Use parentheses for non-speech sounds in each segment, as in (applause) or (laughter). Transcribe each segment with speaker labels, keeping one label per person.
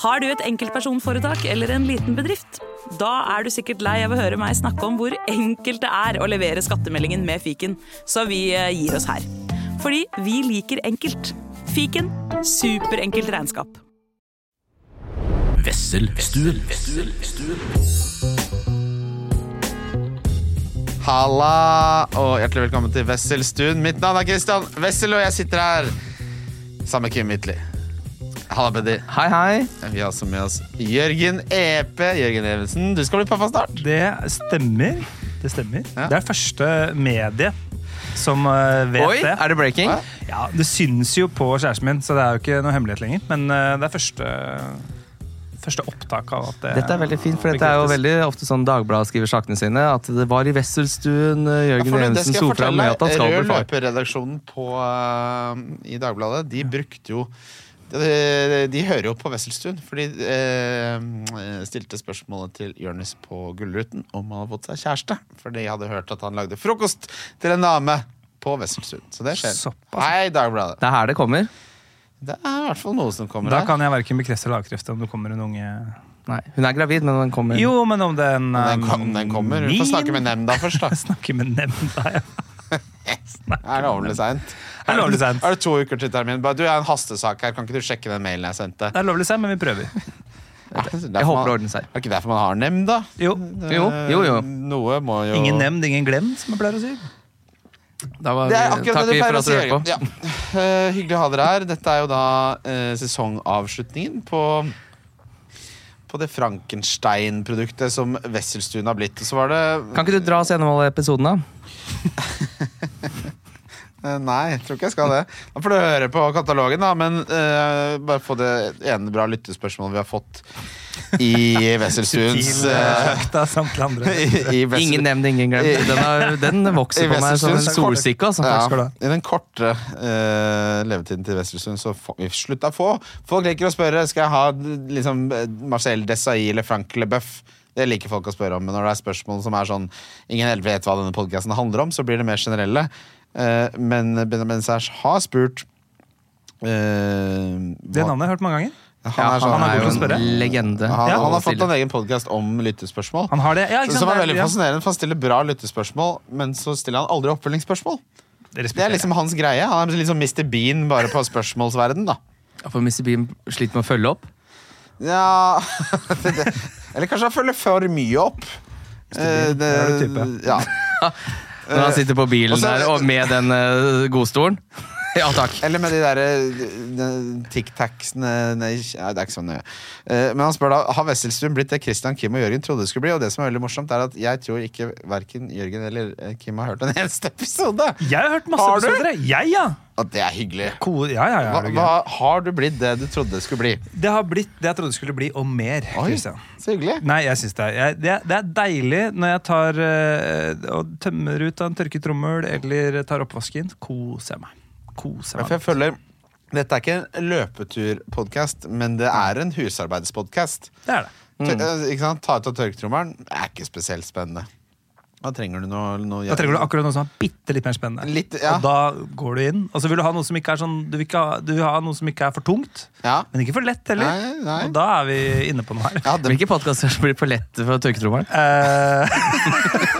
Speaker 1: Har du et enkeltpersonforetak eller en liten bedrift? Da er du sikkert lei av å høre meg snakke om hvor enkelt det er å levere skattemeldingen med fiken, så vi eh, gir oss her. Fordi vi liker enkelt. Fiken superenkelt regnskap.
Speaker 2: Vesselstuen.
Speaker 3: Halla og hjertelig velkommen til Wesselstuen. Mitt navn er Christian Wessel, og jeg sitter her sammen med Kim Midtly. Halla, Beddy.
Speaker 4: Hei, hei.
Speaker 3: Vi har også med oss Jørgen Epe. Jørgen Evensen, du skal bli pappa snart.
Speaker 4: Det stemmer. Det stemmer.
Speaker 3: Ja.
Speaker 4: Det er første medie som eh, vet
Speaker 5: Oi,
Speaker 4: det.
Speaker 5: er det breaking?
Speaker 3: Ja.
Speaker 4: Ja, det syns jo på kjæresten min, så det er jo ikke noe hemmelighet lenger. Men eh, det er første, første opptak av at det
Speaker 5: Dette er veldig fint, for dette er jo veldig ofte sånn Dagbladet skriver sakene sine. At det var i Wesselstuen eh, Jørgen
Speaker 3: For det
Speaker 5: Evensen
Speaker 3: skal jeg
Speaker 5: sto fram
Speaker 3: fortelle
Speaker 5: med at
Speaker 3: deg.
Speaker 5: han skal bli
Speaker 3: Rød
Speaker 5: far.
Speaker 3: løper-redaksjonen på, eh, i Dagbladet, de brukte jo de, de hører jo på Wesselstuen, for de eh, stilte spørsmålet til Jonis på Gullruten om han hadde fått seg kjæreste. For de hadde hørt at han lagde frokost til en dame på Wesselstuen. Så det skjer.
Speaker 4: Såpass.
Speaker 3: Hei, Dagbladet.
Speaker 5: Det er her det kommer.
Speaker 3: Det er i hvert fall noe som kommer
Speaker 4: Da
Speaker 3: her.
Speaker 4: kan jeg verken bekrefte eller avkrefte om det kommer en unge
Speaker 5: Nei, Hun er gravid, men den kommer.
Speaker 4: Jo, men om den
Speaker 3: Den,
Speaker 4: eh,
Speaker 3: kom, den kommer. Vi
Speaker 4: min-
Speaker 3: får snakke med nemnda først,
Speaker 4: (laughs)
Speaker 3: da.
Speaker 4: Snakke med nemnda, ja.
Speaker 3: Er det ordentlig seint?
Speaker 4: Det er lovlig sent.
Speaker 3: Er det to uker til termin? Bare, Du, jeg har en hastesak her. Kan ikke du sjekke den mailen jeg sendte?
Speaker 4: Det er lovlig seg, men vi prøver.
Speaker 3: Jeg
Speaker 5: håper det ordner seg.
Speaker 3: Er det ikke derfor man har nemnd, da? Eh,
Speaker 4: Jo.
Speaker 5: Jo, jo, jo.
Speaker 3: Noe må jo
Speaker 4: Ingen nemnd, ingen glemt, som jeg pleier å si.
Speaker 5: Da var
Speaker 3: Det er
Speaker 5: vi,
Speaker 3: akkurat
Speaker 5: takk
Speaker 3: det
Speaker 5: vi
Speaker 3: du pleier
Speaker 5: for
Speaker 3: å
Speaker 5: at du
Speaker 3: si.
Speaker 5: hører
Speaker 3: Jørgen.
Speaker 5: på.
Speaker 3: Ja. Eh, hyggelig å ha dere her. Dette er jo da eh, sesongavslutningen på på det Frankenstein-produktet som Wesselstuen har blitt. Og så var det
Speaker 5: Kan ikke du dra oss gjennom alle episodene?
Speaker 3: Eh, Nei, jeg tror ikke jeg skal det. Da får du høre på katalogen, da. Men eh, bare få det ene bra lyttespørsmålet vi har fått
Speaker 5: (laughs)
Speaker 3: i Wesselstuens
Speaker 4: Til, eh,
Speaker 3: eh,
Speaker 4: slekta samt til
Speaker 3: (laughs)
Speaker 4: andre.
Speaker 3: i, i Wessel-
Speaker 5: Ingen nevnt, ingen glemt. Den, er, den
Speaker 3: I
Speaker 5: vokser på meg som en
Speaker 3: Wesselstuen.
Speaker 5: solsikke. Altså.
Speaker 3: Ja,
Speaker 4: skal du ha.
Speaker 3: I den korte eh, levetiden til Wesselstuen så får vi slutta å få. Folk liker å spørre skal jeg ha liksom, Marcel Desailly eller Frank Leboeuf. Det liker folk å spørre om, men når det er spørsmål som er sånn Ingen helt vet hva denne podkasten handler om, så blir det mer generelle. Eh, men Benjamin Sæsj har spurt eh,
Speaker 4: Det
Speaker 3: hva-
Speaker 4: navnet har jeg hørt mange ganger.
Speaker 3: Han
Speaker 5: Ja,
Speaker 3: er, sånn,
Speaker 4: han er god til å
Speaker 5: jo
Speaker 4: spørre.
Speaker 5: en legende.
Speaker 3: han,
Speaker 4: Ja.
Speaker 3: han har fått en egen podkast om lyttespørsmål.
Speaker 4: Han har det. Ja, ikke
Speaker 3: Så-
Speaker 4: sant?
Speaker 3: Som er
Speaker 4: Det er-
Speaker 3: veldig
Speaker 4: ja.
Speaker 3: fascinerende, for han stiller bra lyttespørsmål, men så stiller han aldri oppfølgingsspørsmål.
Speaker 4: Det
Speaker 3: Det
Speaker 4: respekterer
Speaker 3: er liksom hans greie. Han er liksom Mr. Bean bare på spørsmålsverden, da.
Speaker 5: Ja, For Mr. Bean sliter med å følge opp.
Speaker 3: Ja (laughs) det- det- Eller kanskje han følger for mye opp. Eh,
Speaker 4: det er du type.
Speaker 3: ja.
Speaker 5: Når han sitter på bilen
Speaker 3: Eh, og så-
Speaker 5: der og med den eh,
Speaker 3: (laughs)
Speaker 5: godstolen. Ja takk.
Speaker 3: Eller med de derre tic-tacsene Nei, ja, det er ikke sånn nøye. Eh, Men han spør da har Wesselstuen blitt det Christian, Kim og Jørgen trodde det skulle bli. Og det som er veldig morsomt, er at jeg tror ikke verken Jørgen eller eh, Kim har hørt en eneste episode.
Speaker 4: Jeg har hørt masse
Speaker 3: Har du?
Speaker 4: episoder. jeg. Jeg, ja.
Speaker 3: Og det er hyggelig.
Speaker 4: Ko- ja, ja, ja.
Speaker 3: Hva,
Speaker 4: er det,
Speaker 3: hva, har du blitt det du trodde det skulle bli?
Speaker 4: gøy. det har blitt det jeg trodde det skulle bli, og mer.
Speaker 3: Oi,
Speaker 4: Christian.
Speaker 3: så hyggelig.
Speaker 4: Nei, jeg synes det, er, jeg, det, er, det er deilig når jeg tar eh, og tømmer ut av en tørket trommel eller tar oppvasken. Koser jeg meg. Koser
Speaker 3: Ja,
Speaker 4: jeg
Speaker 3: for jeg
Speaker 4: meg.
Speaker 3: føler Dette er ikke en løpeturpodkast, men det er en husarbeidspodkast.
Speaker 4: Det er det. Mm.
Speaker 3: Tør- eh, Ikke sant? Ta ut av tørketrommelen er ikke spesielt spennende. Da trenger du noe, noe
Speaker 4: Da trenger du akkurat noe som er bitte litt mer spennende.
Speaker 3: Litt, ja.
Speaker 4: Og da går du inn. Og så vil du ha noe som ikke er sånn Du vil, ikke ha, du vil ha noe som ikke er for tungt,
Speaker 3: Ja.
Speaker 4: men ikke for lett heller.
Speaker 3: Nei, nei.
Speaker 4: Og da er vi inne på noe her.
Speaker 3: Ja, det,
Speaker 5: Hvilke podkaster blir for lette for tørketrommelen?
Speaker 4: Eh,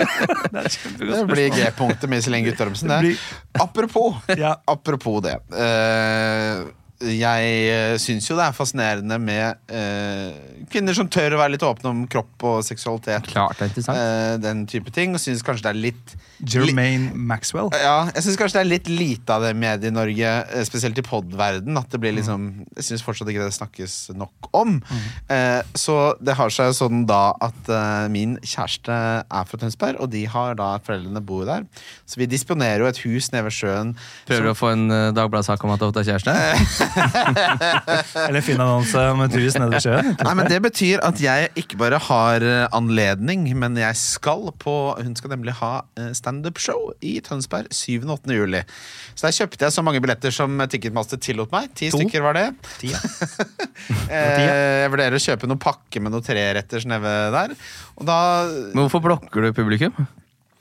Speaker 3: det blir G-punktet med Iselin Guttormsen.
Speaker 4: Det
Speaker 3: det. Apropos,
Speaker 4: (laughs) Ja.
Speaker 3: apropos det. Eh, jeg eh, syns jo det er fascinerende med eh, kvinner som tør å være litt åpne om kropp og seksualitet.
Speaker 5: Klart det er interessant.
Speaker 3: Eh, den type ting. Og syns kanskje det er litt
Speaker 4: (laughs) Jermaine Maxwell.
Speaker 3: Ja, jeg syns kanskje det er litt lite av det medie-Norge, eh, spesielt i podverden, at
Speaker 5: Mm.
Speaker 3: det blir liksom Jeg syns fortsatt ikke det snakkes nok om. Eh, så det har seg jo sånn da at eh, min kjæreste er fra Tønsberg, og de har da foreldrene bor der. Så vi disponerer jo et hus nede ved sjøen.
Speaker 5: Prøver du å få en eh, Dagbladet-sak om at du har fått deg kjæreste?
Speaker 4: Eller fin annonse om et hus nede ved sjøen.
Speaker 3: Nei, men Det betyr at jeg ikke bare har eh, anledning, men jeg skal på Hun skal nemlig ha eh, standup-show i Tønsberg 7. og 8. juli. Så der kjøpte jeg så mange billetter som Ticketmaster tillot meg. Ti
Speaker 4: To?
Speaker 3: stykker var det. (laughs)
Speaker 4: Ti, ja.
Speaker 3: Eh, jeg vurderer å kjøpe noen pakke med noen sånn treretters nede der. Og da
Speaker 5: Men hvorfor blokker du publikum?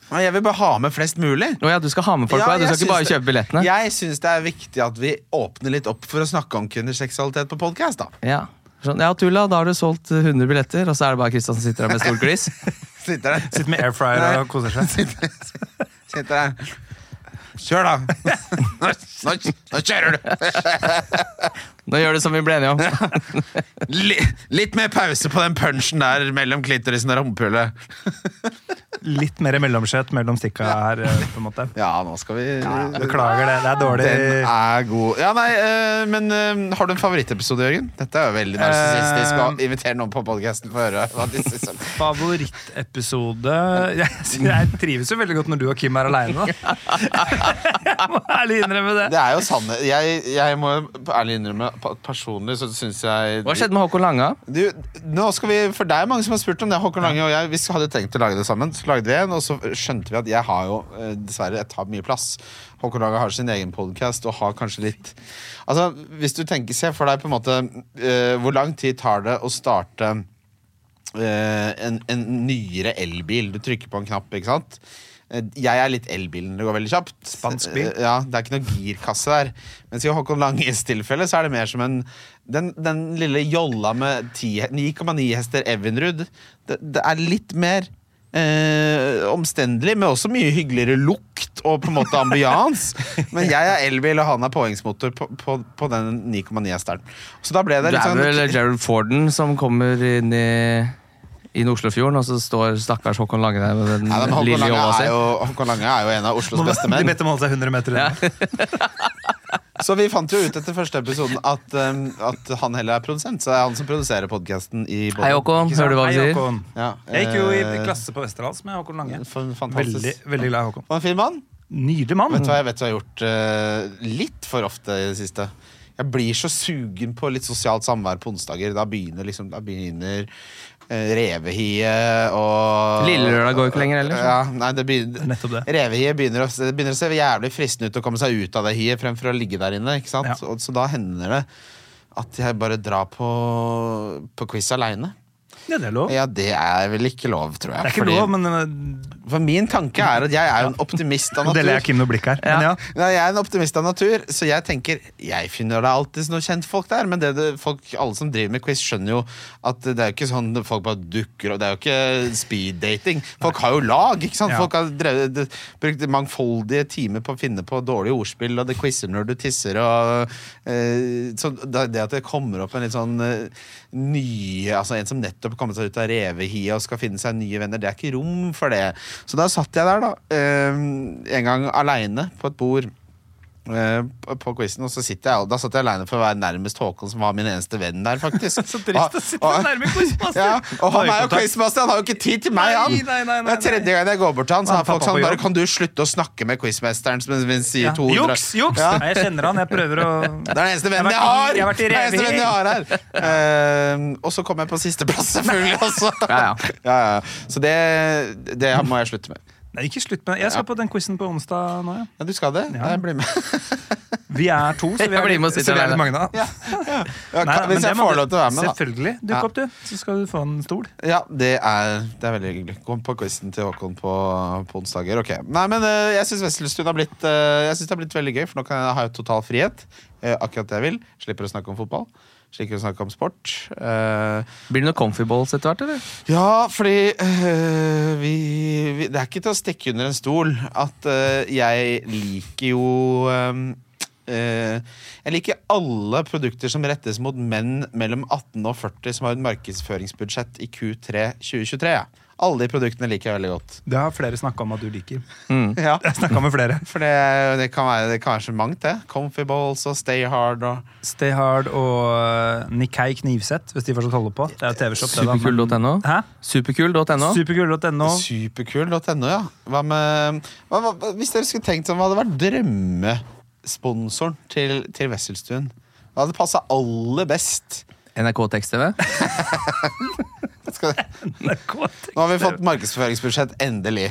Speaker 3: Nei, Jeg vil bare ha med flest mulig.
Speaker 5: Å ja, du skal ha med folk
Speaker 3: Ja,
Speaker 5: på deg. Du
Speaker 3: jeg
Speaker 5: skal ikke bare
Speaker 3: syns det-
Speaker 5: kjøpe billettene.
Speaker 3: Jeg syns det er viktig at vi åpner litt opp for å snakke om kvinneseksualitet på podkast.
Speaker 5: Ja. Sånn, ja, Tulla, da har du solgt 100 billetter, og så er det bare Kristian som sitter her med stort glis.
Speaker 3: (laughs) Sitter der.
Speaker 4: Sitter med air fryer og koser seg.
Speaker 3: Sitter der. Kjør, da! Nå, nå, nå kjører du!
Speaker 5: Nå gjør du som vi ble enige om.
Speaker 3: Li, litt mer pause på den punchen der mellom klitorisen og rumpehullet.
Speaker 4: Litt mer mellomskjøt mellom stikka her, eh, på en måte.
Speaker 3: Ja, nå skal vi
Speaker 4: Beklager det. Det er dårlig.
Speaker 3: Den er god. Ja, nei, eh, men eh, har du en favorittepisode, Jørgen? Dette er jo veldig narsissistisk å invitere noen på podkasten for å høre hva de syns om
Speaker 4: Favorittepisode jeg, altså, jeg trives jo veldig godt når du og Kim er aleine,
Speaker 3: (laughs)
Speaker 4: da. Jeg må ærlig innrømme det.
Speaker 3: Det er jo sanne. Jeg, jeg må ærlig innrømme pa- personlig så syns jeg
Speaker 5: Hva skjedde med Håkon Langa?
Speaker 3: Du, nå skal vi, for det er mange som har spurt om det. Håkon Lange og jeg vi hadde tenkt å lage det sammen. Så lagde vi en, og så skjønte vi at jeg har jo eh, dessverre jeg tar mye plass. Håkon Lange har sin egen podkast og har kanskje litt Altså, Hvis du tenker, se for deg på en måte eh, Hvor lang tid tar det å starte eh, en, en nyere elbil? Du trykker på en knapp, ikke sant? Eh, Jeg er litt elbilen. Det går veldig kjapt.
Speaker 4: Spansk bil.
Speaker 3: Eh, Ja, Det er ikke noe girkasse der. Mens i Håkon Langes tilfelle så er det mer som en Den, den lille jolla med 10 9,9 hester Evinrud. Det, det er litt mer eh, omstendelig, men også mye hyggeligere lukt og på en måte
Speaker 4: (laughs)
Speaker 3: ambiance. men jeg er elbil, og han er påhengsmotor på, på, på den 9,9 hesteren. Så da ble det
Speaker 5: Det
Speaker 3: litt
Speaker 5: er
Speaker 3: sånn
Speaker 5: vel Gerald Forden som kommer inn i inn Oslofjorden, og så står stakkars Håkon Lange der med den
Speaker 3: Nei, men Håkon
Speaker 5: lille
Speaker 3: Lange,
Speaker 5: jobba si.
Speaker 3: er jo, Håkon Lange er jo en av Oslos beste
Speaker 5: (laughs)
Speaker 4: De
Speaker 3: menn.
Speaker 4: bedt om å holde seg 100 meter unna.
Speaker 3: Så vi fant jo ut etter første episoden at, um, at han heller er produsent. Så det er han som produserer podkasten i
Speaker 5: Hei, Håkon.
Speaker 4: Ikke sant?
Speaker 5: Hører du hva han
Speaker 4: Hei,
Speaker 5: sier?
Speaker 4: Håkon.
Speaker 3: Ja,
Speaker 4: Jeg gikk jo i
Speaker 3: eh,
Speaker 4: klasse på Westerdals med Håkon Lange.
Speaker 3: Fan- Fantastisk.
Speaker 4: Veldig, veldig glad i Håkon.
Speaker 3: Det var en fin mann.
Speaker 4: Nydelig mann.
Speaker 3: Vet du hva jeg vet du har gjort eh, litt for ofte i det siste? Jeg blir så sugen på litt sosialt samvær på onsdager. Da begynner liksom Da begynner eh, revehiet og
Speaker 5: Lille lørdag går jo ikke lenger heller, så.
Speaker 3: Ja, nei, det begynner,
Speaker 4: (laughs) Nettopp det.
Speaker 3: Revehiet begynner å, det begynner å se jævlig fristende ut å komme seg ut av det hiet fremfor å ligge der inne. Ikke sant?
Speaker 4: Ja.
Speaker 3: Og, så da hender det at jeg bare drar på, på quiz aleine.
Speaker 4: Ja, det er lov.
Speaker 3: Ja, det er vel ikke lov, tror jeg.
Speaker 4: Det er ikke
Speaker 3: Fordi-
Speaker 4: lov, men eh,
Speaker 3: For min tanke er at jeg er jo en optimist av
Speaker 4: (laughs) Nå
Speaker 3: natur.
Speaker 4: deler jeg Kim noe blikk her. Men ja.
Speaker 3: Nei, jeg er en optimist av natur, så jeg tenker Jeg finner det alltid noen kjentfolk der. Men det det, folk, alle som driver med quiz, skjønner jo at det er jo ikke sånn folk bare dukker opp. Det er jo ikke speeddating. Folk har jo lag, ikke sant?
Speaker 4: Ja.
Speaker 3: Folk har drevet, de, brukt mangfoldige timer på å finne på dårlige ordspill, og det quizer når du tisser og eh, Så det det at det kommer opp en litt sånn eh, nye Altså en som nettopp kommer seg ut av revehiet og skal finne seg nye venner, det er ikke rom for det. Så da satt jeg der, da, eh, en gang aleine på et bord. Eh, på- på quizen, og så sitter jeg, da satt jeg aleine for å være nærmest Håkon, som var min eneste venn der, faktisk.
Speaker 4: (laughs) Så trist å sitte
Speaker 3: Og- og-
Speaker 4: nærme quizmaster.
Speaker 3: Ja, og han er jo
Speaker 4: Øyekontakt.
Speaker 3: quizmaster, han har jo ikke tid til meg, han!
Speaker 4: Nei, nei, nei, nei,
Speaker 3: det er tredje gang jeg går bort til han, så
Speaker 4: Han
Speaker 3: har folk
Speaker 4: tar på
Speaker 3: sånn bare
Speaker 4: jobb.
Speaker 3: Kan du slutte å snakke med quizmesteren som som sier
Speaker 4: Ja.
Speaker 3: 200
Speaker 4: Juks! Juks!
Speaker 3: Ja.
Speaker 4: Nei, jeg kjenner han. Jeg prøver å
Speaker 3: (laughs) Det er den eneste
Speaker 4: Jeg
Speaker 3: vennen
Speaker 4: har vært
Speaker 3: jeg
Speaker 4: i-
Speaker 3: har!
Speaker 4: jeg har vært i
Speaker 3: Det er den eneste
Speaker 4: revehier.
Speaker 3: vennen jeg har her (laughs) Eh, Og så kom jeg på sisteplass, selvfølgelig,
Speaker 4: (laughs)
Speaker 3: altså.
Speaker 5: Ja, ja.
Speaker 3: Ja, ja. Så det, det må jeg slutte med.
Speaker 4: Nei, ikke slutt med det. Jeg skal på den quizen på onsdag nå, ja.
Speaker 3: Ja, du skal det?
Speaker 4: Ja.
Speaker 3: Ja. Jeg blir med.
Speaker 4: Vi er
Speaker 3: (laughs)
Speaker 4: to, så
Speaker 5: Jeg
Speaker 4: vi er,
Speaker 5: blir med og
Speaker 4: så
Speaker 5: sitter
Speaker 4: vi er
Speaker 5: alene.
Speaker 4: litt mange da.
Speaker 3: Ja. Ja. Ja,
Speaker 4: Nei, nei, men
Speaker 3: hvis
Speaker 4: det
Speaker 3: jeg
Speaker 4: må
Speaker 3: får
Speaker 4: du-
Speaker 3: lov til å være med, da.
Speaker 4: Selvfølgelig. Dukk
Speaker 3: Ja.
Speaker 4: opp, du. Så skal du få en stol.
Speaker 3: Ja, det er, det er veldig hyggelig. Kom på quizen til Håkon på, på onsdager. Ok, Nei, men eh, jeg syns Wesselstuen har blitt eh, Jeg synes det har blitt veldig gøy, for nå kan jeg ha total frihet. eh, akkurat det jeg vil. Slipper å snakke om fotball. Slipper å snakke om sport. Eh,
Speaker 5: Blir det noen comfyballs etter hvert, eller?
Speaker 3: ja, fordi øh, vi, vi Det er ikke til å stikke under en stol at øh, jeg liker jo øhm, øh, Jeg liker alle produkter som rettes mot menn mellom 18 og 40 som har et markedsføringsbudsjett i Q3 2023. Ja. Alle de produktene liker jeg veldig godt.
Speaker 4: Det har flere snakka om at du liker.
Speaker 3: Ja,
Speaker 4: Mm. (laughs) Jeg snakket med flere.
Speaker 3: For det, det, kan være, det kan være så mangt, det. Comfy balls og Stay Hard og
Speaker 4: Stay Hard og eh, Nikkei Knivsett, hvis de fortsatt holder på. Det er jo TV-shop. det da, men-
Speaker 5: Superkul.no.
Speaker 4: Hæ?
Speaker 5: Superkul.no. (laughs)
Speaker 4: Superkul.no.
Speaker 3: Superkul.no, ja. Hva med, hva, hva, hvis dere skulle tenkt sånn, hva hadde vært drømmesponsoren til, til Wesselstuen? Hva hadde passa aller best?
Speaker 5: NRK Tekst-TV.
Speaker 3: Skal,
Speaker 4: (laughs) NRK.
Speaker 3: nå har vi fått markedsføringsbudsjett, endelig.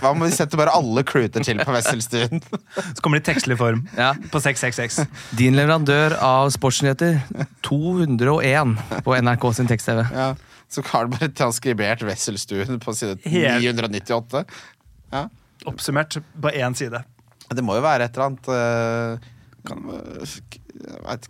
Speaker 3: Hva om vi setter bare alle kluter til på
Speaker 4: (laughs)
Speaker 3: Wesselstuen?
Speaker 4: Så kommer det i tekstlig form.
Speaker 5: Ja.
Speaker 4: På 666.
Speaker 5: Din leverandør av sportsnyheter 201 på NRK sin tekst-TV.
Speaker 3: Ja, så har du bare transkribert Wesselstuen på side
Speaker 4: Helt.
Speaker 3: 998. Ja.
Speaker 4: Oppsummert på én side.
Speaker 3: Det må jo være et eller annet eh,
Speaker 4: Kan,
Speaker 3: Jeg vet ikke.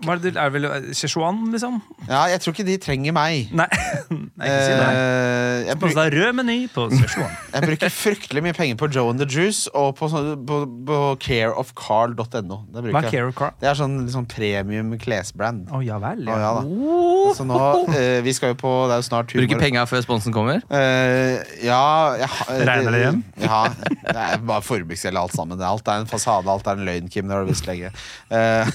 Speaker 4: hva er det, er det vel eh, Szechuan, liksom?
Speaker 3: Ja, jeg tror ikke de trenger meg.
Speaker 4: Nei. (laughs) Nei, ikke si nei.
Speaker 3: Eh, jeg,
Speaker 4: Spons
Speaker 3: bruk,
Speaker 4: av rød meny på Szechuan.
Speaker 3: jeg bruker fryktelig mye penger på Joe and the Juice og på, sånn- på, på careofcarl.no. Det
Speaker 4: Hva
Speaker 3: bruker
Speaker 4: er
Speaker 3: jeg.
Speaker 4: Carol Car?
Speaker 3: Det er sånn liksom, premium klesbrand.
Speaker 4: (laughs) Å ja vel.
Speaker 3: Å, ja da. Så nå, eh, vi skal jo på Det er jo snart humor.
Speaker 5: Bruker penga før sponsen kommer.
Speaker 3: Eh, ja jeg, ha-
Speaker 4: Regner det igjen?
Speaker 3: (laughs) Ja. Det er bare formiksel alt sammen. Alt er en fasade, alt er en løgn, Kim. Det har du visst lenge. Eh,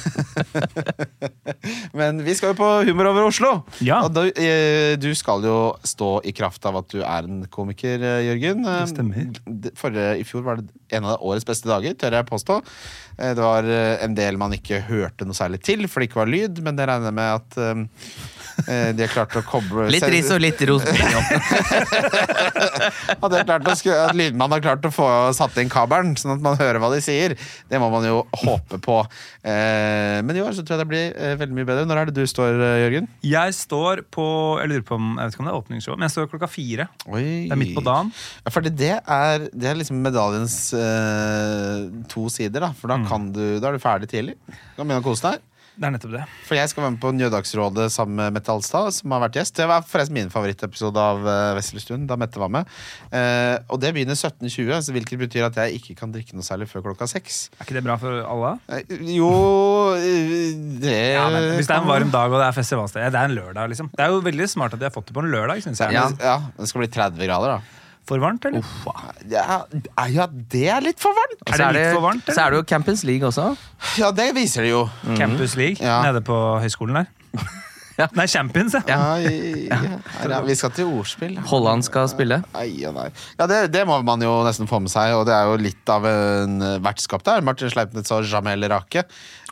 Speaker 3: (laughs) men vi skal jo på Humor over Oslo.
Speaker 4: Ja.
Speaker 3: Og da, eh, du skal jo stå i kraft av at du er en komiker, eh, Jørgen. Eh,
Speaker 4: Det stemmer.
Speaker 3: d- Forrige, I fjor var det en av årets beste dager, tør jeg påstå. Eh, Det var eh, en del man ikke hørte noe særlig til, for det ikke var lyd, men det regner jeg med at eh, eh, de har klart å koble
Speaker 5: Litt ris og litt ros.
Speaker 3: Hadde jeg klart å skru, (laughs) at lydmannen har klart å få satt inn kabelen, sånn at man hører hva de sier. Det må man jo håpe på. Eh, men i år så tror jeg det blir eh, veldig mye bedre. Når er det du står, eh, Jørgen?
Speaker 4: Jeg står på Jeg lurer på om, jeg vet ikke om det er åpningsshow, men jeg står klokka fire.
Speaker 3: Oi.
Speaker 4: Det er midt på dagen.
Speaker 3: Ja, for det, det, er, det er liksom medaljens eh, to sider, da. For
Speaker 4: Mm.
Speaker 3: da, kan du, da er du ferdig tidlig. Du kan begynne å kose deg.
Speaker 4: Det er nettopp det.
Speaker 3: For jeg skal være med på Njødagsrådet sammen med Mette Alstad, som har vært gjest. Det var forresten min favorittepisode av eh, Vesselstuen, da Mette var med. Eh, og det begynner 17.20, så hvilket betyr at jeg ikke kan drikke noe særlig før klokka seks.
Speaker 4: Er ikke det bra for alle?
Speaker 3: Eh, Jo eh, det
Speaker 4: Ja, men Hvis det er en varm dag og det er festivalsted ja, Det er en lørdag, liksom. Det er jo veldig smart at de har fått det på en lørdag, synes jeg.
Speaker 3: ja. ja, Det skal bli 30 grader, da.
Speaker 4: For varmt, eller?
Speaker 3: Ja, er- ja, det er litt for varmt!
Speaker 4: Er det litt for varmt,
Speaker 5: Så er det jo Campus League også.
Speaker 3: Ja, det viser det jo.
Speaker 4: Campus League
Speaker 3: Ja.
Speaker 4: nede på høyskolen der.
Speaker 5: Ja.
Speaker 4: Nei, Champions, ja.
Speaker 3: Ai, ja. Ja, vi skal til ordspill.
Speaker 5: Holland skal spille.
Speaker 3: Ai, ja, nei. ja det, det må man jo nesten få med seg, og det er jo litt av en eh, vertskap der. Martin Sleipnitz og Jamel Rake.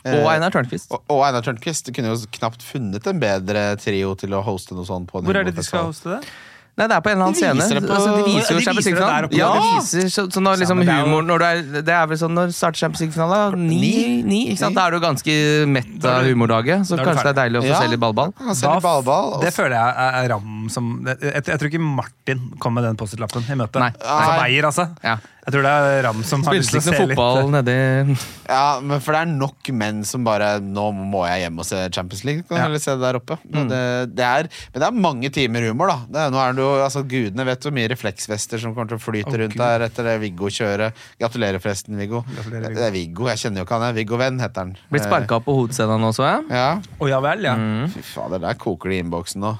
Speaker 3: Eh,
Speaker 5: Og Einar Tørnquist.
Speaker 3: og, og Einar Tørnquist. Du kunne jo knapt funnet en bedre trio til å hoste noe sånt på. en
Speaker 4: Hvor er det de
Speaker 3: humorfestival.
Speaker 4: skal hoste det?
Speaker 5: Nei, det er på en eller annen
Speaker 3: De viser
Speaker 5: scene.
Speaker 3: det på-
Speaker 5: altså, de viser jo
Speaker 4: De
Speaker 5: Champions
Speaker 4: viser det der
Speaker 5: League-finalen.
Speaker 4: oppe,
Speaker 5: Ja,
Speaker 4: ja.
Speaker 5: de viser, så, så når liksom
Speaker 4: men det er jo-
Speaker 5: humor når det, er, det er vel sånn når starter Champions League-finalen? da? Ni, ni, ikke sant? Da er det jo ganske mett
Speaker 4: Da er
Speaker 5: av
Speaker 4: du-
Speaker 5: humordaget, så
Speaker 4: da er du
Speaker 5: kanskje det er deilig å få
Speaker 3: Ja.
Speaker 5: se litt ballball.
Speaker 3: Han selger
Speaker 4: Da f-
Speaker 3: ballball, og
Speaker 4: Det føler jeg er- er ram som jeg, jeg, jeg tror ikke Martin kom med den Post-It-lappen i møtet.
Speaker 5: Nei.
Speaker 4: Altså Beyer, altså.
Speaker 5: Ja.
Speaker 4: Jeg tror det er Ram som har lyst
Speaker 5: Spilte
Speaker 4: til
Speaker 5: ikke noe
Speaker 4: å se litt eh,
Speaker 5: fotball nedi (laughs)
Speaker 3: Ja, men for det er nok menn som bare Nå må jeg hjem og se Champions League. Kan
Speaker 4: Ja. Mm.
Speaker 3: jeg heller se det der oppe Men det, det er, Men det er mange timer humor, da. Det er, nå er det jo, altså, gudene vet hvor mye refleksvester som kommer til å flyte
Speaker 4: Å,
Speaker 3: rundt
Speaker 4: Gud.
Speaker 3: der etter det Viggo-kjøret. Gratulerer, forresten, Viggo.
Speaker 4: Gratulerer, Viggo.
Speaker 3: Det er Viggo, Jeg kjenner jo ikke han. jeg. Viggo Venn heter han.
Speaker 5: Blitt
Speaker 4: eh.
Speaker 5: sparka opp på hodedscenen nå, så jeg.
Speaker 3: Eh, Ja.
Speaker 4: Å ja vel, ja.
Speaker 5: Mm.
Speaker 3: Fy fader, der koker det i innboksen nå.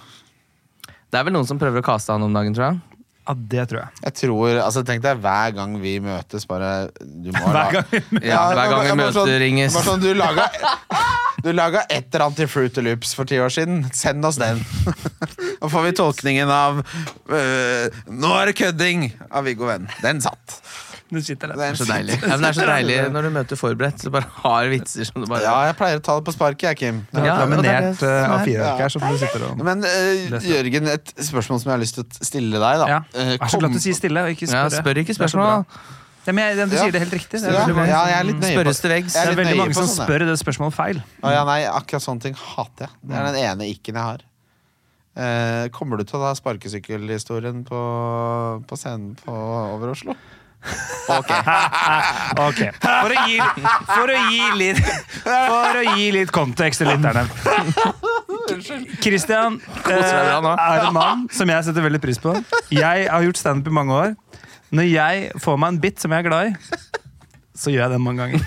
Speaker 5: Det er vel noen som prøver å kaste han om dagen, tror jeg.
Speaker 4: ja. Det tror jeg.
Speaker 3: Jeg tror, altså Tenk deg hver gang vi møtes, bare du
Speaker 4: (laughs)
Speaker 3: må
Speaker 4: Hver gang vi
Speaker 5: Ja, hver gang
Speaker 3: bare-
Speaker 5: vi
Speaker 3: bare
Speaker 5: møter
Speaker 3: sånn-
Speaker 5: Inges.
Speaker 3: bare Sånn, du laga du laga et eller annet til Fruity Loops for ti år siden. Send oss den. (laughs) Da får vi tolkningen av øh, 'Nå er det kødding' av Viggo Venn. Den satt.
Speaker 4: Du sitter der.
Speaker 3: Den
Speaker 5: Så deilig. Ja,
Speaker 3: (laughs)
Speaker 5: men det er så deilig når du møter forberedt, så bare har vitser som du bare
Speaker 3: Ja, jeg pleier å ta det på sparket, jeg, Kim.
Speaker 4: Det er
Speaker 5: Ja, og det er det
Speaker 4: laminert
Speaker 5: som
Speaker 4: eh, av
Speaker 5: er-
Speaker 4: fire
Speaker 3: Ja.
Speaker 4: her, så får du sitte der og
Speaker 3: Men øh,
Speaker 4: Leser.
Speaker 3: Jørgen, et spørsmål som jeg har lyst til å stille deg. da
Speaker 4: ja.
Speaker 3: Eh,
Speaker 4: Vær så glad du sier stille og ikke
Speaker 5: Ja,
Speaker 4: spørre.
Speaker 5: spør ikke
Speaker 4: Det er så
Speaker 5: spørsmål, da.
Speaker 4: bra. Ja, men jeg, du
Speaker 3: Ja.
Speaker 4: sier det helt riktig. Det er
Speaker 3: Ja,
Speaker 4: veldig, mange
Speaker 3: ja,
Speaker 4: som-
Speaker 3: jeg er litt nøye på
Speaker 5: Mm. Spørres til veggs.
Speaker 3: Jeg
Speaker 4: det er
Speaker 3: litt
Speaker 4: veldig
Speaker 3: nøye
Speaker 4: mange
Speaker 3: på
Speaker 4: som
Speaker 3: sånne.
Speaker 4: spør det spørsmålet feil.
Speaker 3: Å ja, nei, akkurat sånne ting hater jeg. Det er den ene ikken jeg har. Eh, kommer du til å ta sparkesykkelhistorien på, på scenen på Over (laughs) Oslo?
Speaker 4: Ok, for å gi, for å gi, litt, for å gi litt kontekst til lytterne. Kristian
Speaker 5: deg
Speaker 4: eh,
Speaker 5: bra nå.
Speaker 4: er en mann som jeg setter veldig pris på. Jeg har gjort standup i mange år. Når jeg får meg en bit som jeg er glad i, så gjør jeg den mange ganger.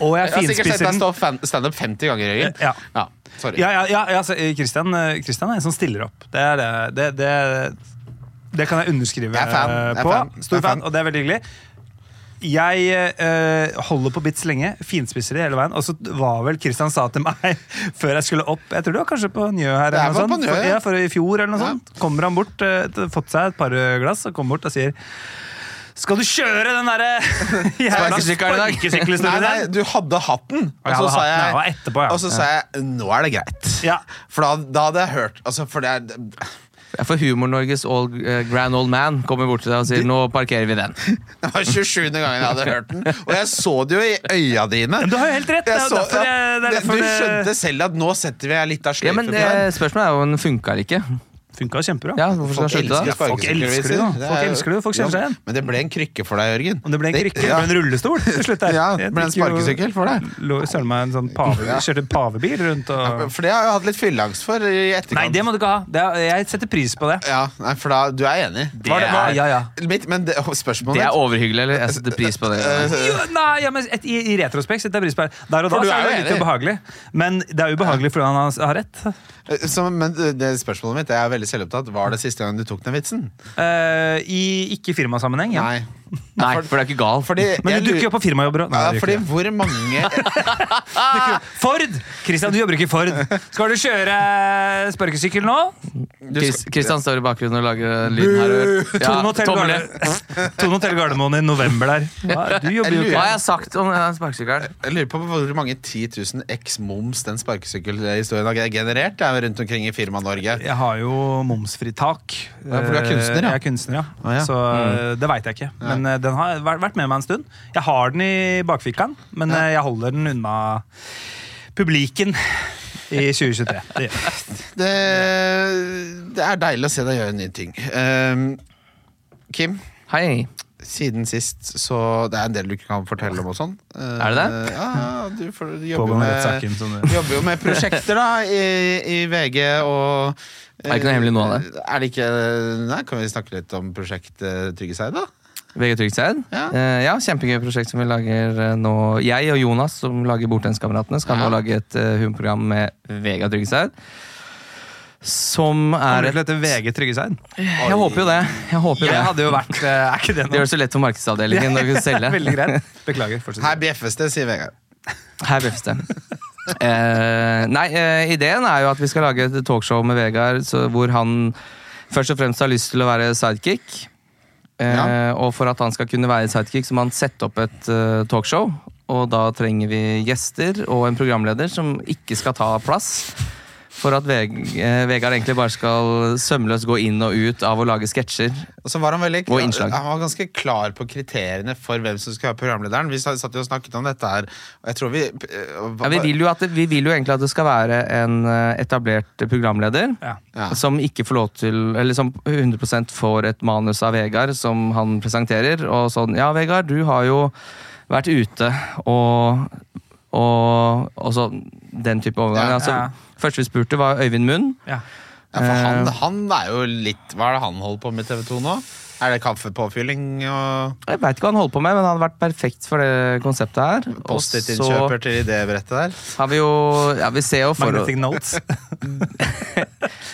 Speaker 4: Og jeg
Speaker 3: Jeg har sikkert sett
Speaker 4: finspiser
Speaker 3: deg
Speaker 4: den.
Speaker 3: stå fan- standup 50 ganger, Jørgen.
Speaker 4: Ja.
Speaker 3: Ja, sorry.
Speaker 4: Ja, ja, ja, ja, altså, eh, Christian, eh, Christian er en som stiller opp. Det, er, det, det, det, det kan jeg underskrive
Speaker 3: Jeg er fan, jeg
Speaker 4: eh,
Speaker 3: er
Speaker 4: på.
Speaker 3: fan, jeg er
Speaker 4: Stor
Speaker 3: fan.
Speaker 4: fan, og det er veldig hyggelig. Jeg eh, holder på bits lenge, finspiser det hele veien. Og så var vel Christian sa til meg (laughs) før jeg skulle opp Jeg tror det var kanskje på Njø her.
Speaker 3: Det er
Speaker 4: Eller noe
Speaker 3: vel på
Speaker 4: sånt.
Speaker 3: Njø,
Speaker 4: For,
Speaker 3: ja.
Speaker 4: ja, for i fjor eller noe
Speaker 3: Ja.
Speaker 4: sånt. Kommer han bort, eh, t- fått seg et par eh, glass, og kommer bort og sier Skal du kjøre den derre (laughs) jævla
Speaker 5: Sparkesykkelen i dag?»
Speaker 3: Nei,
Speaker 4: sparkesykkelhistorien
Speaker 3: nei,
Speaker 4: din?»
Speaker 3: du hadde hatten, og så
Speaker 4: Jeg hadde
Speaker 3: sa
Speaker 4: hatten,
Speaker 3: jeg,
Speaker 4: jeg var etterpå, ja.
Speaker 3: og så sa jeg 'nå er det greit'.
Speaker 4: Ja.
Speaker 3: For da, da hadde jeg hørt altså, For det er
Speaker 5: Ja, For Humor-Norges old, eh, grand old man kommer bort til deg og sier 'nå parkerer vi den'.
Speaker 3: Det var 27. gangen jeg hadde hørt den, og jeg så det jo i øya dine.
Speaker 4: Men du har jo helt rett, det er jo
Speaker 3: så-
Speaker 4: derfor jeg- det er
Speaker 3: det-
Speaker 4: derfor
Speaker 3: du
Speaker 4: det-
Speaker 3: skjønte selv at nå setter vi ei lita
Speaker 5: Ja,
Speaker 3: sløyfe
Speaker 5: men
Speaker 3: på den.
Speaker 5: eh, Spørsmålet er jo om den funka eller ikke.
Speaker 4: Funka kjempebra.
Speaker 5: Ja, hvorfor skal
Speaker 3: Folk
Speaker 5: jeg slutte?
Speaker 3: elsker
Speaker 5: da?
Speaker 4: Folk elsker det, da.
Speaker 3: sparkesykkelviser.
Speaker 4: Folk
Speaker 3: er jo-
Speaker 4: elsker det, folk kjenner seg
Speaker 3: Ja,
Speaker 4: igjen.
Speaker 3: Men det ble en krykke for deg, Jørgen.
Speaker 4: Om det ble en krykke
Speaker 3: ja.
Speaker 4: eller en rullestol til slutt der.
Speaker 3: (laughs) Ja,
Speaker 4: Jeg
Speaker 3: det ble en
Speaker 4: gikk jo-
Speaker 3: sparkesykkel for deg.
Speaker 4: Lå søren meg en sånn pave, kjørte pavebil rundt og
Speaker 3: For det har jeg hatt litt fylleangst for i etterkant.
Speaker 4: Nei, det må du ikke ha! Det er, jeg setter pris på det.
Speaker 3: Ja, nei, for da, du er enig?
Speaker 4: Det er- ja, ja.
Speaker 3: Mitt, men det, spørsmålet
Speaker 5: Det er
Speaker 3: mitt
Speaker 5: overhyggelig, eller? Jeg setter pris på det.
Speaker 4: Jo, nei, ja, men et, i, I retrospekt setter jeg pris på det. Der og da
Speaker 3: For du
Speaker 4: så
Speaker 3: er
Speaker 4: er det
Speaker 3: jo
Speaker 4: litt
Speaker 3: enig.
Speaker 4: ubehagelig. Men det er ubehagelig fordi han har- har rett.
Speaker 3: eh, som- Men det spørsmålet mitt, jeg er veldig selvopptatt. Var det siste gang du tok den vitsen?
Speaker 4: Eh, I ikke firmasammenheng, ja.
Speaker 3: Nei.
Speaker 5: Nei, for det er ikke gal. (laughs)
Speaker 3: Fordi
Speaker 4: Men
Speaker 3: jeg
Speaker 4: du dukker jo
Speaker 3: lurer-
Speaker 4: opp på firmajobber òg.
Speaker 3: ja, fordi hvor mange
Speaker 4: Ford! Christian, du jobber ikke i Ford. Skal du kjøre eh, sparkesykkel nå?
Speaker 3: du
Speaker 5: Chris,
Speaker 3: skal-
Speaker 5: Christian står i bakgrunnen og lager lyd her. og- Ja,
Speaker 4: Tone Hotel
Speaker 5: tommel ned.
Speaker 4: (laughs) Gardermoen, Tone Hotel Gardermoen i
Speaker 3: (laughs)
Speaker 4: november der. Ja, du jobber jo
Speaker 5: Hva
Speaker 4: ikke
Speaker 5: har jeg sagt om den sparkesykkelen?
Speaker 3: Jeg lurer på hvor mange 10 000 eks-moms den sparkesykkelhistorien har generert. Det er rundt omkring i firma Norge.
Speaker 4: jeg har jo momsfritak.
Speaker 3: Ja, for du er kunstner, ja.
Speaker 4: Jeg er kunstner, ja.
Speaker 3: Å, ja.
Speaker 4: Så eh, det veit jeg ikke. Men eh, den har væ- vært med meg en stund. Jeg har den i bakfikkaen, men eh, jeg holder den unna publiken i 2023. Det gjør jeg.
Speaker 3: Det, det er deilig å se deg gjøre nye ting. Ehm, Kim,
Speaker 5: Hei.
Speaker 3: siden sist så Det er en del du ikke kan fortelle om og sånn. Eh,
Speaker 5: Er det det?
Speaker 3: Ja, ja, du, får, du jobber, jo
Speaker 4: Pågående
Speaker 3: med,
Speaker 4: rettssaken som
Speaker 3: du jobber jo med prosjekter da i, i VG og
Speaker 5: Er det ikke noe hemmelig noe av
Speaker 3: det? Er det ikke, nei, kan vi snakke litt om prosjekt eh, Trygge seg, da?
Speaker 5: VG Tryggseid.
Speaker 3: Ja.
Speaker 5: Eh, ja, kjempegøy prosjekt som vi lager eh, nå. Jeg og Jonas, som lager Bortenskameratene, skal nå
Speaker 3: Ja.
Speaker 5: lage et eh, humorprogram med Vega Tryggseid. Som er
Speaker 4: Kommer det til å hete VG Tryggeseid?
Speaker 5: Jeg håper jo det. Jeg håper jo
Speaker 4: Det
Speaker 5: det.
Speaker 4: hadde jo vært eh, Er ikke det
Speaker 5: Det gjør
Speaker 4: noe?
Speaker 5: det så lett for markedsavdelingen
Speaker 4: (laughs)
Speaker 5: når vi skal selge.
Speaker 4: Veldig greit. Beklager. fortsett.
Speaker 3: Her bjeffes det, sier Vegard.
Speaker 5: Her bjeffes det. Eh, nei, eh, ideen er jo at vi skal lage et talkshow med Vegard så, hvor han først og fremst har lyst til å være sidekick. Eh,
Speaker 3: Ja.
Speaker 5: Og for at han skal kunne være sidekick, så må han sette opp et eh, talkshow. Og da trenger vi gjester og en programleder som ikke skal ta plass. For at Veg eh, Vegard egentlig bare skal sømløst gå inn og ut av å lage sketsjer.
Speaker 3: Og så var han veldig
Speaker 5: Og innslag.
Speaker 3: Han var ganske klar på kriteriene for hvem som skulle være programlederen. Vi satt jo og snakket om dette her, og jeg tror vi eh,
Speaker 5: Ja, vi, vil jo at det, vi vil jo egentlig at det skal være en eh, etablert programleder.
Speaker 4: Ja.
Speaker 3: Ja.
Speaker 5: Som ikke får lov til Eller som 100 får et manus av Vegard som han presenterer. Og sånn Ja, Vegard, du har jo vært ute og Og, og så den type overgang.
Speaker 3: Ja.
Speaker 5: altså,
Speaker 4: Ja.
Speaker 5: Første vi spurte, var Øyvind Munn.
Speaker 4: Ja.
Speaker 3: Ja, for han, han er jo litt Hva er det han holder på med i TV 2 nå? Er det kaffepåfylling og
Speaker 5: Jeg veit ikke hva han holder på med, men han hadde vært perfekt for det konseptet her. Og så
Speaker 3: Post-It-innkjøper til idébrettet der?
Speaker 5: har vi jo Ja, vi ser jo for
Speaker 4: Magnetic notes.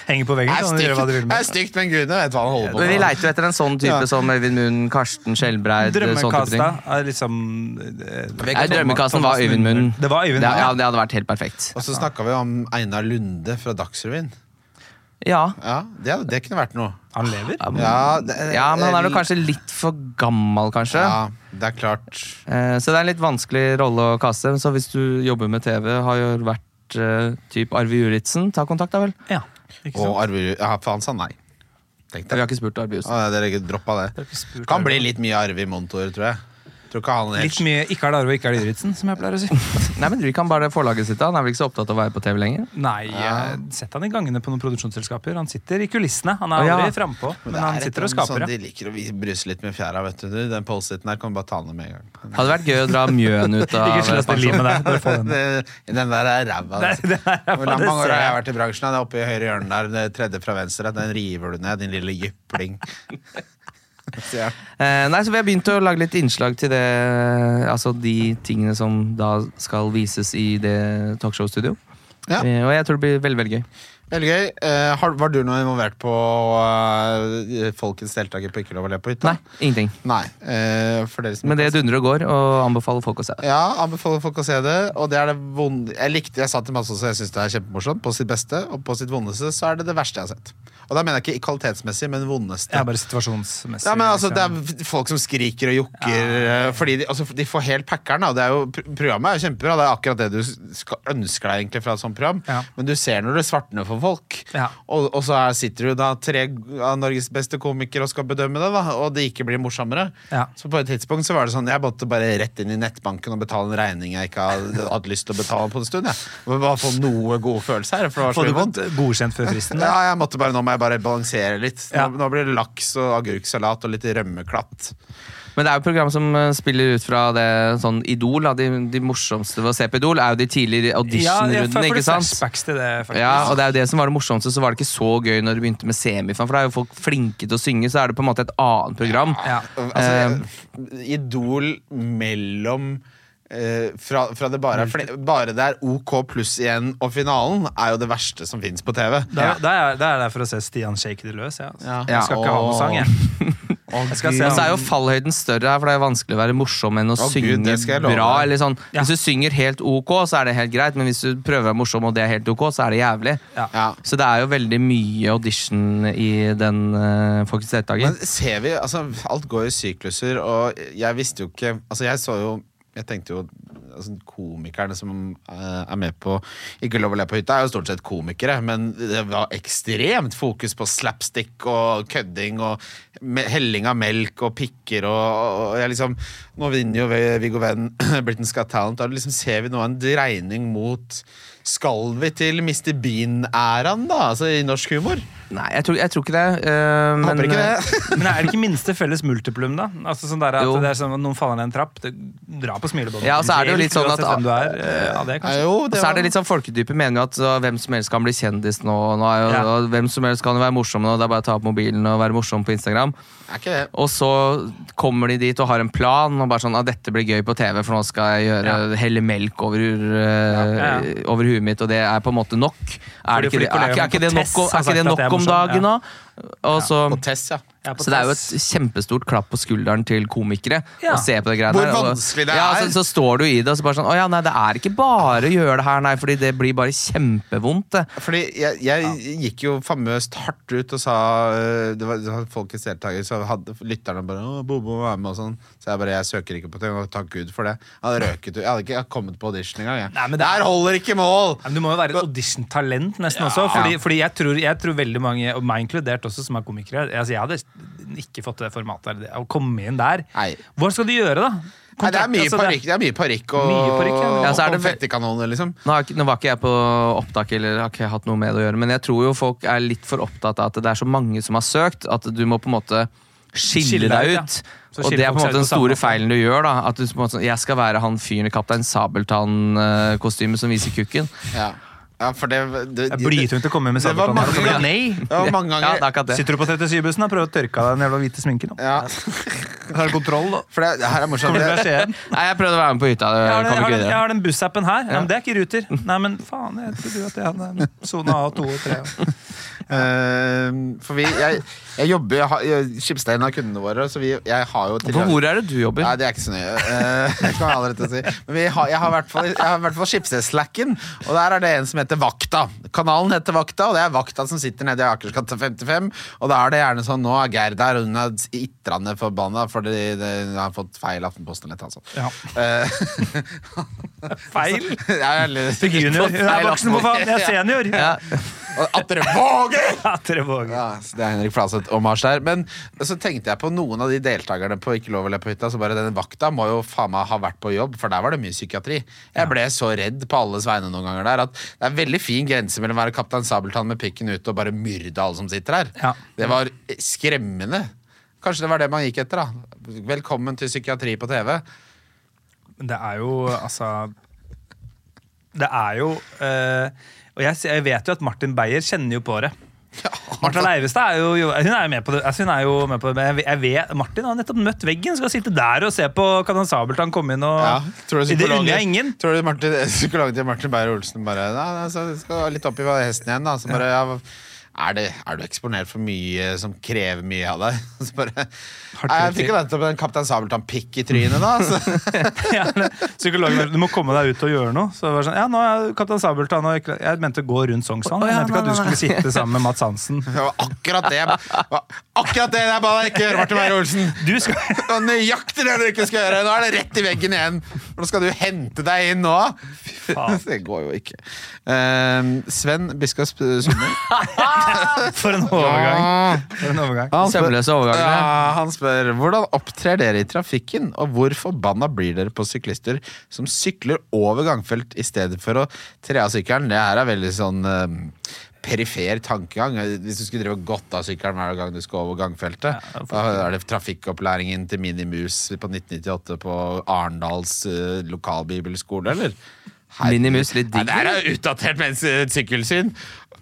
Speaker 4: Henger på veggen.
Speaker 3: Det er
Speaker 4: Kan du
Speaker 3: stygt, det er
Speaker 4: gjøre hva du vil med.
Speaker 3: stygt men gudene vet hva han holder på
Speaker 5: Men vi
Speaker 3: med.
Speaker 5: leiter jo etter en sånn type
Speaker 3: Ja.
Speaker 5: som Øyvind Munn, Karsten Skjelbreid. sånn type ting.
Speaker 4: Drømmekasta er liksom eh,
Speaker 5: Nei, drømmekassen var Øyvind Munn.
Speaker 4: Det var Øyvind
Speaker 5: Det, ja,
Speaker 4: Munn.
Speaker 5: det hadde vært helt perfekt.
Speaker 3: Og så snakka vi om Einar Lunde fra Dagsrevyen.
Speaker 5: Ja.
Speaker 3: Ja, det, det kunne vært noe.
Speaker 4: Han lever.
Speaker 3: Ja, det,
Speaker 5: ja, men han er jo kanskje litt for gammel, kanskje.
Speaker 3: Ja, det er klart.
Speaker 5: Eh, Så det er en litt vanskelig rolle å kaste. Så hvis du jobber med TV, har jo vært eh, typ Arve Juritzen, ta kontakt da vel.
Speaker 4: Ja. Ikke
Speaker 3: Og
Speaker 4: sant?
Speaker 3: Arve Ja, for han sa nei. Tenk
Speaker 5: Vi
Speaker 3: deg.
Speaker 5: har ikke spurt Arve Juritzen.
Speaker 3: Ah, dere droppa det.
Speaker 4: ikke spurt
Speaker 3: Kan
Speaker 4: Arve.
Speaker 3: bli litt mye Arve i Montour, tror jeg. Tror ikke han
Speaker 4: Litt
Speaker 3: helt
Speaker 4: mye ikke er det Arve og ikke er det Juritzen, som jeg pleier å si.
Speaker 5: (laughs) Nei, men Driver kan bare forlaget sitt. da. Han er vel ikke så opptatt av å være på TV lenger.
Speaker 4: (laughs) Nei, jeg sett han i gangene på noen produksjonsselskaper. Han sitter i kulissene. Han er
Speaker 5: Ja.
Speaker 4: aldri frampå, men
Speaker 3: Det
Speaker 4: han
Speaker 3: er et
Speaker 4: sitter og
Speaker 3: eller annet
Speaker 4: skaper.
Speaker 3: Sånn,
Speaker 4: ja.
Speaker 3: de liker å vi- bruse litt med fjæra, vet du. Den post-iten her kan du bare ta ned med en gang.
Speaker 5: Hadde vært gøy å dra Mjøen ut av
Speaker 4: (laughs) Ikke sløs det limet der.
Speaker 3: sånn-
Speaker 4: Bare
Speaker 3: (laughs)
Speaker 4: få den.
Speaker 3: Det- Den der er ræva.
Speaker 4: Nei,
Speaker 3: altså.
Speaker 4: den er ræva,
Speaker 3: Hvor mange
Speaker 4: det
Speaker 3: år
Speaker 4: ser
Speaker 3: har jeg
Speaker 4: jeg.
Speaker 3: vært i bransjen? Det er oppe i høyre hjørne der. Det tredje fra venstre. Den river du ned, din lille
Speaker 4: (laughs)
Speaker 3: jypling. Så ja.
Speaker 5: Eh, nei, så Vi har begynt å lage litt innslag til det, altså de tingene som da skal vises i det talkshow-studio.
Speaker 3: Ja.
Speaker 5: Eh, og jeg tror det blir veldig veldig gøy.
Speaker 3: Veldig gøy. Eh, har- var du noe involvert på eh, Folkets deltaker på Ikke lov å le på hytta?
Speaker 5: Nei, ingenting.
Speaker 3: Nei. Eh, for dere som
Speaker 5: Men det dundrer og går, og anbefaler folk å se. det.
Speaker 3: Ja, anbefaler folk å se det. Og det er det vonde Jeg likte, jeg sa til masse også, jeg syns det er kjempemorsomt. På sitt beste, og på sitt vondeste så er det det verste jeg har sett. Og da mener jeg ikke kvalitetsmessig, men vondeste.
Speaker 4: Ja, bare situasjonsmessig.
Speaker 3: Ja, men altså, Det
Speaker 4: liksom.
Speaker 3: er folk som skriker og jokker eh, fordi de, altså, de får helt packeren. da. Det er jo, pr- programmet er jo kjempebra, det er akkurat det du skal, ønsker deg egentlig fra et sånt program.
Speaker 4: Ja.
Speaker 3: Men du ser når det svartner for folk.
Speaker 4: Ja.
Speaker 3: Og, og så er, sitter du da tre av Norges beste komikere og skal bedømme det, da, og det ikke blir morsommere.
Speaker 4: Ja.
Speaker 3: Så på et tidspunkt så var det sånn jeg måtte bare rett inn i nettbanken og betale en regning jeg ikke hadde, hadde lyst til å betale på en stund. jeg. Jeg. Bare få noe god følelse her. For det var
Speaker 4: Få
Speaker 3: så
Speaker 4: det
Speaker 3: mye vondt.
Speaker 4: godt godkjent før fristen.
Speaker 3: Ja, jeg måtte bare nå må jeg bare balansere litt. Nå,
Speaker 4: Ja.
Speaker 3: nå blir det laks og agurksalat og litt rømmeklatt.
Speaker 5: Men det er jo et program som eh, spiller ut fra det sånn Idol. Da. De, de morsomste ved å se på Idol er jo de tidligere
Speaker 4: jeg
Speaker 5: auditionrundene.
Speaker 4: får- får
Speaker 5: ikke
Speaker 4: litt
Speaker 5: sant?
Speaker 4: flashbacks til det, faktisk.
Speaker 5: Ja, og det er jo det som var det morsomste, så var det ikke så gøy når du begynte med semifan, for da er jo folk flinke til å synge, så er det på en måte et annet program.
Speaker 4: Ja.
Speaker 3: Altså, idol mellom eh, fra, fra det bare er fle- Bare det er OK pluss igjen og finalen, er jo det verste som fins på TV.
Speaker 4: Da, da, er, da er det for å se Stian shake det løs. Ja.
Speaker 3: Ja.
Speaker 5: Ja,
Speaker 4: Jeg skal ikke ha noen sang, jeg. jeg skal se
Speaker 5: Og så er jo
Speaker 4: om-
Speaker 5: fallhøyden større her, for det er jo vanskelig å være morsom enn å
Speaker 3: Å,
Speaker 5: synge
Speaker 3: Gud, det skal jeg love
Speaker 5: bra.
Speaker 3: deg.
Speaker 5: Eller sånn.
Speaker 4: Ja.
Speaker 5: Hvis du synger helt ok, så er det helt greit, men hvis du prøver å være morsom og det er helt ok, så er det jævlig.
Speaker 4: Ja.
Speaker 3: Ja.
Speaker 5: Så det er jo veldig mye audition i den uh, Folkets deltaker.
Speaker 3: Men ser vi, altså alt går i sykluser, og jeg visste jo ikke Altså jeg så jo, jeg tenkte jo altså, Komikerne som eh, er med på Ikke lov å le på hytta, er jo stort sett komikere, men det var ekstremt fokus på slapstick og kødding og me- helling av melk og pikker og, og, og jeg liksom Nå vinner jo Viggo Venn (clears throat) Britain's Got Talent, og liksom ser vi nå en dreining mot Skal vi til Mr. Bean-æraen, da? Altså i norsk humor?
Speaker 5: Nei, jeg tror, jeg tror ikke det. eh, men,
Speaker 3: Håper ikke det. (laughs)
Speaker 4: Men er det ikke minste felles multiplum, da? Altså sånn der at
Speaker 5: Jo.
Speaker 4: det er sånn at Noen faller ned en trapp, det drar på smilebåndet.
Speaker 5: Ja, og så er det jo
Speaker 4: Helt
Speaker 5: litt sånn at-
Speaker 4: uansett hvem du er, eh, av det,
Speaker 3: Nei,
Speaker 4: kanskje.
Speaker 3: jo,
Speaker 5: Og så er
Speaker 3: var-
Speaker 5: det litt sånn Folkedypet mener jo at så, hvem som helst kan bli kjendis nå. og nå er jo,
Speaker 4: Ja.
Speaker 5: og hvem som helst kan jo være morsom nå, det er bare å ta opp mobilen og være morsom på Instagram.
Speaker 3: Er ikke det.
Speaker 5: Og så kommer de dit og har en plan og bare sånn at dette blir gøy på TV, for nå skal jeg gjøre helle melk over, eh,
Speaker 4: Ja, ja,
Speaker 5: over huet mitt, og det er på en måte nok. Er, det ikke,
Speaker 4: Fordi
Speaker 5: det, er, ikke- er ikke det
Speaker 4: kollegaen på
Speaker 5: nok, er ikke det
Speaker 4: Tess har sagt at jeg er
Speaker 5: nok om
Speaker 4: morsom,
Speaker 5: dagen nå? Og så,
Speaker 3: På Tess, ja.
Speaker 4: Jeg på
Speaker 5: så det er jo
Speaker 4: test.
Speaker 5: et kjempestort klapp på skulderen til komikere
Speaker 4: Ja.
Speaker 5: å se på det greiene
Speaker 3: Hvor
Speaker 5: her. og-
Speaker 3: vanskelig det
Speaker 5: Ja,
Speaker 3: er.
Speaker 5: så, så står du i det og så bare sånn Å ja, nei, det er ikke bare å gjøre det her, nei, fordi det blir bare kjempevondt, det.
Speaker 3: Fordi jeg, jeg gikk jo famøst hardt ut og sa øh, Det var, det var folkets deltaker, så hadde lytterne bare Åh, Bobo må være med og sånn. Så jeg bare Jeg søker ikke på ting, og takk Gud for det. Jeg hadde røket ut. Jeg hadde ikke kommet på audition engang. Jeg.
Speaker 4: Nei, men det-
Speaker 3: Der holder ikke mål!
Speaker 4: Ja, men du må jo være et auditiontalent nesten også. Fordi, fordi jeg, tror, jeg tror veldig mange, og meg inkludert også, som er komikere altså, Jeg hadde ikke fått det formatet der. Å komme inn der
Speaker 3: Nei.
Speaker 4: Hva skal du gjøre, da?
Speaker 3: Nei, det er mye
Speaker 4: altså,
Speaker 3: parykk det er mye parykk og,
Speaker 4: Mye parykk, ja.
Speaker 5: Ja, så er
Speaker 3: og
Speaker 5: det vel-
Speaker 3: konfettikanoner, liksom.
Speaker 5: Nå, har ikke, nå var ikke jeg på opptak, eller har ikke hatt noe med det å gjøre, men jeg tror jo folk er litt for opptatt av at det er så mange som har søkt, at du må på en måte skille, deg
Speaker 4: Skille deg ut,
Speaker 5: ut.
Speaker 4: ja. Så
Speaker 5: Og
Speaker 4: skiller
Speaker 5: det er
Speaker 4: folk
Speaker 5: på en måte den
Speaker 4: seg ut på samme
Speaker 5: store
Speaker 4: måte.
Speaker 5: feilen du gjør. da At du på en måte, sånn, Jeg skal være han fyren i Kaptein Sabeltann-kostymet som viser kukken.
Speaker 3: Ja. ja, for det, det,
Speaker 4: Jeg blir til å komme med
Speaker 3: Det var
Speaker 4: sabeltann.
Speaker 3: mange ganger.
Speaker 5: Nei!
Speaker 3: Det var mange
Speaker 5: Ja,
Speaker 3: ganger.
Speaker 5: det er akkurat det.
Speaker 4: Sitter du på 37-bussen og prøver å tørke av deg den jævla hvite sminken? nå?
Speaker 3: Ja,
Speaker 4: Har du kontroll, da?
Speaker 3: for det, det her er morsomt.
Speaker 4: Kommer du
Speaker 3: Det,
Speaker 4: fra Skien?
Speaker 5: Nei, jeg prøvde å være med på hytta.
Speaker 4: Jeg
Speaker 5: Jeg
Speaker 4: har den, jeg
Speaker 5: kom
Speaker 4: har
Speaker 5: ikke
Speaker 4: den, jeg
Speaker 5: videre.
Speaker 4: har den bussappen her. Ja. men det er ikke Ruter. Nei, men faen, jeg trodde jo at jeg hadde sona A2 og 3.
Speaker 3: Eh, for vi, jeg, jeg jobber jeg har- jeg- Skipsstein er kundene våre, så vi, jeg har jo
Speaker 5: Hvor, hvor er det du jobber?
Speaker 3: Nei, det er ikke så nøye. Eh, (laughs) det kan jeg allerede si. Men vi har, jeg har i hvert fall- jeg har i hvert fall Skipsted-slacken, og der er det en som heter Vakta. Kanalen heter Vakta, og det er Vakta som sitter nede i Akersgata 55. Og da er det gjerne sånn Nå er Geir der, og hun er itrende forbanna fordi det- hun har fått feil Aftenposten eller et eller annet sånt.
Speaker 4: Ja.
Speaker 3: Eh, (laughs)
Speaker 4: Feil!
Speaker 3: ja, eller-
Speaker 4: Til junior. Hun er voksen, for faen! Jeg er
Speaker 3: (laughs)
Speaker 4: senior!
Speaker 5: Ja.
Speaker 3: Og At dere våger!
Speaker 4: Ja, dere våger.
Speaker 3: Ja, så det er Henrik Flaseth og Mars der. Men så tenkte jeg på noen av de deltakerne på Ikke lov å le på hytta. Så bare den vakta må jo faen meg ha vært på jobb, for der var det mye psykiatri. Jeg ble så redd på alles vegne noen ganger der at det er veldig fin grense mellom å være Kaptein Sabeltann med pikken ute og bare myrde alle som sitter her.
Speaker 4: Ja.
Speaker 3: Det var skremmende. Kanskje det var det man gikk etter, da. Velkommen til psykiatri på TV.
Speaker 4: Men Det er jo, altså Det er jo eh, Og jeg, jeg vet jo at Martin Beyer kjenner jo på det. Martha Leivestad er jo, jo Hun er jo med på det. Altså, hun er jo med på det men jeg, jeg vet, Martin har nettopp møtt veggen. Skal sitte der og se på Kanan Sabeltann komme inn og
Speaker 3: Ja, tror du
Speaker 4: Det
Speaker 3: psykologen-
Speaker 4: unner jeg ingen.
Speaker 3: Tror du Martin, (laughs) psykologen til Martin Beyer-Olsen bare Nei, nei, så skal litt opp i hesten igjen, da. Så bare ja, er, det, er du eksponert for mye som krever mye av deg? (laughs) Så bare Nei, jeg fikk jo nettopp en Kaptein Sabeltann-pikk i trynet, da. Så. (laughs)
Speaker 4: (laughs) Ja, men Psykologen bare, du må komme deg ut og gjøre noe. Så det var sånn, ja, nå er Kaptein Sabeltann og jeg, jeg mente gå rundt Sognsvann. Jeg mente ikke at du skulle sitte sammen med Mats Hansen.
Speaker 3: Det var akkurat det jeg- det var Akkurat det jeg ba deg ikke gjøre, Martin Beyer-Olsen!
Speaker 4: Du skal, (laughs)
Speaker 3: Det var nøyaktig det du ikke skal gjøre! Nå er det rett i veggen igjen! Nå skal du hente deg inn nå!
Speaker 4: faen.
Speaker 3: (laughs) Det går jo ikke. Eh, Sven Biskop Sunde.
Speaker 4: for en overgang.
Speaker 3: Ah.
Speaker 4: For en overgang.
Speaker 3: Ja, han spør-
Speaker 5: Sømløse overganger.
Speaker 3: altså- Ja, han spør hvordan opptrer dere i trafikken, og hvor forbanna blir dere på syklister som sykler over gangfelt i stedet for å tre av sykkelen? Det her er veldig sånn eh, perifer tankegang. Hvis du skulle drevet godt av sykkelen hver gang du skal over gangfeltet,
Speaker 4: Ja, for-
Speaker 3: da er det trafikkopplæringen til Minimus på 1998 på Arendals eh, lokalbibelskole, eller? Herregud.
Speaker 5: Minimus, litt digg,
Speaker 3: Nei, Det her er jo utdatert mens eh, sykkelsyn.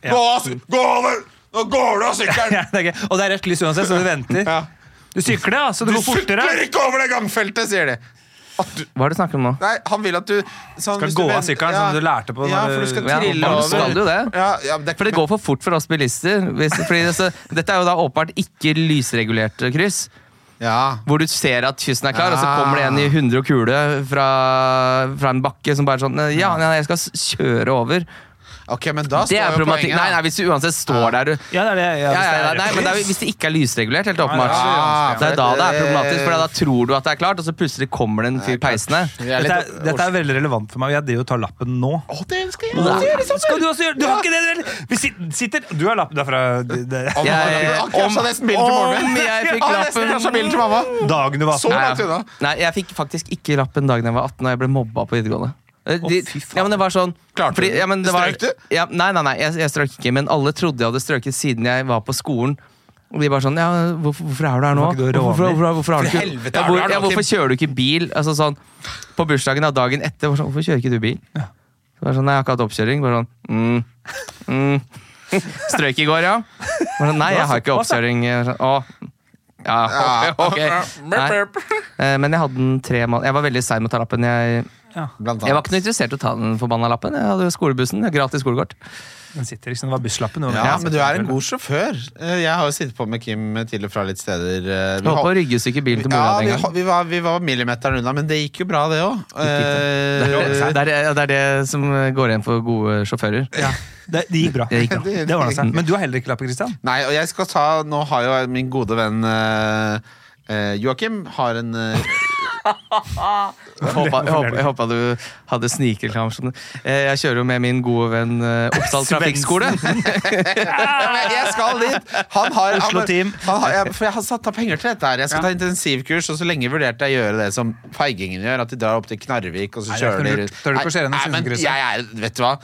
Speaker 3: Gå av! sy- Gå over! Nå går du av sykkelen!
Speaker 4: (laughs) Ja, (laughs) det er gøy. Og det er rødt lys uansett, så du venter.
Speaker 3: Ja.
Speaker 4: Du sykler, ja, så du,
Speaker 3: Du
Speaker 4: går fortere.
Speaker 3: sykler ikke over det gangfeltet, sier de. At du,
Speaker 5: Hva er det du snakker om nå?
Speaker 3: Nei, han vil at du sånn,
Speaker 4: Skal
Speaker 3: hvis du
Speaker 4: gå av
Speaker 3: vend-
Speaker 4: sykkelen, som du lærte på
Speaker 3: Ja,
Speaker 4: når
Speaker 3: for
Speaker 4: du-
Speaker 3: du skal
Speaker 5: Ja,
Speaker 3: trille
Speaker 5: man
Speaker 3: over.
Speaker 5: skal jo det.
Speaker 3: Ja, ja, men det,
Speaker 5: For det går for fort for oss bilister. Hvis, fordi det, så, dette er jo da åpenbart ikke lysregulerte kryss.
Speaker 3: ja.
Speaker 5: Hvor du ser at kysten er klar, og så
Speaker 3: Ah.
Speaker 5: kommer det en i 100 og kule fra, fra en bakke som bare sånn Ja, nei, jeg skal s- kjøre over.
Speaker 3: Ok, men da
Speaker 5: Det
Speaker 3: står
Speaker 5: er
Speaker 3: jo
Speaker 5: problematikk.
Speaker 3: poenget.
Speaker 5: Nei, nei, hvis du uansett står der, du.
Speaker 4: Ja, det er det. Ja,
Speaker 5: Ja,
Speaker 4: hvis
Speaker 5: ja,
Speaker 4: det
Speaker 5: ja,
Speaker 4: er
Speaker 5: nei,
Speaker 4: rødt
Speaker 5: men det er,
Speaker 4: lys.
Speaker 5: jo- hvis det ikke er lysregulert, helt åpenbart.
Speaker 4: Ja,
Speaker 3: ja,
Speaker 5: Det er da det er problematisk, for da
Speaker 3: det-
Speaker 5: tror du at det er klart, og så plutselig kommer det en fyr peisende.
Speaker 3: Vi er
Speaker 4: Dette
Speaker 3: litt-
Speaker 4: er, dette er veldig relevant for meg, og jeg driver og tar lappen nå.
Speaker 3: Å, det skal jeg
Speaker 5: Nei.
Speaker 3: også gjøre i sommer!
Speaker 4: Skal du også gjøre Du har ikke det, vel? Vi sit- sitter Du har lappen derfra. Det, det.
Speaker 3: Om,
Speaker 5: Jeg-
Speaker 3: om, om, nesten bilen til moren
Speaker 5: om
Speaker 3: min.
Speaker 5: jeg
Speaker 3: (laughs)
Speaker 5: fikk
Speaker 3: Ja,
Speaker 5: lappen.
Speaker 3: nesten krasja bilen til mamma.
Speaker 4: Dagen du var
Speaker 3: Så
Speaker 5: Nei,
Speaker 3: langt
Speaker 5: ja.
Speaker 3: unna.
Speaker 5: Nei, jeg fikk faktisk ikke lappen dagen jeg var 18 og jeg ble mobba på videregående. Eh, De, ja, men det var sånn
Speaker 3: Klarte du det?
Speaker 5: ja, men det var,
Speaker 3: Strøk du?
Speaker 5: Ja, nei, nei, nei, jeg, jeg strøk ikke, men alle trodde jeg hadde strøket siden jeg var på skolen. Og de bare sånn Ja, hvorfor, hvorfor er du her nå?
Speaker 4: Hvorfor er ikke du
Speaker 5: Hvorfor,
Speaker 4: råner?
Speaker 5: hvorfor, hvorfor har du
Speaker 3: For
Speaker 5: ikke
Speaker 3: helvete,
Speaker 5: ja,
Speaker 3: er du
Speaker 5: hvor,
Speaker 3: her nå,
Speaker 5: ja, Hvorfor kjører du ikke bil? Altså sånn På bursdagen av dagen etter, var sånn, hvorfor kjører ikke du bil? Så var det sånn, Nei, jeg har ikke hatt oppkjøring. Bare sånn mm, mm. Strøk i går, ja? Bare sånn, nei, jeg har ikke oppkjøring. Jeg var Sånn, å, ja, ok. Nei. Eh, Men jeg hadde den tre måneder Jeg var veldig sein med å ta lappen. Jeg,
Speaker 3: Blant
Speaker 5: jeg var ikke noe interessert i å ta den forbanna lappen. Jeg hadde jo skolebussen. Jeg hadde gratis skolekort.
Speaker 4: Den sitter liksom, det var busslappen. det var-
Speaker 3: Ja, men du er en god sjåfør. Eh, Jeg har jo sittet på med Kim til og fra litt steder. eh,
Speaker 5: Jeg holdt på å ryggestykke bilen til mora
Speaker 3: ja,
Speaker 5: mi
Speaker 3: vi,
Speaker 5: en
Speaker 3: ho-
Speaker 5: gang.
Speaker 3: vi, var, vi var millimeteren unna, men det gikk jo bra, det Eh, òg.
Speaker 5: Det er, det, er, det er det som går igjen for gode sjåfører.
Speaker 4: Ja, det, det gikk bra.
Speaker 5: Det gikk bra.
Speaker 4: Det ordnet seg. Men du har heller ikke lappen, Christian?
Speaker 3: Nei, og jeg skal ta Nå har jo min gode venn eh, eh, Joakim har en
Speaker 4: (laughs)
Speaker 3: eh,
Speaker 5: Jeg håpa, jeg håpa, jeg håpa du hadde snikreklam. som- Eh, Jeg kjører jo med min gode venn eh, Oppsal trafikkskole.
Speaker 3: ja, men Jeg skal dit! Han har,
Speaker 4: Oslo
Speaker 3: han,
Speaker 4: Team.
Speaker 3: Han har, jeg, for jeg har satt av penger til dette her. Jeg skal ta intensivkurs, og så lenge vurderte jeg å gjøre det som feigingen gjør, at de drar opp til Knarvik, og så
Speaker 4: Nei, det er
Speaker 3: kjører
Speaker 4: ikke
Speaker 3: de
Speaker 4: noe lurt.
Speaker 3: rundt.
Speaker 4: Tør du ikke å kjøre
Speaker 3: Nei,
Speaker 4: gjennom
Speaker 3: nei, men
Speaker 4: Sinsenkrysset?
Speaker 3: jeg er Vet du hva?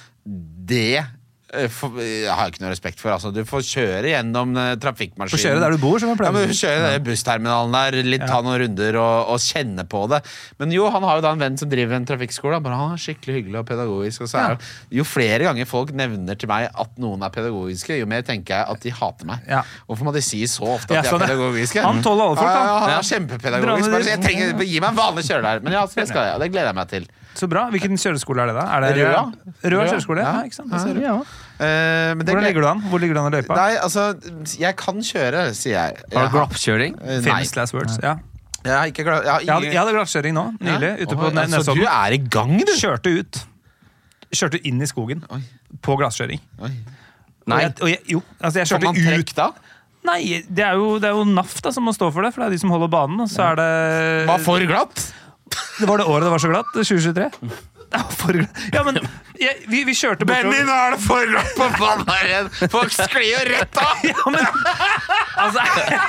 Speaker 3: Det eh, for, jeg har jeg ikke noe respekt for. Altså, du får kjøre gjennom eh, trafikkmaskinen.
Speaker 4: Får kjøre der du bor, som jeg
Speaker 3: Ja,
Speaker 4: pleier å
Speaker 3: men
Speaker 4: si.
Speaker 3: Kjøre den bussterminalen der, litt, ta noen runder og, og kjenne på det. Men jo, han har jo da en venn som driver en trafikkskole. Han, bare, han er skikkelig hyggelig og pedagogisk. Og så er, det- Jo flere ganger folk nevner til meg at noen er pedagogiske, jo mer tenker jeg at de hater meg.
Speaker 4: Ja.
Speaker 3: Hvorfor må de si så ofte
Speaker 4: Ja,
Speaker 3: at de
Speaker 4: sånn,
Speaker 3: er
Speaker 4: ja.
Speaker 3: pedagogiske?
Speaker 4: Han tåler alle folk,
Speaker 3: Ja, ja,
Speaker 4: han.
Speaker 3: han
Speaker 5: Ja.
Speaker 3: er kjempepedagogisk. Bare,
Speaker 4: Dra
Speaker 3: så
Speaker 4: ned
Speaker 3: jeg
Speaker 4: dit.
Speaker 3: trenger, bare gi meg en vanlig kjørelærer. Men ja, altså, det skal jeg. Det gleder jeg meg til.
Speaker 4: Så bra. Hvilken kjøreskole er det, da? Er det
Speaker 3: Røa.
Speaker 4: Røa
Speaker 3: Røa.
Speaker 4: kjøreskole?
Speaker 3: Ja.
Speaker 4: Ja, ikke sant? Det ser du.
Speaker 5: Ja.
Speaker 3: Eh, men det
Speaker 4: Hvordan
Speaker 3: gleder-
Speaker 4: ligger du an? Hvor ligger du an i løypa?
Speaker 3: Nei, altså, jeg kan kjøre, sier jeg.
Speaker 5: Har du
Speaker 3: Jeg har-
Speaker 5: glappkjøring?
Speaker 3: Eh, Nei,
Speaker 4: Famous last words. Ja.
Speaker 3: jeg har ikke glad... Jeg har
Speaker 4: Jeg hadde,
Speaker 3: ingen-
Speaker 4: jeg hadde glattkjøring nå, nylig,
Speaker 3: Hæ?
Speaker 4: ute
Speaker 3: Oi,
Speaker 4: på Nes-
Speaker 3: altså, du
Speaker 4: Nesodden.
Speaker 3: er i gang, du!
Speaker 4: Kjørte ut. Kjørte inn i skogen
Speaker 3: Oi.
Speaker 4: på glattkjøring.
Speaker 3: Oi.
Speaker 5: Nei.
Speaker 4: Og jeg, og jeg, jo, altså jeg
Speaker 3: Får man
Speaker 4: kjørte
Speaker 3: trekk
Speaker 4: ut
Speaker 3: da?
Speaker 4: Nei, det er jo, det er jo NAF da som må stå for det, for det er de som holder banen. Og så er det
Speaker 3: Var for glatt?
Speaker 4: Det var det året det var så glatt. 2023. (laughs) Det var for glatt. Ja, men jeg, vi, vi kjørte bortover
Speaker 3: nå er det for glatt på banen her igjen! Folk sklir jo rett av!
Speaker 4: Ja, men Altså, (laughs) jeg,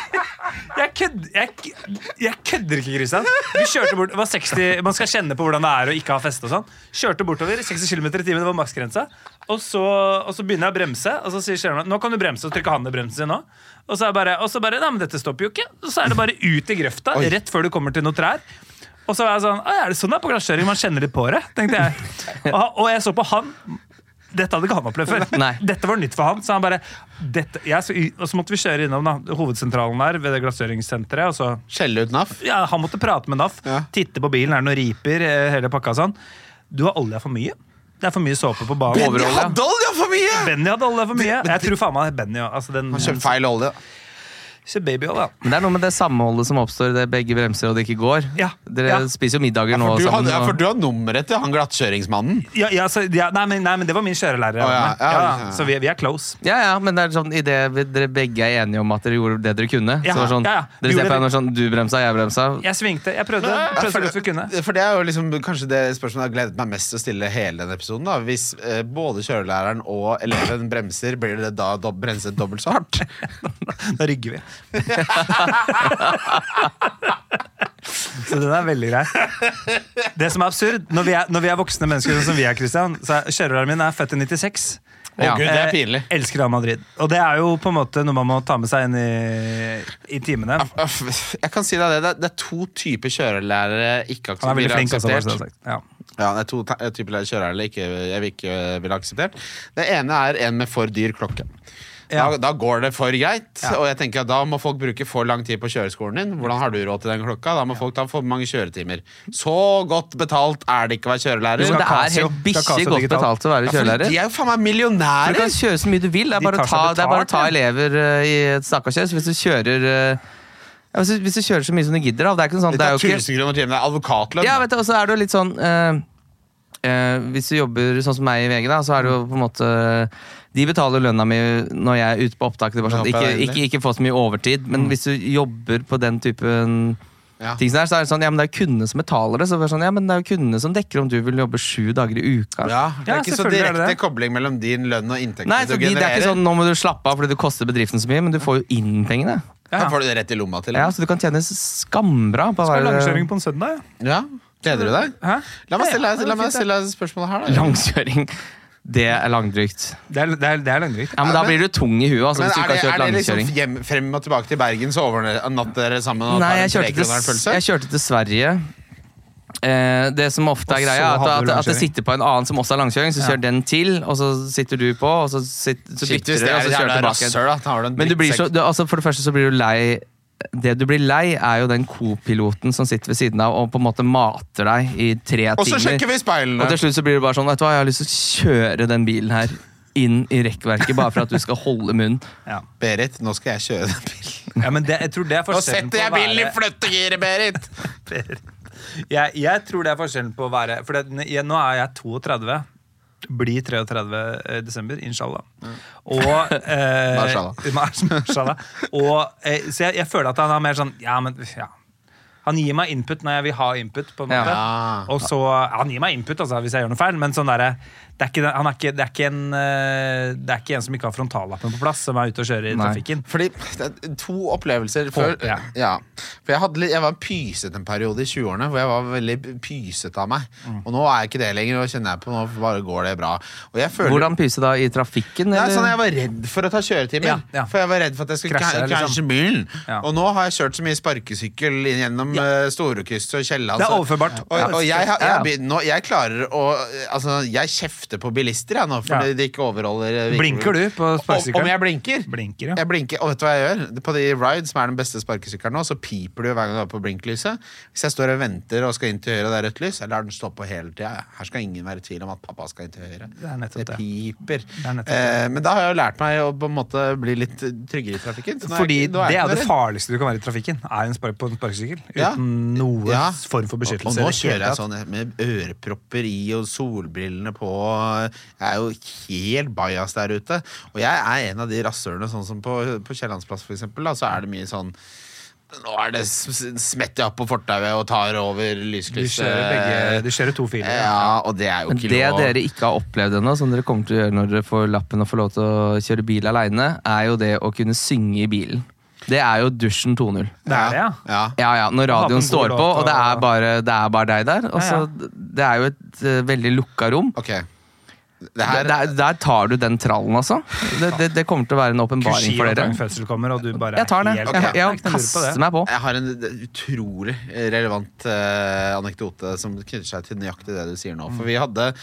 Speaker 4: jeg, kødd, jeg, jeg kødder ikke, Christian. Vi kjørte bort, det var 60, Man skal kjenne på hvordan det er å ikke ha feste og sånn. Kjørte bortover 60 km i timen, det var maksgrensa. Og så, og så begynner jeg å bremse, og så sier kjøreren nå kan du bremse, og så trykker han ned bremsen sin nå. Og så er jeg bare, og så bare Nei, men dette stopper jo ikke. Og så er det bare ut i grøfta,
Speaker 3: Oi.
Speaker 4: rett før du kommer til noen trær. Og så var jeg sånn «Å, Er det sånn det er på glasskjøring? Man kjenner litt på det, tenkte jeg. Og, og jeg så på han. Dette hadde ikke han opplevd før.
Speaker 5: Nei.
Speaker 4: Dette var nytt for han. Så han bare dette, jeg, så, Og så måtte vi kjøre innom da, hovedsentralen der ved det glasskjøringssenteret. Og så
Speaker 3: Skjelle ut NAF?
Speaker 4: ja, Han måtte prate med NAF.
Speaker 3: Ja.
Speaker 4: Titte på bilen, er det noen riper? eh, Hele pakka og sånn. Du har olja for mye. Det er for mye såpe på banen.
Speaker 5: Benny Overholde. hadde
Speaker 3: olje for mye!
Speaker 4: Benny hadde olja for mye. Jeg tror faen meg Benny også, altså den,
Speaker 3: Kjøpt feil olje.
Speaker 4: Kjøpt babyolja.
Speaker 5: Men det er noe med det samholdet som oppstår idet begge bremser og det ikke går.
Speaker 4: Ja.
Speaker 5: Dere
Speaker 4: Ja.
Speaker 5: spiser jo middager nå
Speaker 3: For du,
Speaker 5: sammen.
Speaker 3: hadde, ja,
Speaker 5: og-
Speaker 3: for du har nummeret til han glattkjøringsmannen.
Speaker 4: Ja, ja, så, ja, nei, men, nei, men det var min kjørelærer.
Speaker 3: Å,
Speaker 4: jeg
Speaker 3: ja,
Speaker 4: var med.
Speaker 3: ja,
Speaker 4: Ja,
Speaker 3: ja.
Speaker 4: Så vi, vi er close.
Speaker 5: Ja, ja, men det er sånn idet vi- dere begge er enige om at dere gjorde det dere kunne. så
Speaker 4: Ja,
Speaker 5: det var sånn,
Speaker 4: ja, ja.
Speaker 5: Dere
Speaker 4: Vi
Speaker 5: ser
Speaker 4: gjorde
Speaker 5: på henne sånn Du bremsa, jeg bremsa.
Speaker 4: Jeg svingte. Jeg prøvde, prøvde så godt vi kunne.
Speaker 3: For det er jo liksom kanskje det spørsmålet jeg har gledet meg mest til å stille hele denne episoden. da Hvis eh, både kjørelæreren og eleven bremser, blir det da dob bremset dobbelt så (laughs) hardt?
Speaker 4: (laughs) Da rygger vi. så den er veldig grei. Det som er absurd, når vi er, når vi er voksne mennesker sånn som vi er, Christian, så er kjørelæreren min er født i 96.
Speaker 3: Å
Speaker 5: Ja.
Speaker 3: gud, det er pinlig.
Speaker 4: Eh, elsker Real Madrid. Og det er jo på en måte noe man må ta med seg inn i, i timene.
Speaker 3: Uff, Jeg kan si deg det. Det er, det er to typer kjørelærere ikke
Speaker 4: Han er
Speaker 3: akseptert.
Speaker 4: veldig flink. altså, Også, bare så det er sagt. ja.
Speaker 3: Ja, det er to te- typer kjørelærere ikke, jeg vil ikke eh, ville akseptert. Det ene er en med for dyr klokke.
Speaker 4: Ja.
Speaker 3: Da, da går det for greit.
Speaker 4: Ja.
Speaker 3: Og jeg tenker at Da må folk bruke for lang tid på kjøreskolen din. Hvordan har du råd til den klokka? Da må folk ta for mange kjøretimer. Så godt betalt er det ikke å være kjørelærer.
Speaker 5: Jo, men det er
Speaker 4: Casio.
Speaker 5: helt bikkje
Speaker 4: Casio
Speaker 5: godt
Speaker 4: digital.
Speaker 5: betalt å være
Speaker 3: Ja, for
Speaker 5: kjørelærer.
Speaker 3: de er jo faen meg
Speaker 5: Du
Speaker 3: millionærer!
Speaker 5: kan kjøre så mye du vil. Det er
Speaker 4: De
Speaker 5: bare å
Speaker 4: tar seg
Speaker 5: ta, det er bare å ta
Speaker 4: betalt,
Speaker 5: elever eh, i et stakkars kjør. Så hvis du kjører eh, ja, hvis, du- hvis du kjører så mye som du gidder av, det er ikke noe sånt.
Speaker 3: Dette
Speaker 5: Det
Speaker 3: er
Speaker 5: er jo ikke
Speaker 3: 1000 kroner timen. Det er advokatlønn.
Speaker 5: Ja, vet du, og så er det jo litt sånn eh, eh, Hvis du jobber sånn som meg i VG, da, så er det jo på en måte De betaler lønna mi når jeg er ute på opptak. Det er bare sånn,
Speaker 3: Det håper
Speaker 5: ikke,
Speaker 3: jeg er
Speaker 5: ikke, ikke få så mye overtid, men hvis du jobber på den typen
Speaker 3: Ja.
Speaker 5: ting som er, så er det sånn, ja, men det er jo kundene som betaler det. Så det er sånn, ja, men det er jo kundene som dekker om du vil jobbe sju dager i uka.
Speaker 3: Ja, det
Speaker 4: Ja,
Speaker 3: er ikke så
Speaker 4: selvfølgelig er det
Speaker 3: direkte
Speaker 4: det.
Speaker 3: kobling mellom din lønn og inntekten
Speaker 5: Nei,
Speaker 3: du
Speaker 5: så de, det er ikke
Speaker 3: genererer.
Speaker 5: sånn nå må du slappe av fordi du koster bedriften så mye, men du får jo inn pengene.
Speaker 3: Da
Speaker 4: Ja.
Speaker 3: får du det rett i lomma til.
Speaker 5: Ja, Så du kan tjene skambra på å
Speaker 4: Skal
Speaker 5: være
Speaker 4: langkjøring på en søndag? ja.
Speaker 3: Ja, Gleder du deg?
Speaker 4: Hæ?
Speaker 3: La meg
Speaker 4: Ja,
Speaker 3: stille
Speaker 4: ja,
Speaker 3: deg la meg stille deg spørsmålet her, da.
Speaker 5: (laughs) Langkjøring. Det er langdrygt.
Speaker 4: Det er, det er, det er langdrygt.
Speaker 5: Ja, men Da blir du tung i huet altså,
Speaker 3: Men
Speaker 5: hvis du
Speaker 3: er
Speaker 5: ikke
Speaker 3: det,
Speaker 5: har kjørt
Speaker 3: er det
Speaker 5: langkjøring.
Speaker 3: liksom hjem, frem og tilbake til Bergen, så overnatter dere sammen? Og
Speaker 5: Nei,
Speaker 3: tar en
Speaker 5: jeg kjørte,
Speaker 3: trekroneren
Speaker 5: til,
Speaker 3: pølse?
Speaker 5: jeg kjørte til Sverige. Eh, det som ofte
Speaker 4: Og
Speaker 5: er
Speaker 4: så
Speaker 5: greia, er at,
Speaker 4: hadde du
Speaker 5: at, at det
Speaker 4: langkjøring.
Speaker 5: sitter på en annen som også er langkjøring, så
Speaker 4: Ja.
Speaker 5: kjører den til, og så sitter du på, og så, sitt, så
Speaker 3: Shit,
Speaker 5: bytter
Speaker 3: hvis
Speaker 5: du,
Speaker 3: det
Speaker 5: og
Speaker 3: er
Speaker 5: så
Speaker 3: et
Speaker 5: kjører
Speaker 3: jævla
Speaker 5: du tilbake. igjen.
Speaker 3: rasshøl, da. Da har du en
Speaker 5: Men du blir
Speaker 3: drittsekk.
Speaker 5: så, du, altså for det første så blir du lei Det du blir lei, er jo den co-piloten som sitter ved siden av og på en måte mater deg i tre
Speaker 3: Og så
Speaker 5: timer.
Speaker 3: sjekker vi
Speaker 5: Og
Speaker 3: speilene!
Speaker 5: til slutt så blir det bare sånn Vet du hva, jeg har lyst til å kjøre den bilen her inn i rekkverket, bare for at du skal holde munn.
Speaker 4: Ja.
Speaker 3: Berit, nå skal jeg kjøre den bilen.
Speaker 4: Ja, men det, jeg tror det er
Speaker 3: Nå
Speaker 4: forskjellen
Speaker 3: setter jeg
Speaker 4: på å
Speaker 3: bilen i
Speaker 4: være-
Speaker 3: flyttegiret, Berit!
Speaker 4: jeg, jeg tror det er forskjellen på å være For det, jeg, nå er jeg 32. Blir 33 i eh, desember, inshallah.
Speaker 3: (laughs)
Speaker 4: Og, eh,
Speaker 3: Mm. Mashallah.
Speaker 4: (laughs) Mashallah. Og, eh, så jeg, jeg føler at han er mer sånn Ja, men ja. Han gir meg input når jeg vil ha input. på en
Speaker 5: Ja.
Speaker 4: måte
Speaker 3: Ja.
Speaker 4: Og så, ja, Han gir meg input altså, hvis jeg gjør noe feil, men sånn derre, det, er ikke, han er ikke, det, er ikke en, eh, det er ikke en som ikke har frontallappen på plass, som er ute og kjører i
Speaker 5: Nei.
Speaker 4: trafikken.
Speaker 3: Fordi det er To opplevelser før
Speaker 4: Håper jeg.
Speaker 3: ja. For jeg, hadde, litt- jeg var pysete en periode i 20-årene hvor jeg var veldig pysete av meg.
Speaker 5: Mm.
Speaker 3: Og nå er jeg ikke det lenger. Og kjenner jeg på Nå bare går det bra. Og jeg føler
Speaker 5: Hvordan pyse da? I trafikken?
Speaker 3: Nei,
Speaker 5: eller?
Speaker 3: sånn, jeg var redd for å ta kjøretimer.
Speaker 4: Ja, ja.
Speaker 3: For jeg var redd for at jeg skulle
Speaker 4: Krasje,
Speaker 3: krasje,
Speaker 4: liksom.
Speaker 3: bilen.
Speaker 4: Ja.
Speaker 3: Og nå har jeg kjørt så mye sparkesykkel inn gjennom ja. Storekryss og Kielland.
Speaker 4: Det er
Speaker 3: så-
Speaker 4: overførbart.
Speaker 3: Og,
Speaker 4: Ja.
Speaker 3: og jeg, har- jeg,
Speaker 5: Ja.
Speaker 3: har begynt- nå, jeg klarer å Altså, jeg kjefter på bilister, jeg, nå, fordi
Speaker 4: Ja.
Speaker 3: de ikke overholder eh,
Speaker 4: Blinker du på sparkesykkelen?
Speaker 3: Om, om jeg blinker?
Speaker 4: Blinker, ja.
Speaker 3: Jeg blinker, og vet du hva jeg gjør? På de Ride, som er den beste sparkesykkelen nå, så piper det jo hver gang du er på blinklyset. Hvis jeg står og venter og skal inn til høyre, og det er rødt lys, jeg lar den stå på hele tida. Her skal ingen være i tvil om at pappa skal inn til høyre.
Speaker 4: Det er nettopp det.
Speaker 3: piper.
Speaker 4: er nettopp det.
Speaker 3: Eh, men da har jeg jo lært meg å på en måte bli litt tryggere i trafikken. Så nå
Speaker 4: Fordi
Speaker 3: jeg ikke- nå
Speaker 4: det
Speaker 3: jeg
Speaker 4: er
Speaker 3: ikke
Speaker 4: jo det
Speaker 3: noe redd.
Speaker 4: farligste du kan være i trafikken. Er en spark på en sparkesykkel. Uten
Speaker 3: Ja.
Speaker 4: noe
Speaker 3: Ja.
Speaker 4: form for beskyttelse.
Speaker 3: Og, og nå
Speaker 4: i det hele
Speaker 3: kjører jeg
Speaker 4: tatt.
Speaker 3: sånn med ørepropper i og solbrillene på. Jeg er jo helt bajas der ute. Og jeg er en av de rasshølene, sånn som på, på Kiellandsplass for eksempel, da, så er det mye sånn nå er det s- s- smetter jeg opp på fortauet og tar over
Speaker 4: Du
Speaker 3: lyskrysset.
Speaker 4: kjører, begge, du kjører to filer.
Speaker 3: Ja, og det er jo
Speaker 5: Men
Speaker 3: ikke
Speaker 5: det
Speaker 3: lov.
Speaker 5: dere ikke har opplevd ennå, som dere kommer til å gjøre når dere får lappen og får lov til å kjøre bil aleine, er jo det å kunne synge i bilen. Det er jo dusjen 2.0.
Speaker 4: Det er det, ja.
Speaker 3: ja.
Speaker 5: Ja, ja, Når
Speaker 4: Lappen
Speaker 5: radioen
Speaker 4: går
Speaker 5: står
Speaker 4: da
Speaker 5: på, og det
Speaker 4: til-
Speaker 5: er bare, det er bare deg der. Og
Speaker 4: Ja, ja.
Speaker 5: så, det er jo et eh, veldig lukka rom.
Speaker 3: Ok. Det her
Speaker 5: Der, der tar du den trallen, altså. Det, det, det kommer til å være en åpenbaring
Speaker 4: Kushi
Speaker 5: for
Speaker 4: og
Speaker 5: dere.
Speaker 4: tangfødsel kommer, og du bare
Speaker 5: Jeg tar den,
Speaker 4: er
Speaker 5: jeg.
Speaker 4: helt-
Speaker 5: Jeg, jeg
Speaker 4: Det er ikke noe lurt på det.
Speaker 5: kaster meg på.
Speaker 3: Jeg har en eh, utrolig relevant eh, anekdote som knytter seg til nøyaktig det du sier nå. For vi hadde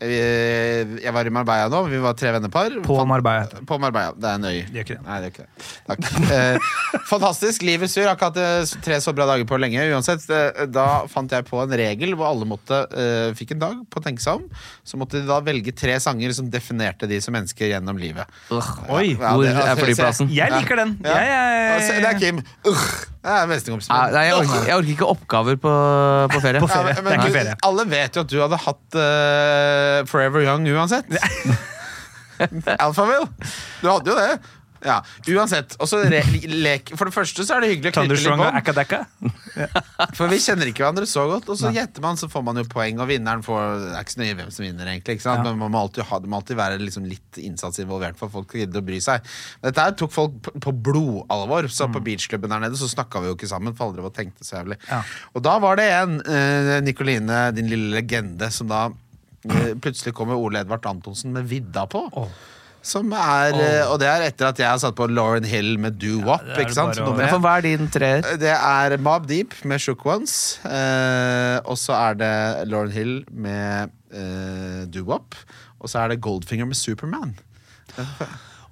Speaker 3: eh, Jeg var i Marbella nå, vi var tre vennepar.
Speaker 4: På
Speaker 3: Fant-
Speaker 4: Marbella. heter det.
Speaker 3: på Marbella. Det er en øy.
Speaker 4: Det gjør ikke det.
Speaker 3: Nei, det gjør ikke det. Takk. Eh, fantastisk. Livets sur. Har ikke hatt eh, tre så bra dager på lenge. Uansett, eh, da fant jeg på en regel hvor alle måtte eh, fikk en dag på å tenke seg om. Så måtte de da velge tre sanger som definerte de som mennesker gjennom livet.
Speaker 5: Ugh.
Speaker 4: Oi!
Speaker 3: Ja,
Speaker 5: Hvor
Speaker 3: det-
Speaker 5: er flyplassen?
Speaker 4: Jeg liker den.
Speaker 3: Ja.
Speaker 4: Jeg, jeg,
Speaker 3: Altså, Det er Kim. Ugh. Det er mesterkompisen
Speaker 5: Nei,
Speaker 3: min.
Speaker 5: nei, jeg orker, jeg orker ikke oppgaver på, på ferie.
Speaker 4: På ferie.
Speaker 3: Ja,
Speaker 4: Det er ikke
Speaker 3: du-
Speaker 4: ferie.
Speaker 3: Alle vet jo at du hadde hatt eh, Forever Young
Speaker 4: (laughs)
Speaker 3: uansett. (laughs) Alphaville. Du hadde jo det. Ja, uansett. Og så re lek For det første så er det hyggelig å knytte litt
Speaker 4: Thunderstrong og
Speaker 3: bånd.
Speaker 4: Akadaka.
Speaker 3: For vi kjenner ikke hverandre så godt, og så gjetter man, så får man jo poeng, og vinneren får Det er ikke så nøye hvem som vinner, egentlig, ikke sant?
Speaker 4: Ja.
Speaker 3: men man må alltid, ha, det må alltid være liksom litt innsats involvert for at folk skal gidde å bry seg. Dette her tok folk på, på blodalvor, så på beachklubben der nede så snakka vi jo ikke sammen, for alle drev og tenkte så jævlig.
Speaker 4: Mm. Ja.
Speaker 3: Og da var det en, eh, Nikoline, din lille legende, som da eh, plutselig kom med Ole Edvard Antonsen med vidda på.
Speaker 4: Åh.
Speaker 3: Som er, eh, Og det er etter at jeg har satt på Lauren Hill med Do Wop.
Speaker 4: det er
Speaker 3: ikke sant?
Speaker 4: bare å-
Speaker 3: Nummer
Speaker 5: Ja,
Speaker 3: én.
Speaker 5: for hva er din treer?
Speaker 3: Det er Mob Deep med Shook Ones. Eh, og så er det Lauren Hill med eh, Do Wop. Og så er det Goldfinger med Superman.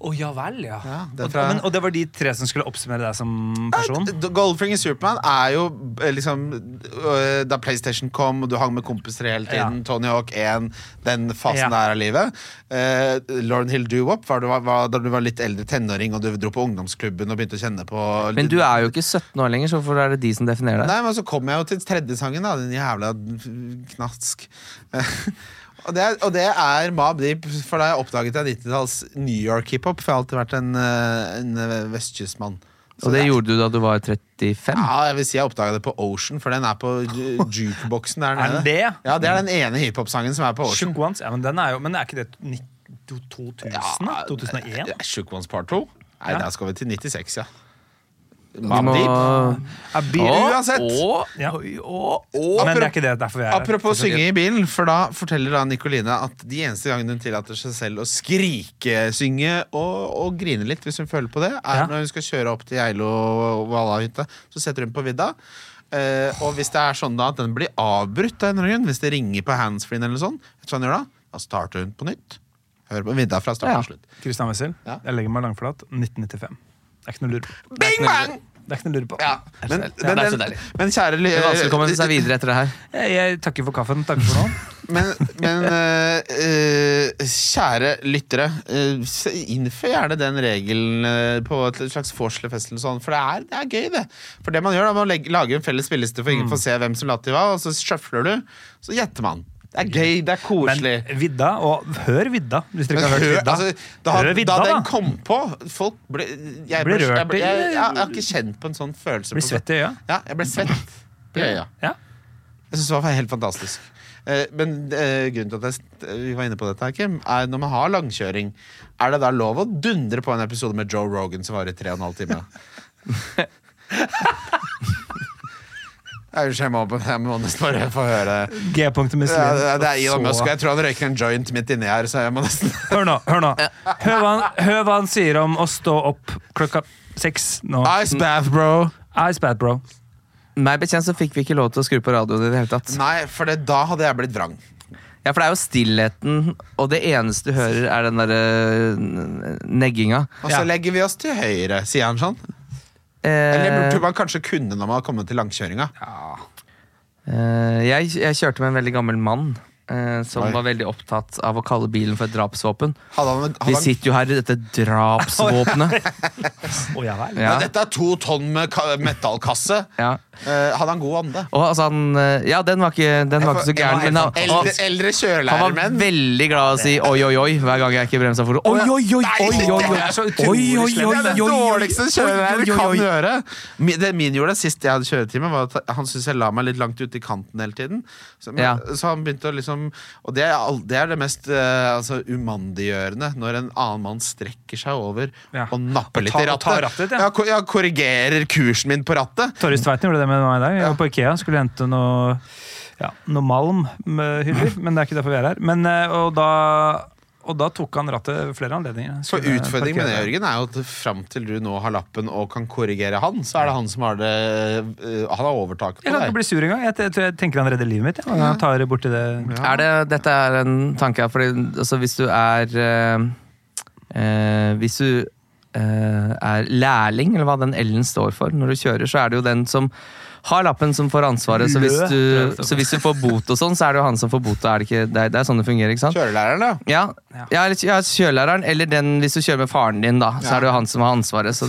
Speaker 4: Å ja vel, ja.
Speaker 3: Ja, det er
Speaker 4: og,
Speaker 3: fra-
Speaker 4: men, og det var de tre som skulle oppsummere deg som person?
Speaker 3: Eh, D- Goldfinger Superman er jo eh, liksom øh, Da PlayStation kom, og du hang med kompiser hele tiden,
Speaker 4: Ja.
Speaker 3: Tony Hawk 1, den fasen
Speaker 4: Ja.
Speaker 3: der av livet. Eh, Lauren Hill Doo-Wop var, du- var da du var litt eldre tenåring og du dro på ungdomsklubben og begynte å kjenne på
Speaker 5: Men du er jo ikke 17 år lenger, så hvorfor er det de som definerer deg?
Speaker 3: Nei, men så kom jeg jo til tredje sangen, da. Den jævla knask. (laughs) og, det er, og det er Mob Deep, for da jeg oppdaget jeg 90-talls New York-hiphop. For jeg har alltid vært en, eh, en vestkystmann. Så
Speaker 5: Og det gjorde du da du var 35?
Speaker 3: Ja, jeg vil si jeg oppdaga det på Ocean, for den er på ju- jukeboksen der
Speaker 4: Er
Speaker 3: nede.
Speaker 4: den det?
Speaker 3: Ja, det er den ene hiphop-sangen som er på Ocean.
Speaker 4: Shook Ones? Ja, men, den er jo, men er ikke det ni- to- 2000? da? 2001?
Speaker 3: Ja, Shook Ones Part 2? Nei,
Speaker 4: Ja.
Speaker 3: der skal vi til 96, ja.
Speaker 5: Vi
Speaker 3: Mobb Deep.
Speaker 4: Ja, bi-
Speaker 3: Å, Uansett.
Speaker 5: Å,
Speaker 4: Ja.
Speaker 3: Og
Speaker 4: Men det
Speaker 3: apro-
Speaker 4: er ikke det derfor vi er her.
Speaker 3: Apropos synge i bilen, for da forteller da Nikoline at de eneste gangene hun tillater seg selv å skrike, synge og, og grine litt, hvis hun føler på det, er
Speaker 4: Ja.
Speaker 3: når hun skal kjøre opp til Geilo og Valahytta. Så setter hun på vidda. Eh, og hvis det er sånn da at den blir avbrutt, av en eller annen grunn, hvis det ringer på handsfree, eller noe sånt, vet du hva hun gjør da? Da starter hun på nytt. Hører på vidda fra start
Speaker 5: Ja.
Speaker 3: til slutt.
Speaker 4: Kristian Wessel,
Speaker 3: Ja.
Speaker 4: jeg legger meg langflat. 1995. Det er ikke noe lur på.
Speaker 3: Bing bang!
Speaker 4: Det er ikke noe lur på.
Speaker 3: Ja. Men,
Speaker 5: deilig. Ja,
Speaker 3: men,
Speaker 5: det er så
Speaker 3: men,
Speaker 5: deilig.
Speaker 3: men kjære ly-
Speaker 5: Det er vanskelig å komme seg videre etter det her.
Speaker 4: Jeg, jeg takker for kaffen. Takk for nå.
Speaker 3: Men, men eh, eh, kjære lyttere, eh, s- innfør gjerne den regelen eh, på et slags vorslefest eller sånn, for det er, det er gøy, det. For det man gjør, da, man legger, lager en felles spilleliste for
Speaker 4: Mm.
Speaker 3: ingen får se hvem som later hva, og så sjøfler du, så gjetter man. Det er gøy, det er (laughs) koselig.
Speaker 4: Mm. Men Vidda, og hør Vidda, hvis
Speaker 3: Men
Speaker 4: dere ikke har hørt
Speaker 3: hør,
Speaker 4: Vidda.
Speaker 3: altså, da,
Speaker 4: hør
Speaker 3: da
Speaker 4: Vidda,
Speaker 3: den
Speaker 4: da.
Speaker 3: kom på Folk ble Jeg,
Speaker 4: Ble
Speaker 3: ble, jeg,
Speaker 4: rørt
Speaker 3: ble-
Speaker 4: i-
Speaker 3: jeg, jeg, jeg har ikke kjent på en sånn følelse.
Speaker 4: Blir
Speaker 3: på-
Speaker 4: svett i øya.
Speaker 3: Ja, jeg ble svett. i øya.
Speaker 4: Ja.
Speaker 3: Jeg synes det var helt fantastisk. Eh, Men eh, grunnen til at jeg, st- vi var inne på dette, her, Kim, er når man har langkjøring, er det da lov å dundre på en episode med Joe Rogan som varer i tre og en halv time? (laughs) Jeg Unnskyld, jeg må, jeg må nesten bare få høre
Speaker 4: G-punktet med
Speaker 3: det
Speaker 4: Slim.
Speaker 3: er, det er Elon
Speaker 4: Så-
Speaker 3: Musk, og jeg tror han røyker en joint midt inni her, så jeg må nesten
Speaker 4: Hør nå, hør nå. Hør hva, han, hør hva han sier om å stå opp klokka seks nå.
Speaker 3: Ice bath, bro!
Speaker 4: Ice bad, bro.
Speaker 5: Meg bekjent så fikk vi ikke lov til å skru på radioen i det hele tatt.
Speaker 3: Nei, for det, da hadde jeg blitt vrang.
Speaker 5: Ja, for det er jo stillheten, og det eneste du hører, er den derre øh, negginga.
Speaker 3: Og så
Speaker 4: Ja.
Speaker 3: legger vi oss til høyre, sier han sånn. Eller
Speaker 5: Eh,
Speaker 3: burde man kanskje kunne når man har kommet til langkjøringa.
Speaker 5: eh, jeg, jeg kjørte med en veldig gammel mann. eh, som
Speaker 3: Oi.
Speaker 5: var veldig opptatt av å kalle bilen for et drapsvåpen.
Speaker 3: Hadde han, hadde
Speaker 5: Vi
Speaker 3: han
Speaker 5: sitter jo her i dette
Speaker 3: (laughs)
Speaker 5: drapsvåpenet.
Speaker 4: Å, ja vel.
Speaker 5: Ja,
Speaker 3: Nei, dette er to tonn med ka- metallkasse.
Speaker 5: (laughs) ja.
Speaker 3: Eh, hadde han god ånde?
Speaker 5: Og altså han eh, Ja, den var ikke, den var ikke så gæren. Men han,
Speaker 3: eldre,
Speaker 5: han,
Speaker 3: eldre
Speaker 5: han var
Speaker 3: kjørelærermenn.
Speaker 5: veldig glad i å si oi, oi, oi hver gang jeg ikke bremsa for Oi, oi, oi, oi, oi, oi,
Speaker 4: det er så utrolig
Speaker 5: oi,
Speaker 4: slemt.
Speaker 5: oi,
Speaker 3: Det er det
Speaker 5: oi, oi, oi.
Speaker 3: dårligste kjørelærer
Speaker 5: Oi, oi,
Speaker 3: kan
Speaker 5: oi.
Speaker 3: gjøre. Mi- Det min gjorde sist jeg hadde kjøretime, var at han syntes jeg la meg litt langt ute i kanten hele tiden. Så, men,
Speaker 5: Ja.
Speaker 3: så han begynte å liksom Og det er, all- det, er det mest eh, altså, umandiggjørende, når en annen mann strekker seg over
Speaker 4: Ja.
Speaker 3: og napper litt
Speaker 4: ta-
Speaker 3: i
Speaker 4: og tar
Speaker 3: rattet.
Speaker 4: rattet, ja.
Speaker 3: Jeg ko- jeg korrigerer kursen min på rattet.
Speaker 4: Torjus Tveiten gjorde det med meg i dag. Jeg var på Ikea skulle hente noe, ja, noe malm med hyller, men det er ikke derfor vi er her. Men, eh, og, da, og da tok han rattet flere anledninger.
Speaker 3: For
Speaker 4: Skulle eh,
Speaker 3: utfordringen med det,
Speaker 4: parkere.
Speaker 3: Jørgen, er jo at fram til du nå har lappen og kan korrigere han, så er det han som har det øh, Han har overtaket på
Speaker 4: Jeg kan ikke
Speaker 3: deg.
Speaker 4: bli sur engang. Jeg, jeg, tror jeg tenker han redder livet mitt. Jeg, når han tar borti det.
Speaker 5: Er det, dette er en tanke her, fordi altså, hvis du er eh, eh, Hvis du eh, er lærling, eller hva den L-en står for når du kjører, så er det jo den som har lappen som får ansvaret, så hvis
Speaker 4: Lø, tror jeg det
Speaker 5: du,
Speaker 4: står
Speaker 5: så hvis du får bot og sånn, så er det jo han som får bot. Er det, ikke, det, er, det er sånn det fungerer, ikke sant?
Speaker 3: Kjørelæreren, da.
Speaker 5: Ja, ja, eller- ja kjørelæreren, eller den hvis du kjører med faren din, da.
Speaker 3: Ja.
Speaker 5: Så er det jo han som har ansvaret. Så,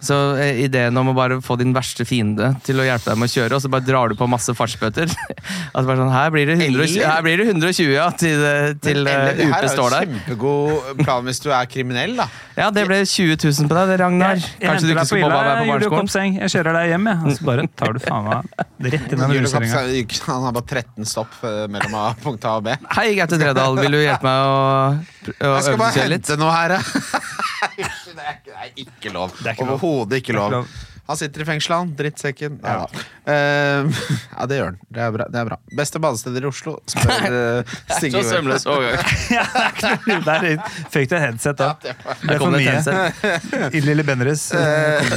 Speaker 5: så eh, ideen om å bare få din verste fiende til å hjelpe deg med å kjøre, og så bare drar du på masse fartsbøter. (laughs) At bare sånn, her blir det 120,
Speaker 3: Eller-
Speaker 5: her blir det 120 ja, til, eh, til eh,
Speaker 3: Eller, her
Speaker 5: UP
Speaker 3: er jo
Speaker 5: står
Speaker 3: en
Speaker 5: der.
Speaker 3: kjempegod plan hvis du er kriminell, da.
Speaker 5: Ja, det ble 20 000 på deg, det, Ragnar. Kanskje du ikke skulle mobba meg på
Speaker 4: Jeg henter deg på Ila, Julie
Speaker 5: barneskolen?
Speaker 4: Kopseng. Jeg kjører deg hjem, jeg. Og så bare tar du faen meg rett inn i (laughs) den
Speaker 3: Julekopp,
Speaker 4: rulleskringa.
Speaker 3: så- Han har bare 13 stopp eh, mellom A, punkt A og
Speaker 4: (laughs)
Speaker 3: B.
Speaker 5: Hei, Gaute Dredal, vil du hjelpe meg å, å
Speaker 3: Jeg skal
Speaker 5: øve
Speaker 3: bare
Speaker 5: seg litt?
Speaker 3: hente noe her, jeg. (laughs) Unnskyld, det er ikke- det er ikke lov.
Speaker 4: er ikke lov.
Speaker 3: Overhodet ikke
Speaker 4: Det er ikke
Speaker 3: lov.
Speaker 4: lov.
Speaker 3: Han sitter i fengsel, han. Drittsekken. Ja.
Speaker 4: Ja.
Speaker 3: Eh, (laughs) ja, det gjør han. Det er bra. Det er bra. Beste badesteder i Oslo?
Speaker 5: (laughs)
Speaker 3: Spør uh, Sigurd.
Speaker 5: Så
Speaker 3: (laughs)
Speaker 5: sømløs overgang.
Speaker 4: (laughs) Ja, det er ikke noe Det er litt- Fikk du en headset da? Det er for
Speaker 5: kom det et
Speaker 4: mye. I Lille Bendriss. eh,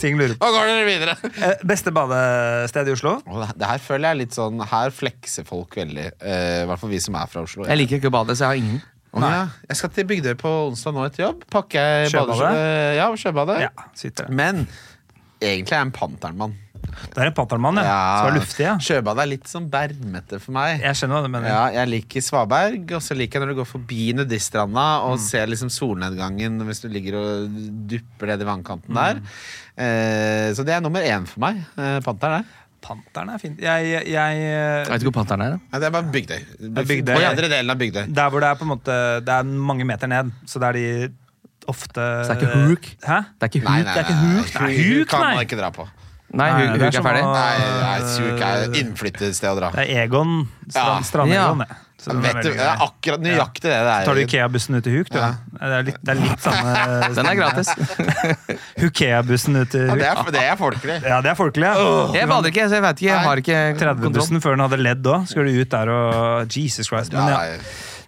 Speaker 4: Ting lurer på.
Speaker 3: Nå går dere videre!
Speaker 4: Eh, Beste badested i Oslo?
Speaker 3: Og det- det her føler jeg er litt sånn Her flekser folk veldig. eh, I hvert fall vi som er fra Oslo.
Speaker 5: Jeg liker ikke å bade, så jeg har ingen.
Speaker 3: Å, ja. Jeg skal til Bygdøy på onsdag nå etter jobb. Pakker jeg
Speaker 4: Sjøbadet?
Speaker 3: badeskjorte- Ja, sjøbadet.
Speaker 4: Ja, sitter det.
Speaker 3: Men egentlig er jeg en panternmann.
Speaker 4: Det er en Pantermann, ja. Som er luftig, ja.
Speaker 3: Sjøbadet er litt sånn bermete for meg.
Speaker 4: Jeg skjønner hva du mener.
Speaker 3: Ja, jeg liker svaberg, og så liker jeg når du går forbi nudiststranda
Speaker 4: Mm.
Speaker 3: og ser liksom solnedgangen hvis du ligger og dupper ned i
Speaker 4: Mm.
Speaker 3: vannkanten der. Eh, så det er nummer én for meg. Eh, Panteren der.
Speaker 4: Panteren er fint. Jeg, jeg
Speaker 5: Jeg vet ikke hvor panteren er. da.
Speaker 3: Nei, det er bare Bygdøy.
Speaker 4: Bygdøy.
Speaker 3: På den andre delen av Bygdøy.
Speaker 4: Der hvor det er på en måte Det er mange meter ned, så det er de ofte
Speaker 5: Så det er ikke huk?
Speaker 4: Hæ?
Speaker 5: Det er ikke
Speaker 3: Nei,
Speaker 5: huk.
Speaker 3: nei,
Speaker 4: Det er ikke
Speaker 3: nei,
Speaker 4: huk. Nei, huk,
Speaker 3: kan
Speaker 4: nei.
Speaker 3: man ikke dra på.
Speaker 5: Nei,
Speaker 4: Nei,
Speaker 5: huk,
Speaker 4: det er
Speaker 5: huk
Speaker 4: som
Speaker 5: er ferdig.
Speaker 4: å-
Speaker 3: Nei, nei, Huk er et innflyttet sted å dra.
Speaker 4: Det er Egon.
Speaker 3: Ja.
Speaker 4: Strand, Strandegon,
Speaker 5: Ja.
Speaker 4: det. Så
Speaker 3: Ja,
Speaker 4: den er
Speaker 3: Vet du,
Speaker 4: veldig
Speaker 3: det er
Speaker 4: grei.
Speaker 3: akkurat nøyaktig det det er.
Speaker 4: Tar du Ikea-bussen ut til Huk, du? Det er litt, det er litt
Speaker 5: (laughs)
Speaker 4: samme
Speaker 5: Den er gratis.
Speaker 4: Hukea-bussen ut til
Speaker 3: Ja,
Speaker 4: Huk.
Speaker 3: det er, det er folkelig.
Speaker 4: Ja, det er folkelig. ja.
Speaker 5: Jeg bader ikke, så jeg vet ikke. Jeg har ikke kontroll.
Speaker 4: 30-bussen før den hadde ledd òg. Skulle du ut der og Jesus Christ. Men ja.
Speaker 3: Nei,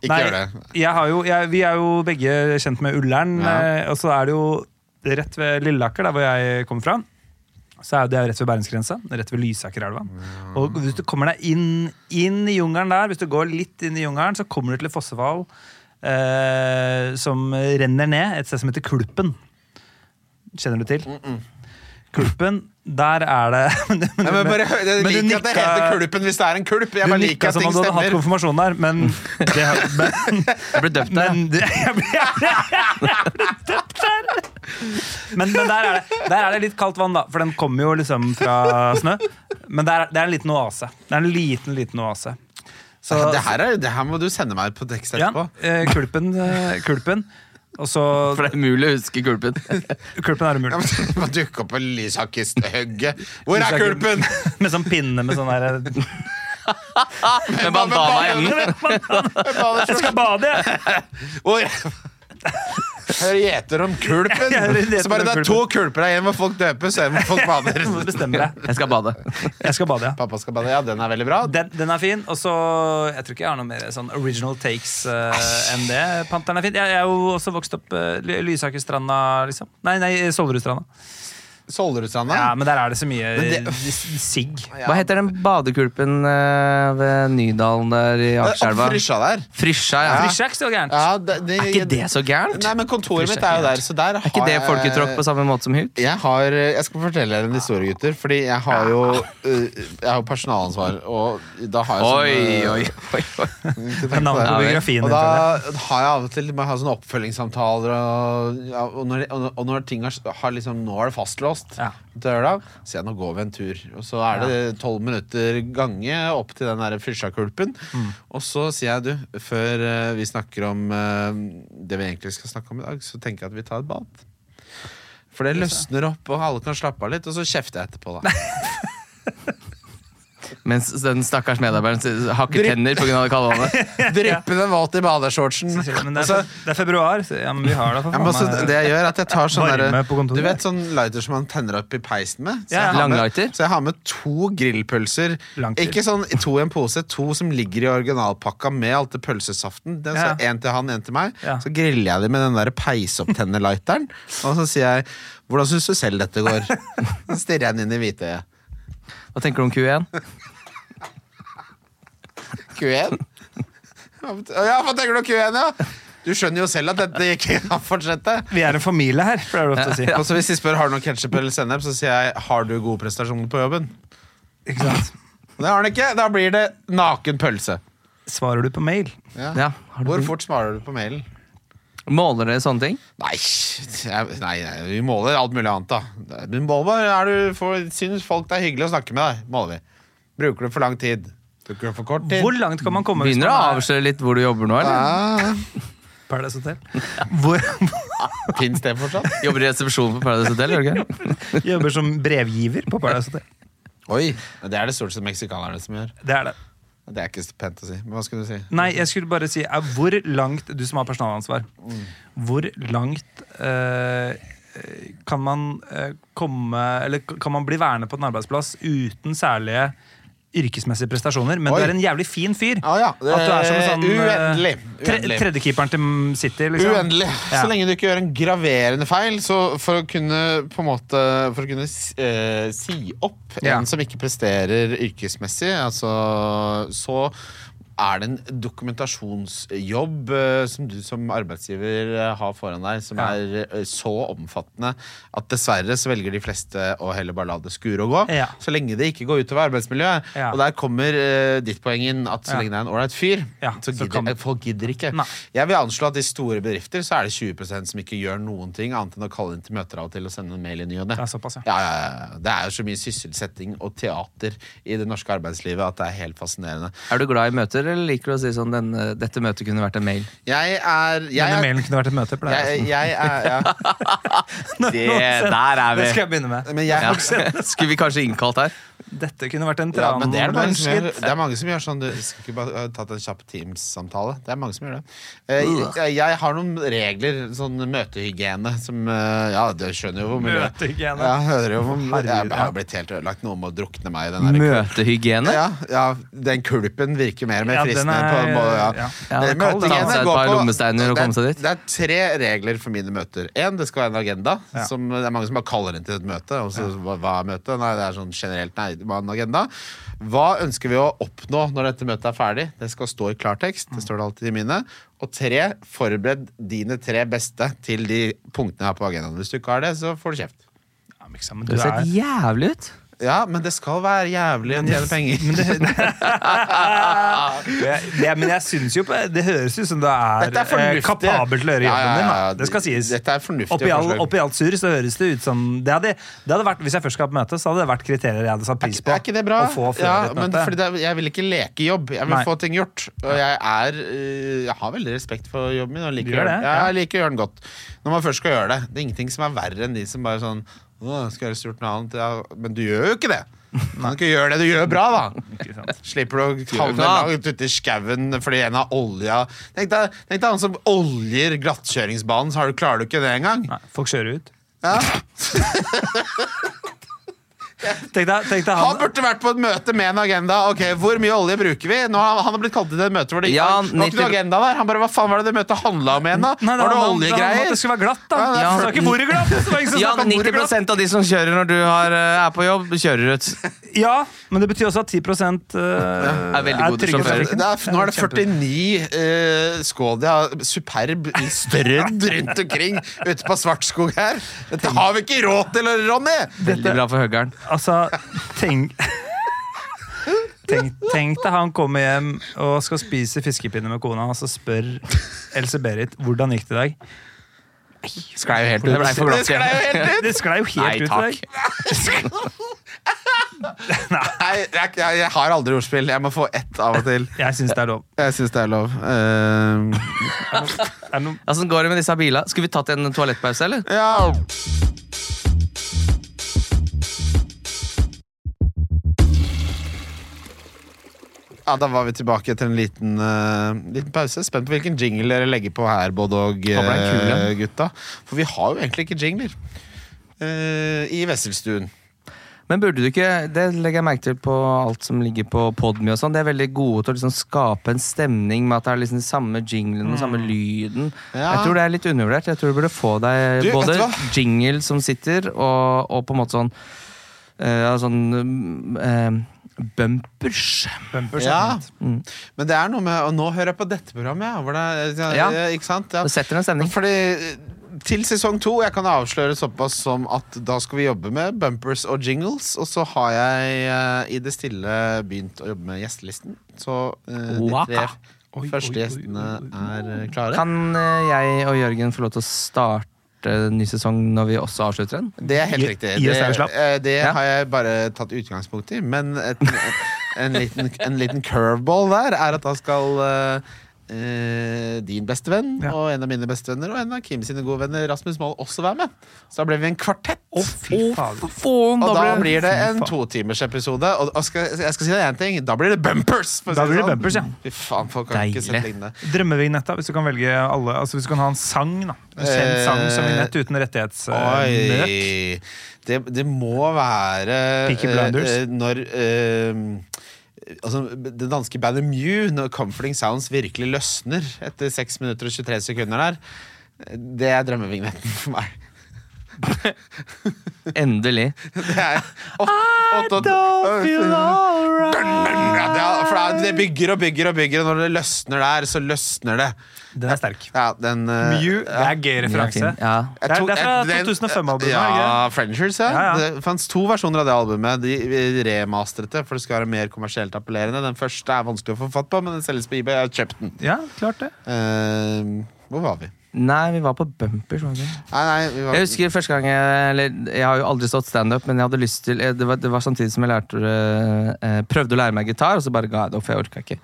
Speaker 3: ikke
Speaker 4: Nei,
Speaker 3: gjør det.
Speaker 4: Jeg har jo, jeg, vi er jo begge kjent med Ullern,
Speaker 3: Ja.
Speaker 4: eh, og så er det jo rett ved Lilleaker, der hvor jeg kommer fra. Så er det rett ved bergensgrensa, rett ved Lysakerelva. Og hvis du kommer deg inn, inn i jungelen der, hvis du går litt inn i jungelen, så kommer du til et fossefall eh, som renner ned, et sted som heter Kulpen. Kjenner du til?
Speaker 3: Mm,
Speaker 4: Kulpen, der er det (laughs) men, du-
Speaker 3: Nei, men bare, jeg
Speaker 4: men du
Speaker 3: liker at det
Speaker 4: nikka-
Speaker 3: heter kulpen hvis det er en kulp. Jeg
Speaker 4: du
Speaker 3: bare liker
Speaker 4: nikka
Speaker 3: at
Speaker 4: som
Speaker 3: ting
Speaker 4: om du hadde hatt
Speaker 3: stemmer.
Speaker 4: konfirmasjon der,
Speaker 3: (laughs)
Speaker 4: men, det, men
Speaker 5: Jeg ble døpt der.
Speaker 4: men det, jeg ble, jeg ble, jeg ble døpt her! Men, men der, er det, der er det litt kaldt vann, da. For den kommer jo liksom fra snø. Men der, er- det er en liten oase. Det er en liten, liten oase. Så,
Speaker 3: Det her, er, det her må du sende meg på tekst
Speaker 4: ja,
Speaker 3: etterpå. (laughs)
Speaker 4: eh, kulpen, eh, kulpen. Og så
Speaker 5: For det er umulig å huske kulpen.
Speaker 4: Kulpen
Speaker 3: Ja,
Speaker 4: er umulig.
Speaker 3: men det må dukke opp på Lysakerhøgget. Hvor er
Speaker 4: Lysaker-
Speaker 3: kulpen?!
Speaker 4: (laughs) Med sånn pinne med sånn der
Speaker 5: Med bandana i enden.
Speaker 4: Jeg skal bade, jeg!
Speaker 3: Hvor Hører gjeter om kulpen!
Speaker 4: Jeg hører gjeter
Speaker 3: Så bare
Speaker 4: om
Speaker 3: det er to kulper der, en hvor folk døpes, og en hvor folk
Speaker 4: Du
Speaker 3: (laughs)
Speaker 4: må
Speaker 3: bader.
Speaker 4: bestemme deg.
Speaker 5: Jeg skal bade.
Speaker 4: Jeg skal bade, ja.
Speaker 3: Pappa skal bade. Ja, den er veldig bra.
Speaker 4: Den, den er fin. Og så Jeg tror ikke jeg har noe mer sånn original takes eh, enn det. Panteren er fin. Jeg, jeg er jo også vokst opp uh, Lysakerstranda, liksom. Nei, nei, Solrudstranda.
Speaker 3: Solrudstranda.
Speaker 4: Ja, men der er det så mye
Speaker 3: Men det-
Speaker 4: eh, sigg.
Speaker 5: Hva heter den badekulpen eh, ved Nydalen der
Speaker 4: Eh,
Speaker 5: i
Speaker 3: Det er
Speaker 5: Akerselva?
Speaker 3: Oppfrisja der.
Speaker 5: Frysja, ja.
Speaker 4: Frisja er ikke så gærent.
Speaker 3: Ja, det, det,
Speaker 5: Er ikke det så gærent?
Speaker 3: Nei, men kontoret mitt er jo der, så der
Speaker 5: Er ikke det folketråkk på samme måte som huk?
Speaker 3: jeg, har, jeg skal fortelle dere en historie, gutter. Fordi jeg har jo, øh, jeg har jo personalansvar, og da har jeg
Speaker 4: eh,
Speaker 3: sånn, øh,
Speaker 5: oi, oi.
Speaker 3: ikke
Speaker 4: Det er
Speaker 3: tenkt på
Speaker 4: navnet på
Speaker 3: det.
Speaker 4: biografien
Speaker 3: Og
Speaker 4: din, føler jeg.
Speaker 3: da har jeg av og til må jeg ha sånne oppfølgingssamtaler, og, ja, og, når, og, og når ting har, har liksom Nå er det fastlåst
Speaker 4: Ja.
Speaker 3: til lørdag, så sier jeg nå går vi en tur. Og så er det tolv minutter gange opp til den der Frisjakulpen.
Speaker 4: Mm.
Speaker 3: Og så sier jeg, du, før eh, vi snakker om eh, det vi egentlig skal snakke om i dag, så tenker jeg at vi tar et bad. For det løsner opp, og alle kan slappe av litt, og så kjefter jeg etterpå,
Speaker 4: (laughs)
Speaker 3: da.
Speaker 5: Mens den stakkars medarbeideren s- hakker
Speaker 3: Dritt.
Speaker 5: tenner pga. det kalde vannet.
Speaker 3: Dryppende våt i badeshortsen.
Speaker 4: Men det
Speaker 3: Og så-
Speaker 4: er, det er februar. Så, ja, men vi har det for
Speaker 3: Ja, men også,
Speaker 4: faen eh,
Speaker 3: det
Speaker 4: meg.
Speaker 3: jeg gjør er at jeg tar sånn
Speaker 4: Varme
Speaker 3: der,
Speaker 4: på kontoret.
Speaker 3: Du vet sånn lighter som man tenner opp i peisen med? Så
Speaker 4: Ja, ja.
Speaker 3: jeg har med,
Speaker 5: Langlighter?
Speaker 3: så jeg har med to grillpølser.
Speaker 4: Langt til.
Speaker 3: Ikke sånn to i en pose, to som ligger i originalpakka med alt det pølsesaften. Det er så
Speaker 4: Ja.
Speaker 3: En til han, en til meg.
Speaker 4: Ja.
Speaker 3: Så griller jeg dem med den der peisopptenner-lighteren. Og så sier jeg 'Hvordan syns du selv dette går?'
Speaker 4: (laughs)
Speaker 3: Så stirrer jeg den inn i hvitøyet.
Speaker 5: Hva tenker du om Q1?
Speaker 3: Q1? (laughs) Ja, hva tenker du om Q1, ja? Du skjønner jo selv at dette ikke (laughs) kan fortsette.
Speaker 4: Vi er en familie her, pleier du ofte å si.
Speaker 3: Og så Hvis de spør har du noe ketsjup eller sennep, så sier jeg har du gode prestasjoner på jobben.
Speaker 4: Ikke sant?
Speaker 3: Det har han ikke. Da blir det naken pølse.
Speaker 4: Svarer du på mail?
Speaker 5: Ja, har du
Speaker 3: Hvor
Speaker 5: begynt-
Speaker 3: fort svarer du på mailen?
Speaker 5: Måler dere sånne ting?
Speaker 3: Nei, jeg- nei, nei, vi måler alt mulig annet, da. Det- Vi måler bare, er du, for, synes folk det er hyggelig å snakke med deg, måler vi. Bruker du for lang tid? Bruker du for kort tid?
Speaker 4: Hvor langt kan man komme? hvis
Speaker 5: Begynner du å
Speaker 4: man er-
Speaker 5: avsløre litt hvor du jobber nå? eller?
Speaker 3: Ja,
Speaker 4: Paradise Hotel? Hvor,
Speaker 3: Fins det fortsatt?
Speaker 5: Jobber i resepsjonen på Paradise Hotel? gjør du ikke?
Speaker 4: jobber som brevgiver på Paradise Hotel.
Speaker 3: Oi, Det er det stort sett meksikanerne som gjør.
Speaker 4: Det er det.
Speaker 3: Det er ikke pent å si. Men hva skulle du si?
Speaker 4: Nei, jeg skulle bare si eh, hvor langt Du som har personalansvar. Hvor langt eh, eh, kan man eh, komme Eller kan man bli værende på en arbeidsplass uten særlige yrkesmessige prestasjoner, men
Speaker 3: Oi. Ah,
Speaker 4: du er en jævlig fin fyr.
Speaker 3: Ja, ja.
Speaker 4: At du er som en sånn eh,
Speaker 3: Uendelig.
Speaker 4: Tre,
Speaker 3: Uendelig.
Speaker 4: tredjekeeperen til City, liksom.
Speaker 3: Uendelig.
Speaker 4: Ja.
Speaker 3: Så lenge du ikke gjør en graverende feil. Så for å kunne på en måte For å kunne si, eh, si opp
Speaker 4: Ja.
Speaker 3: en som ikke presterer yrkesmessig, altså, så er det en dokumentasjonsjobb eh, som du som arbeidsgiver eh, har foran deg, som
Speaker 4: Ja.
Speaker 3: er eh, så omfattende at dessverre så velger de fleste å heller bare la det skure og gå.
Speaker 4: Ja.
Speaker 3: Så lenge det ikke går utover arbeidsmiljøet.
Speaker 4: Ja.
Speaker 3: Og der kommer eh, ditt poeng inn, at så
Speaker 4: Ja.
Speaker 3: lenge det er en ålreit fyr,
Speaker 4: Ja,
Speaker 3: så
Speaker 4: så
Speaker 3: gidder,
Speaker 4: kan-
Speaker 3: eh, folk gidder ikke.
Speaker 4: Nei.
Speaker 3: Jeg vil anslå at i store bedrifter så er det 20 som ikke gjør noen ting annet enn å kalle inn til møter av og til og sende en mail i ny og ne.
Speaker 4: Ja, såpass, ja.
Speaker 3: Ja, ja, ja. Det er jo så mye sysselsetting og teater i det norske arbeidslivet at det er helt fascinerende.
Speaker 5: Er du glad i møter, eller liker du å si sånn denne, 'dette møtet kunne vært en mail'?
Speaker 3: Jeg er jeg
Speaker 4: Denne
Speaker 3: er,
Speaker 4: mailen kunne vært et møte. pleier
Speaker 3: jeg,
Speaker 4: jeg å si.
Speaker 3: jeg er
Speaker 4: (laughs)
Speaker 3: ja.
Speaker 5: Det, der er
Speaker 4: Det skal
Speaker 5: vi!
Speaker 4: jeg begynne med.
Speaker 3: Men jeg
Speaker 5: Ja. (laughs) Skulle vi kanskje innkalt her?
Speaker 4: Dette kunne vært en
Speaker 3: ja, men det er, det mange som gjør,
Speaker 4: tranmorgen.
Speaker 3: det er mange som gjør sånn Du skal ikke bare ha tatt en kjapp Teams-samtale. Det er mange som gjør det. Eh, Jeg, jeg har noen regler, sånn møtehygiene, som eh, Ja, du skjønner jo hvor mye
Speaker 4: Møtehygiene.
Speaker 3: Ja, hører jo hvor mye Jeg
Speaker 4: Herregud, ja.
Speaker 3: har blitt helt ødelagt. Noe med å drukne meg i den der
Speaker 5: Møtehygiene?
Speaker 3: Ja, ja, den kulpen virker mer og mer
Speaker 4: Ja, den
Speaker 3: fristende.
Speaker 4: er-
Speaker 3: på en måte, ja.
Speaker 4: ja.
Speaker 5: Ja, det er kaldt,
Speaker 3: Møtegene
Speaker 5: ta seg et
Speaker 3: går
Speaker 5: par
Speaker 3: på-
Speaker 5: lommesteiner
Speaker 3: det
Speaker 5: og
Speaker 3: er-
Speaker 5: komme seg dit.
Speaker 3: Det er tre regler for mine møter. En, det skal være en agenda.
Speaker 4: Ja.
Speaker 3: Som, det er mange som bare kaller inn til et møte. Og så, hva, hva er møtet? Nei, det er sånn generelt nei, hva er en agenda. Hva ønsker vi å oppnå når dette møtet er ferdig? Det skal stå i klartekst. Det står det alltid i mine. Og tre, forbered dine tre beste til de punktene jeg har på agendaen. Hvis du ikke har det, så får du kjeft.
Speaker 4: Ja, men ikke sant, men
Speaker 5: Det
Speaker 4: du
Speaker 5: høres
Speaker 4: er-
Speaker 5: helt jævlig ut.
Speaker 3: Ja, men det skal være jævlig å tjene (laughs) penger.
Speaker 4: det, det, men jeg synes jo på- Det høres ut som det er,
Speaker 3: Dette er fornuftig.
Speaker 4: eh, kapabelt til å gjøre
Speaker 3: Ja,
Speaker 4: jobben
Speaker 3: ja, ja, ja.
Speaker 4: din. da. Det skal sies.
Speaker 3: Dette er fornuftige
Speaker 4: oppi, all,
Speaker 3: forslag.
Speaker 4: oppi alt surr så høres det ut som det hadde, det hadde vært, Hvis jeg først skal på møte, så hadde det vært kriterier jeg hadde satt pris på.
Speaker 3: Er ikke det bra?
Speaker 4: Å få før
Speaker 3: Ja,
Speaker 4: et
Speaker 3: men
Speaker 4: møte.
Speaker 3: fordi det, er- jeg vil ikke leke jobb. Jeg vil
Speaker 4: Nei.
Speaker 3: få ting gjort. Og jeg er øh, Jeg har veldig respekt for jobben min. Og liker
Speaker 4: Du gjør
Speaker 3: å gjøre
Speaker 4: det,
Speaker 3: den. Ja, jeg liker å gjøre den godt. Når man først skal gjøre det. Det er ingenting som er verre enn de som bare sånn Åh, skal jeg helst gjort noe annet ja, Men du gjør jo ikke det! Du kan ikke gjøre det du gjør bra, da!
Speaker 4: (laughs) Ikke sant?
Speaker 3: Slipper du å
Speaker 5: ikke
Speaker 3: havne
Speaker 5: noe.
Speaker 3: langt ute i skauen fordi en har olja Tenk deg tenk deg han som oljer glattkjøringsbanen, så har du, klarer du ikke det engang!
Speaker 4: Nei, folk kjører ut.
Speaker 3: Ja.
Speaker 4: (laughs) Tenk deg, tenk deg
Speaker 3: Han
Speaker 4: han,
Speaker 3: burde vært på et møte med en agenda. Ok, Hvor mye olje bruker vi? Nå, har- han har blitt kalt inn til et møte hvor det ikke
Speaker 5: Ja,
Speaker 3: var- det var ikke noe
Speaker 5: 90
Speaker 3: agenda der. Han bare, Hva faen var det det møtet handla om igjen, da?
Speaker 4: Nei, det
Speaker 3: var det
Speaker 4: handler om- det handler om
Speaker 3: oljegreier?
Speaker 4: at det skulle være glatt, da.
Speaker 3: Ja, det er
Speaker 4: det var ikke hvor det glatt! Det var ingen som
Speaker 5: Ja,
Speaker 4: snakket om hvor det glatt.
Speaker 5: 90 av de som kjører når du har, eh, er på jobb, kjører ut.
Speaker 4: Ja, men det betyr også at 10 eh,
Speaker 5: Er veldig gode
Speaker 4: trygge i
Speaker 5: sjåfører.
Speaker 4: trafikken.
Speaker 3: Det er, nå er det 49 eh, Skodia Superb strødd rundt omkring ute på Svartskog her. Dette har vi ikke råd til, Ronny!
Speaker 5: (laughs) Veldig bra for høggeren.
Speaker 4: Altså, tenk Tenk, tenk deg han kommer hjem og skal spise fiskepinner med kona, og så spør Else-Berit hvordan gikk det i dag.
Speaker 3: Sklei jo helt
Speaker 5: ut. Det ble for glatt
Speaker 3: Det sklei jo helt ut.
Speaker 5: Nei,
Speaker 4: (laughs) Det sklei jo helt ut i dag.
Speaker 3: Nei, jeg, jeg, jeg har aldri ordspill. Jeg må få ett av og til.
Speaker 4: Jeg syns det er lov.
Speaker 3: Jeg syns det er lov. Eh,
Speaker 4: Er det noe-
Speaker 5: Åssen går det med disse bilene? Skulle vi tatt en toalettpause, eller?
Speaker 3: Ja. Ja, Da var vi tilbake etter en liten, eh, liten pause. Spent på hvilken jingle dere legger på her, både og
Speaker 5: Håper det er en kul
Speaker 3: eh, gutta. For vi har jo egentlig ikke jingler eh, i Wesselstuen.
Speaker 5: Men burde du ikke, det legger jeg merke til på alt som ligger på Podme og sånn, de er veldig gode til å liksom skape en stemning med at det er liksom de samme jinglen og samme lyden.
Speaker 3: Mm. Ja.
Speaker 5: Jeg tror det er litt undervurdert. Jeg tror du burde få deg
Speaker 3: Du, vet du
Speaker 5: både
Speaker 3: hva?
Speaker 5: jingle som sitter, og, og på en måte sånn eh, ja, sånn eh, bumpers.
Speaker 4: Bumpers er
Speaker 3: Ja.
Speaker 4: fint.
Speaker 5: Mm.
Speaker 3: Men det er noe med Og nå hører jeg på dette programmet, ja. Hvor det, er-
Speaker 5: Ja.
Speaker 3: eh, Ikke sant? Ja.
Speaker 5: Det setter en stemning.
Speaker 3: Fordi eh, til sesong to Jeg kan avsløre såpass som at da skal vi jobbe med bumpers og jingles. Og så har jeg eh, i det stille begynt å jobbe med gjestelisten. Så eh, de
Speaker 5: Waka.
Speaker 3: tre
Speaker 4: Oi,
Speaker 3: første
Speaker 4: oi, oi,
Speaker 3: gjestene
Speaker 4: oi,
Speaker 3: er eh, klare.
Speaker 5: Kan eh, jeg og Jørgen få lov til å starte en ny sesong når vi også avslutter den?
Speaker 3: Det er helt
Speaker 4: Gi-
Speaker 3: riktig.
Speaker 4: gi oss deg en
Speaker 3: Det,
Speaker 4: slapp.
Speaker 3: eh, det
Speaker 5: Ja.
Speaker 3: har jeg bare tatt utgangspunkt i. Men et, en, liten, en liten curveball der er at da skal eh, eh, din bestevenn
Speaker 4: Ja.
Speaker 3: og en av mine bestevenner og en av Kim sine gode venner Rasmus Moll også være med. Så da ble vi en kvartett.
Speaker 4: Å, fy faen.
Speaker 5: Faen,
Speaker 3: Og da
Speaker 5: ble-
Speaker 3: blir det en
Speaker 4: Fy faen.
Speaker 3: totimersepisode. Og, og skal, jeg skal si deg en ting, da blir det bumpers! for å si
Speaker 4: Da
Speaker 3: det
Speaker 4: blir det
Speaker 3: sånn.
Speaker 4: bumpers, ja.
Speaker 3: Fy faen, folk har ikke
Speaker 5: Deilig.
Speaker 3: sett lignende.
Speaker 4: Drømmevignetta, hvis du kan velge alle Altså hvis du kan ha en sang, da. En kjent
Speaker 3: Eh,
Speaker 4: sang som vignett uten rettighetsmøte.
Speaker 3: Oi! Det, det må være
Speaker 4: Peaky Blinders.
Speaker 3: eh, eh, når eh, Altså, det danske bandet Mew, når Comforting Sounds virkelig løsner etter 6 minutter og 23 sekunder der, det er drømmevignetten for
Speaker 4: (laughs)
Speaker 3: meg. (laughs)
Speaker 5: Endelig.
Speaker 3: Det er, åt, åt, åt, Ja, det, er- for det, er- det bygger og bygger og bygger, og når det løsner der, så løsner det.
Speaker 4: Den er sterk.
Speaker 3: Ja, den eh,
Speaker 4: Mew, det er gøy referanse.
Speaker 5: Ja.
Speaker 3: Jeg
Speaker 4: Det er-
Speaker 3: tok-
Speaker 4: det er fra
Speaker 3: jeg- den-
Speaker 4: 2005-albumet, er det ikke
Speaker 3: Ja, Frengers, ja.
Speaker 4: Ja, ja.
Speaker 3: Det fantes to versjoner av det albumet. De remastret det, for det skal være mer kommersielt appellerende. Den første er vanskelig å få fatt på, men den selges på eBay. Jeg har kjøpt den.
Speaker 4: Ja, klart det.
Speaker 3: Eh, hvor var vi?
Speaker 5: Nei, vi var på bumpers. var vi ikke?
Speaker 3: Nei, nei, vi var
Speaker 5: Jeg husker første gang jeg Eller jeg har jo aldri stått standup, men jeg hadde lyst til eh, det var, det var samtidig som jeg lærte eh, eh, prøvde å lære meg gitar, og så bare ga jeg det opp, for jeg orka ikke.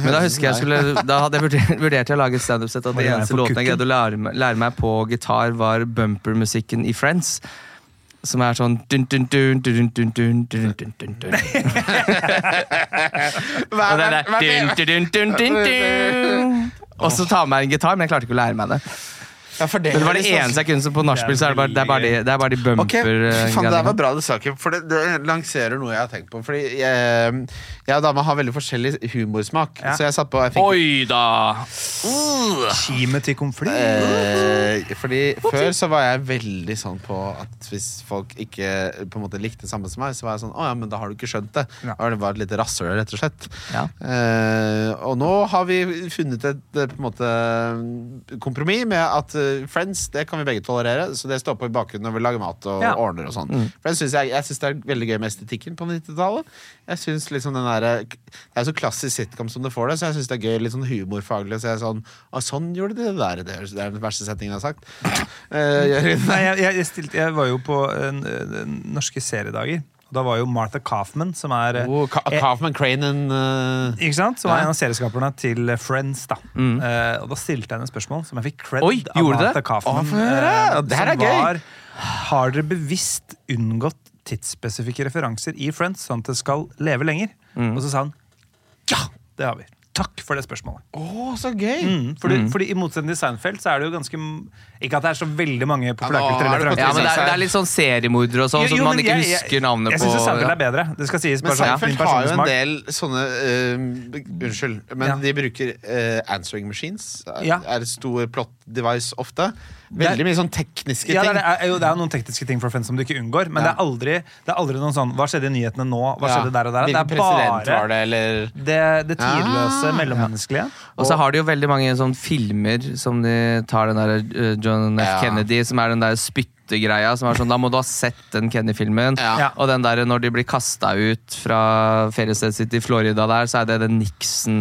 Speaker 5: Men da husker jeg skulle Da hadde jeg vurdert, vurdert jeg å lage et standup-sett, og
Speaker 4: Var
Speaker 5: den
Speaker 4: det der
Speaker 5: eneste
Speaker 4: på
Speaker 5: låten jeg
Speaker 4: kukken?
Speaker 5: greide å lære, meg- lære meg på gitar, var bumpermusikken i Friends. Som er sånn dun, dun, dun, dun, dun, dun, dun, dun, dun, dun. Og den der dun, dun, dun, dun, dun. Og så ta med en gitar, men jeg klarte ikke å lære meg det.
Speaker 3: Ja, for det,
Speaker 5: Men det var det
Speaker 3: høres vanskelig-
Speaker 5: eneste jeg kunne, så på nachspiel så er det bare, det er bare, de, det er bare de
Speaker 3: Ok,
Speaker 4: eh,
Speaker 3: faen, Det
Speaker 5: bumper-greiene.
Speaker 3: der var bra du sa, Kim, for det, det lanserer noe jeg har tenkt på. Fordi jeg, jeg og dama har veldig forskjellig humorsmak,
Speaker 4: Ja.
Speaker 3: så jeg satt på jeg fikk,
Speaker 5: Oi da!
Speaker 4: Kimet til konflikt.
Speaker 3: Ah. Eh, fordi Før så var jeg veldig sånn på at hvis folk ikke på en måte likte det samme som meg, så var jeg sånn Å ja, men da har du ikke skjønt det.
Speaker 4: Ja.
Speaker 3: Da Det var et lite rasshøl, rett og slett.
Speaker 5: Ja.
Speaker 3: Eh, og nå har vi funnet et eh, på en måte kompromiss med at eh, Friends det kan vi begge tolerere, så det står på i bakgrunnen når vi lager mat og
Speaker 4: Ja.
Speaker 3: ordner og sånn.
Speaker 4: Mm.
Speaker 3: Friends synes jeg, jeg syns det er veldig gøy med estetikken på 90-tallet. Jeg synes liksom den der, Det er så klassisk sitcom som det får det, så jeg syns det er gøy litt sånn humorfaglig. Så jeg er sånn Å, sånn gjorde de det der. Det høres- det er den verste setningen jeg har sagt.
Speaker 4: (laughs)
Speaker 3: Eh, Jørgen,
Speaker 4: Nei, jeg, jeg, stilte, jeg var jo på eh, n- norske seriedager. Og da var jo Martha Kaufman, som er eh,
Speaker 3: oh, Ka
Speaker 4: eh,
Speaker 3: Kaufman Crane and eh,
Speaker 4: Ikke sant? Som var
Speaker 3: Ja. Mm.
Speaker 4: en av serieskaperne til Friends. da Eh, Og da stilte jeg henne et spørsmål som jeg fikk cred
Speaker 5: Oi,
Speaker 4: av
Speaker 5: gjorde du
Speaker 4: Martha
Speaker 5: det?
Speaker 4: Kaufman.
Speaker 3: Å, få høre!
Speaker 4: eh,
Speaker 3: Og det her
Speaker 4: som
Speaker 3: er gøy!
Speaker 4: var, Har dere bevisst unngått tidsspesifikke referanser i Friends, sånn at det skal leve lenger?
Speaker 3: Mm.
Speaker 4: Og så sa hun ja, det har vi. Takk for det spørsmålet.
Speaker 3: Å, så gøy!
Speaker 4: Mm, fordi, fordi I motsetning til Seinfeld så er det jo ganske Ikke at det er så veldig mange
Speaker 3: Ja, nå
Speaker 4: populærkulturelle
Speaker 3: er det
Speaker 4: referanser.
Speaker 5: Ja, men det er, det er litt sånn seriemordere og sånn,
Speaker 3: Altså,
Speaker 4: Liksom, Jo,
Speaker 5: som
Speaker 4: jo,
Speaker 5: man
Speaker 4: men
Speaker 5: ikke
Speaker 4: jeg-
Speaker 5: husker navnet
Speaker 4: jeg,
Speaker 5: på.
Speaker 4: Jeg syns Seinfeld
Speaker 5: Ja.
Speaker 4: er bedre. Det skal sies.
Speaker 3: Men
Speaker 4: bare sånn,
Speaker 3: Seinfeld
Speaker 4: min
Speaker 3: har jo en
Speaker 4: personlige
Speaker 3: del sånne eh, Unnskyld, men
Speaker 4: Ja.
Speaker 3: de bruker eh, answering machines. Er,
Speaker 4: Ja.
Speaker 3: er et stor plot device ofte. Veldig mye sånn tekniske
Speaker 4: Ja, det,
Speaker 3: ting.
Speaker 4: er, det er jo, det er noen tekniske ting for Friends som du ikke unngår, men det,
Speaker 3: Ja.
Speaker 4: er aldri, det er aldri noen sånn Hva skjedde i nyhetene nå? Hva skjedde der og der? Det
Speaker 3: Hvilken
Speaker 4: er
Speaker 3: president
Speaker 4: bare
Speaker 3: var det, eller
Speaker 4: det, det tidløse,
Speaker 3: Ah.
Speaker 4: mellommenneskelige.
Speaker 5: Og så har de jo veldig mange sånn filmer som de tar den der eh, John F.
Speaker 3: Ja.
Speaker 5: Kennedy, som er den der spyttegreia. Som er sånn, da må du ha sett den Kennedy-filmen.
Speaker 3: Ja.
Speaker 4: Ja.
Speaker 5: Og den der når de blir kasta ut fra feriestedet sitt i Florida der, så er det den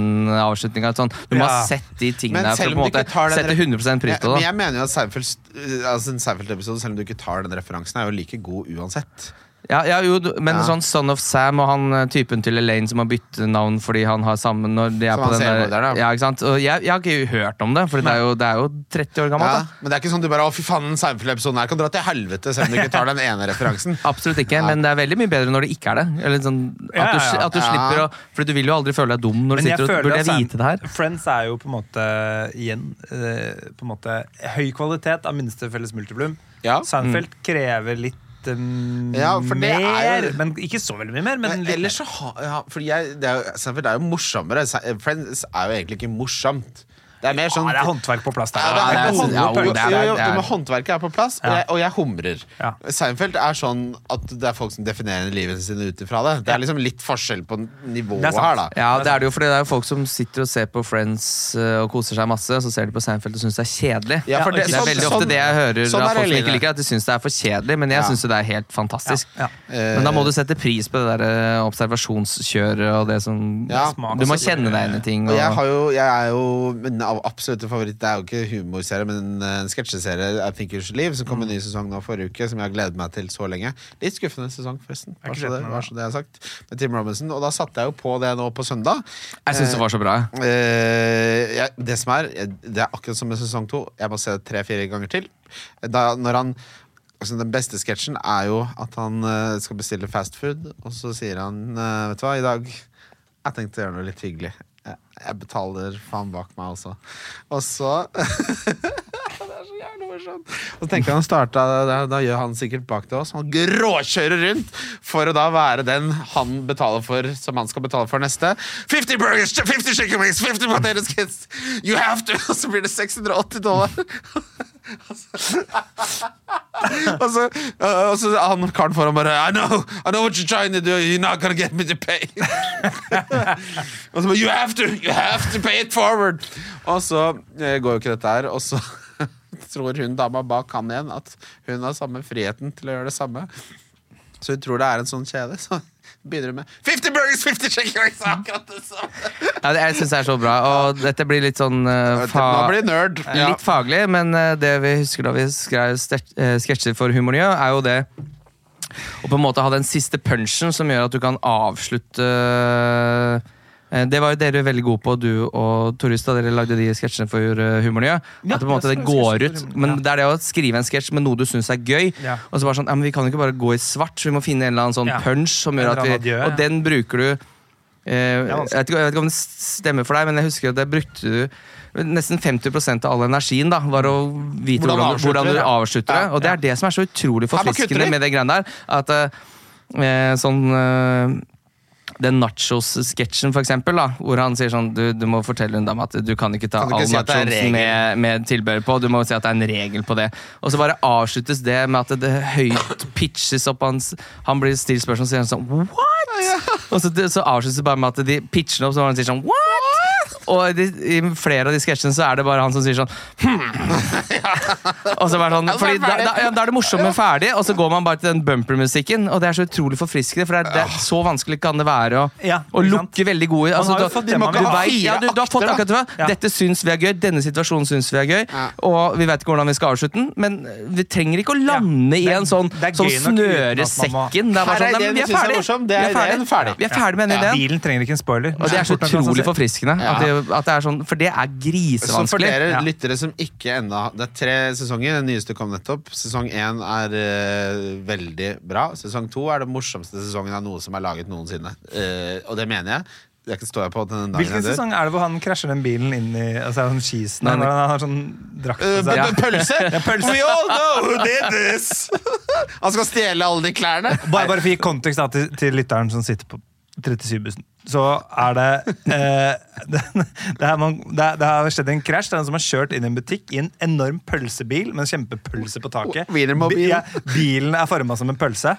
Speaker 5: Nixon-avslutninga. Sånn, du må
Speaker 4: Ja.
Speaker 5: ha sett de
Speaker 3: Men
Speaker 5: tingene her for
Speaker 3: selv
Speaker 5: å på
Speaker 3: om
Speaker 5: en
Speaker 3: du ikke
Speaker 5: måte
Speaker 3: tar den
Speaker 5: sette
Speaker 3: ref-
Speaker 5: 100 pris
Speaker 3: Ja, men
Speaker 5: på det. da.
Speaker 3: jeg mener jo at Seinfeld, eh, altså en Seinfeld-episode, selv om du ikke tar den referansen, er jo like god uansett.
Speaker 5: Ja, ja, jo, du- men
Speaker 3: Ja.
Speaker 5: sånn Son of Sam og han eh, typen til Elaine som har byttet navn fordi han har samme når de er
Speaker 3: Som
Speaker 5: på
Speaker 3: han
Speaker 5: den
Speaker 3: ser på der, da.
Speaker 5: ja, ikke sant? Og jeg, jeg har ikke hørt om det, for det er jo, det er jo 30 år gammelt.
Speaker 3: Ja,
Speaker 5: da.
Speaker 3: men det er ikke sånn du bare 'Å, fy faen, den Seinfeld-episoden her kan dra til helvete', selv om du ikke tar den ene referansen.
Speaker 5: Absolutt ikke, men det er veldig mye bedre når det ikke er det. Eller sånn, at,
Speaker 4: Ja, ja,
Speaker 5: du,
Speaker 4: ja.
Speaker 5: sli- at du
Speaker 3: Ja.
Speaker 5: slipper å For du vil jo aldri føle deg dum når du sitter og Burde jeg
Speaker 4: Sein-
Speaker 5: vite det her?
Speaker 4: Friends er jo på en måte igjen eh, på en måte høy kvalitet av minste felles multiplum.
Speaker 3: Ja. Mm.
Speaker 4: Seinfeld krever litt eh,
Speaker 3: Ja, for det er
Speaker 4: mer,
Speaker 3: jo-
Speaker 4: men ikke så veldig mye mer. Men
Speaker 3: Men
Speaker 4: litt
Speaker 3: ellers så har ja, Fordi jeg, det er, jo- Seinfeld er jo morsommere. Se- Friends er jo egentlig ikke morsomt. Det er mer
Speaker 4: mer.
Speaker 3: sånn
Speaker 4: Ja, det er håndverk på plass der.
Speaker 3: Ja, det er,
Speaker 5: Ja,
Speaker 3: det
Speaker 5: det
Speaker 3: er,
Speaker 5: er-
Speaker 3: jo, jo,
Speaker 5: ja, det er-
Speaker 3: jo,
Speaker 5: det er-
Speaker 3: men håndverket er på plass, og jeg, og jeg humrer.
Speaker 4: Ja.
Speaker 3: Seinfeld er sånn at det er folk som definerer livet sine ut ifra det. Det er liksom litt forskjell på
Speaker 4: Det er
Speaker 3: nivået
Speaker 4: sant.
Speaker 3: her, da.
Speaker 5: Ja, det er det jo, for det er jo folk som sitter og ser på Friends eh, og koser seg masse, så ser de på Seinfeld og syns det er kjedelig.
Speaker 3: Ja, for
Speaker 5: det,
Speaker 3: det-
Speaker 5: er
Speaker 3: sånn-
Speaker 5: veldig
Speaker 3: sånn-
Speaker 5: ofte det jeg hører
Speaker 3: sånn er
Speaker 5: av folk som
Speaker 3: det
Speaker 5: ikke
Speaker 3: livet.
Speaker 5: liker at de syns det er for kjedelig, men
Speaker 3: Ja.
Speaker 5: jeg synes syns jo det er helt fantastisk. Eh,
Speaker 4: Ja,
Speaker 5: Men da må du sette pris på det der eh, observasjonskjøret og det som
Speaker 3: Ja.
Speaker 5: Du må kjenne deg inn i ting.
Speaker 3: Og
Speaker 5: Og,
Speaker 3: jeg, har jo, jeg er jo min av- absolutte favoritt. Det er jo ikke humorserie, men eh, en sketsjeserie. I Think You Should Leave, som kom en ny
Speaker 4: Mm.
Speaker 3: sesong nå forrige uke, som jeg har gledet meg til så lenge. Litt skuffende sesong, forresten.
Speaker 4: Jeg har
Speaker 3: Bare
Speaker 4: ikke
Speaker 3: så
Speaker 4: sett
Speaker 3: det,
Speaker 4: den,
Speaker 3: bare
Speaker 4: da.
Speaker 3: så det jeg har sagt. Med Tim Robinson. Og da satte jeg jo på det nå på søndag.
Speaker 5: jeg syns det var så bra.
Speaker 3: Eh, ja, det som er Det er akkurat som med sesong to. Jeg må se det tre-fire ganger til. Da, når han altså, Den beste sketsjen er jo at han eh, skal bestille fast food, og så sier han eh, Vet du hva, i dag Jeg tenkte å gjøre noe litt hyggelig. Jeg, jeg betaler faen bak meg også. Og så Det er så jævlig morsomt. Og så tenker jeg han starta da, da gjør han sikkert bak til oss. Han gråkjører rundt for å da være den han betaler for, som han skal betale for neste. 50 burgers, 50 chicken wings, 50 potato skins! You have to! (laughs) Og så blir det 680 dollar. (laughs) og så, øh, og så han karen foran bare I know, I know what you're trying to do You're not gonna get me to pay (laughs) Og så bare You have to, you have to pay it forward Og så eh, går jo ikke dette her Og så (laughs) tror hun dama bak han igjen At hun har samme friheten til å gjøre det samme Så hun tror det er en sånn kjede Så begynner hun med 50 burgers, 50 chicken wings (laughs) Akkurat det samme
Speaker 5: Ja, det- jeg syns det er så bra, og dette blir litt sånn eh, fa
Speaker 3: Nå blir det nerd Ja.
Speaker 5: Litt faglig, men eh, det vi husker da vi skrev stet- eh, sketsjer for Humornjø, er jo det å på en måte ha den siste punchen som gjør at du kan avslutte eh, Det var jo dere veldig gode på, du og Torjus, da dere lagde de sketsjene for eh, Humornjø.
Speaker 4: Ja,
Speaker 5: At det på en måte
Speaker 4: jeg
Speaker 5: det
Speaker 4: skrev
Speaker 5: går
Speaker 4: sketsjer
Speaker 5: ut.
Speaker 4: for Humornjø,
Speaker 5: Men
Speaker 4: ja.
Speaker 5: det er det å skrive en sketsj med noe du syns er gøy,
Speaker 4: Ja.
Speaker 5: og så bare sånn Ja, men vi kan jo ikke bare gå i svart, så vi må finne en eller annen sånn
Speaker 4: Ja.
Speaker 5: punch som gjør
Speaker 4: En
Speaker 5: at
Speaker 4: eller
Speaker 5: vi
Speaker 4: annen adjø,
Speaker 5: Og
Speaker 4: ja.
Speaker 5: den bruker du Eh, jeg,
Speaker 4: vanskelig.
Speaker 5: vet ikke, jeg vet ikke om det stemmer for deg, men jeg husker at jeg brukte du Nesten 50 av all energien da var å vite
Speaker 3: Hvordan
Speaker 5: hvordan,
Speaker 3: avslutter
Speaker 5: du- hvordan du
Speaker 3: det?
Speaker 5: avslutter det.
Speaker 3: Ja,
Speaker 5: Og det er det som er så utrolig
Speaker 3: Her var
Speaker 5: forfriskende
Speaker 3: kutter de.
Speaker 5: med det greiene der. At eh, sånn eh, den nachos-sketsjen, for eksempel, da, hvor han sier sånn du, du må fortelle hun dama at du kan ikke ta
Speaker 3: Kan du ikke
Speaker 5: all
Speaker 3: si at det er
Speaker 5: nachos
Speaker 3: regel?
Speaker 5: med, med tilbehør på, du må si at det er en regel på det. Og så bare avsluttes det med at det høyt pitches opp hans Han blir stilt spørsmål, og så sier han sånn What?! Og så, så avsluttes det bare med at de pitcher den opp, så han sier sånn What?! Og de, i flere av de sketsjene så er det bare han som sier sånn
Speaker 3: (laughs)
Speaker 5: og så bare sånn, fordi da, da, ja, da er det morsomt, men ferdig, og så går man bare til den bumpermusikken. Og det er så utrolig forfriskende, for det er, det er så vanskelig kan det være å,
Speaker 4: Ah. Ja,
Speaker 5: å
Speaker 4: ikke sant?
Speaker 5: lukke veldig gode
Speaker 4: Man
Speaker 5: altså,
Speaker 4: har jo
Speaker 5: da-
Speaker 4: fått
Speaker 5: du
Speaker 4: det man
Speaker 5: vet-
Speaker 4: vil ha.
Speaker 5: ja, du, du har fått
Speaker 3: Fire akter,
Speaker 5: akkurat det.
Speaker 4: Ja.
Speaker 5: Dette syns vi er gøy, denne situasjonen syns vi er gøy,
Speaker 3: Ja.
Speaker 5: og vi vet ikke hvordan vi skal avslutte den, men eh, vi trenger ikke å lande
Speaker 4: Ja.
Speaker 5: i en sånn,
Speaker 4: Det er
Speaker 5: sånn
Speaker 4: gøy nok uten at man må-
Speaker 5: snøresekken. Det er bare
Speaker 3: Her er
Speaker 5: sånn,
Speaker 3: ideen
Speaker 5: nei, men vi
Speaker 3: vi
Speaker 5: er
Speaker 3: synes er
Speaker 5: ferdig.
Speaker 3: morsom.
Speaker 5: Vi
Speaker 3: Det er
Speaker 5: er ferdig.
Speaker 3: ideen. Ferdig.
Speaker 5: Vi er ferdig med den ideen.
Speaker 4: Bilen trenger ikke en spoiler.
Speaker 5: Og det er
Speaker 4: (laughs)
Speaker 5: så utrolig forfriskende, at det, at det er sånn, for det er
Speaker 3: Så for
Speaker 5: grisevanskelig.
Speaker 3: dere
Speaker 4: Ja.
Speaker 3: lyttere som ikke enda Det er tre sesonger, den nyeste kom nettopp Sesong 1 er eh, veldig bra Sesong 2 er den morsomste sesongen Av noe som er laget noensinne Eh, Og det mener jeg Det er ikke står jeg på til den dagen
Speaker 4: Hvilken
Speaker 3: jeg dør.
Speaker 4: sesong er det hvor han krasjer den bilen inn i altså, sånn skisen?
Speaker 5: Nei,
Speaker 4: Han
Speaker 5: nei.
Speaker 4: har sånn drakt på
Speaker 3: Eh,
Speaker 4: seg.
Speaker 3: p- p- Pølse! (laughs)
Speaker 4: pølse.
Speaker 3: We all know who did this! Han skal stjele alle de klærne
Speaker 4: (laughs) Bare, bare for å gi kontekst da, til, til lytteren som sitter på 37-bussen, så er det eh, (laughs) det, det, er man, det, det har skjedd en krasj. Det er en som har kjørt inn i en butikk i en enorm pølsebil med en kjempepølse på taket.
Speaker 3: Wienermobil.
Speaker 4: Bi- bilen er forma som en pølse.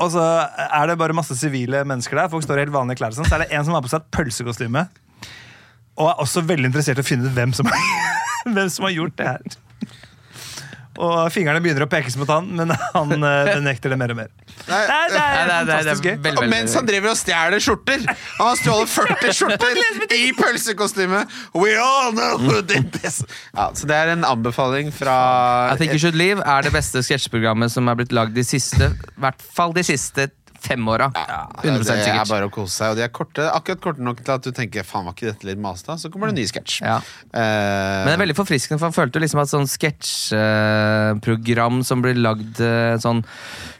Speaker 4: Og så er det bare masse sivile mennesker der. Folk står i helt vanlige klær. og Sånn. Så er det en som har på seg et pølsekostyme. Og er også veldig interessert i å finne ut hvem som, hvem som har gjort det her. Og fingrene begynner å pekes mot han, men han eh, benekter det mer og mer. Nei, det er,
Speaker 5: Nei, det er- det er-
Speaker 4: fantastisk
Speaker 5: det er
Speaker 4: gøy.
Speaker 5: veldig,
Speaker 3: Og
Speaker 5: veldig,
Speaker 3: mens han
Speaker 5: veldig.
Speaker 3: driver og stjeler skjorter Han har stjålet
Speaker 4: (laughs)
Speaker 3: 40 skjorter I pølsekostyme We all know who did this ja, Så det er en anbefaling fra
Speaker 5: I Think You Should Leave er det beste sketsjeprogrammet som er blitt lagd de siste i hvert fall de siste fem åra.
Speaker 3: Ja,
Speaker 5: 100
Speaker 3: Det er
Speaker 5: sikkert.
Speaker 3: bare å kose seg, og de er korte, akkurat korte nok til at du tenker faen var ikke dette litt masete, så kommer det en ny sketsj.
Speaker 5: Ja.
Speaker 3: Eh,
Speaker 5: Men det er veldig forfriskende, for han følte liksom at sånn sketsjeprogram som blir lagd eh, sånn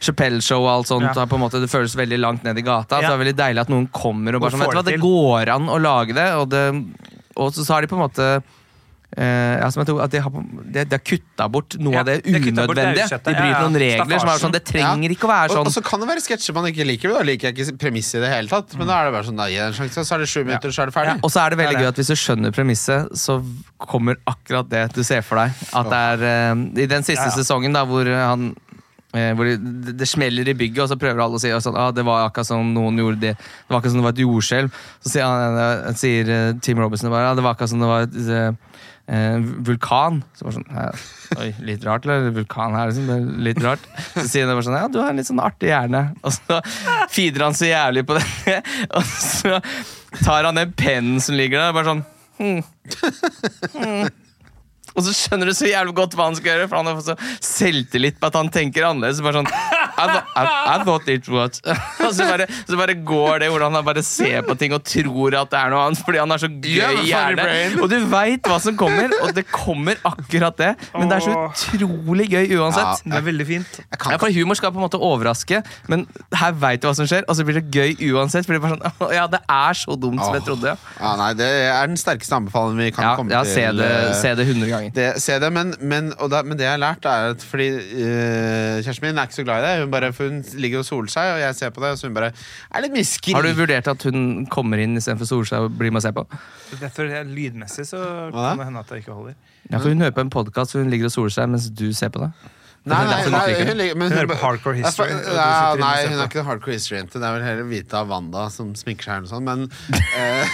Speaker 5: Chappelle-show og alt sånt,
Speaker 4: Ja.
Speaker 5: har på en måte, det føles veldig langt ned i gata. Så
Speaker 4: Ja.
Speaker 5: det er veldig deilig at noen kommer og
Speaker 4: Og
Speaker 5: bare sånn Vet
Speaker 4: får
Speaker 5: du hva,
Speaker 4: det
Speaker 5: det
Speaker 4: til."
Speaker 5: går an å lage det, og, det, og så, så har de på en måte eh, ja, som jeg tror at De har, på- de, de har kutta bort noe
Speaker 4: Ja,
Speaker 5: av det
Speaker 4: de har kuttet bort det
Speaker 5: unødvendige.
Speaker 4: ukjøttet.
Speaker 5: de bryter
Speaker 4: Ja, ja.
Speaker 5: noen regler som er
Speaker 4: Staffasjen.
Speaker 5: sånn Det trenger ikke å være
Speaker 3: og,
Speaker 5: sånn.
Speaker 3: og så kan det være sketsjer man ikke liker, men da liker jeg ikke premisset i det hele tatt. Men da er det bare sånn, da, gi det en sjanse, så er det sju minutter, så er det ferdig.
Speaker 5: Og så er det veldig
Speaker 4: Det er det.
Speaker 5: gøy at hvis du skjønner premisset, så kommer akkurat det du ser for deg. At det er eh, I den siste
Speaker 4: Ja, ja.
Speaker 5: sesongen, da, hvor han eh, hvor det, det- det smeller i bygget, og så prøver alle å si sånn, ah, det var akkurat som noen gjorde det. Det var akkurat som det var et jordskjelv. Så sier, han, eh, sier eh, Tim Robinson bare ja, det var akkurat som det var et eh, eh, vulkan. Så bare sånn «Hæ? Oi, litt rart, eller? Vulkan her, liksom. Det er litt rart. Så sier han bare sånn Ja, du har en litt sånn artig hjerne. Og så feeder han så jævlig på det, (laughs) og så tar han den pennen som ligger der, og bare sånn hmm. hm. Og så skjønner du så jævlig godt hva han skal gjøre, for han har fått så selvtillit på at han tenker annerledes. Bare sånn I, thought- I, I thought it was (laughs) Og så bare, så bare går det hvordan han bare ser på ting og tror at det er noe annet, fordi han er så gøy
Speaker 3: Yeah,
Speaker 5: i
Speaker 3: funny brain.
Speaker 5: hjernen. Og du veit hva som kommer, og det kommer akkurat det. Men det er så
Speaker 4: Åh.
Speaker 5: utrolig gøy uansett.
Speaker 4: Det er veldig fint.
Speaker 5: Ja, for Humor skal på en måte overraske, men her veit du hva som skjer, og så blir det gøy uansett. For det er bare sånn, (laughs) ja, det er så dumt som jeg
Speaker 3: Åh.
Speaker 5: trodde.
Speaker 3: Ja, nei, det er den sterkeste anbefalingen vi kan
Speaker 5: Ja,
Speaker 3: komme
Speaker 5: ja
Speaker 3: til.
Speaker 5: se det
Speaker 3: eh,
Speaker 5: se det 100 ganger.
Speaker 3: det, se det, men, men, og da, men det jeg har lært, er at fordi eh, kjæresten min er ikke så glad i det. Hun, bare, for hun ligger og soler seg, og jeg ser på det, så hun bare er litt mye skri.
Speaker 5: Har du vurdert at hun kommer inn istedenfor Solskjær og blir med og ser på?
Speaker 4: Derfor er lydmessig så
Speaker 3: Hva da?
Speaker 4: kan det hende at det ikke holder.
Speaker 5: Ja, for Hun hører på en podkast hun ligger og soler seg mens du ser på det.
Speaker 3: Nei, nei,
Speaker 5: Derfor
Speaker 3: nei,
Speaker 5: liker
Speaker 3: hun,
Speaker 5: det.
Speaker 3: ligger- men
Speaker 4: Hun hører på liksom. hardcore history, og
Speaker 3: Ja,
Speaker 4: du sitter inne og
Speaker 3: nei,
Speaker 4: ser
Speaker 3: hun er
Speaker 4: på.
Speaker 3: ikke noe hardcore history-jente. Det er vel heller Vita og Wanda som sminker seg, eller noe sånt.
Speaker 4: (laughs)
Speaker 3: Men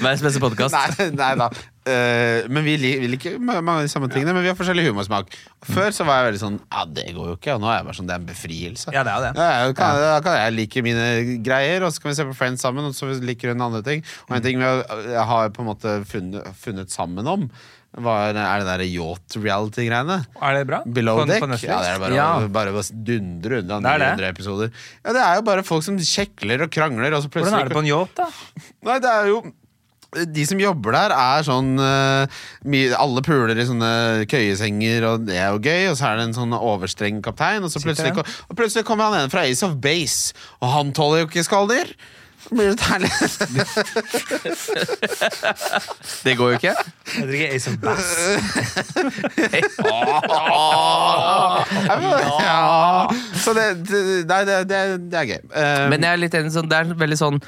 Speaker 5: Verdens beste podkast.
Speaker 3: Nei, nei da. Eh, men vi, li- vi liker ma- mange av de samme tingene, men vi har forskjellig humorsmak.
Speaker 4: Mm.
Speaker 3: Før så var jeg veldig sånn Ja, det går jo ikke. Og nå er jeg bare sånn Det er en befrielse.
Speaker 4: Ja, det er jo det.
Speaker 3: Ja, ja, kan, da kan jeg like mine greier, og så kan vi se på Friends sammen, og så liker hun andre ting.
Speaker 4: Mm.
Speaker 3: Og en ting vi har, har på en måte funnet, funnet sammen om, var, er det derre yacht-reality-greiene.
Speaker 4: Er det bra?
Speaker 3: Below
Speaker 4: På-
Speaker 3: Deck?
Speaker 4: på Netflix?
Speaker 3: ja, det er bare,
Speaker 5: Ja.
Speaker 3: bare å dundre unna
Speaker 4: Det er det.
Speaker 3: 900 episoder. Ja, det er jo bare folk som kjekler og krangler, og så plutselig
Speaker 4: Hvordan er det på en yacht, da?
Speaker 3: Nei, det er jo de som jobber der, er sånn eh, mye- Alle puler i sånne køyesenger, og det er jo gøy. Og så er det en sånn overstreng kaptein, og så plutselig,
Speaker 4: han?
Speaker 3: ko- og plutselig kommer han ene fra Ace of Base, og han tåler jo ikke skalldyr. Det Blir litt herlig.
Speaker 5: (laughs) Det går
Speaker 4: (laughs)
Speaker 5: jo ikke.
Speaker 4: Jeg drikker Ace of Bass.
Speaker 3: ja. Så det, det, nei, det, det, det er gøy. Eh,
Speaker 5: Men jeg er litt enig, sånn, det er veldig sånn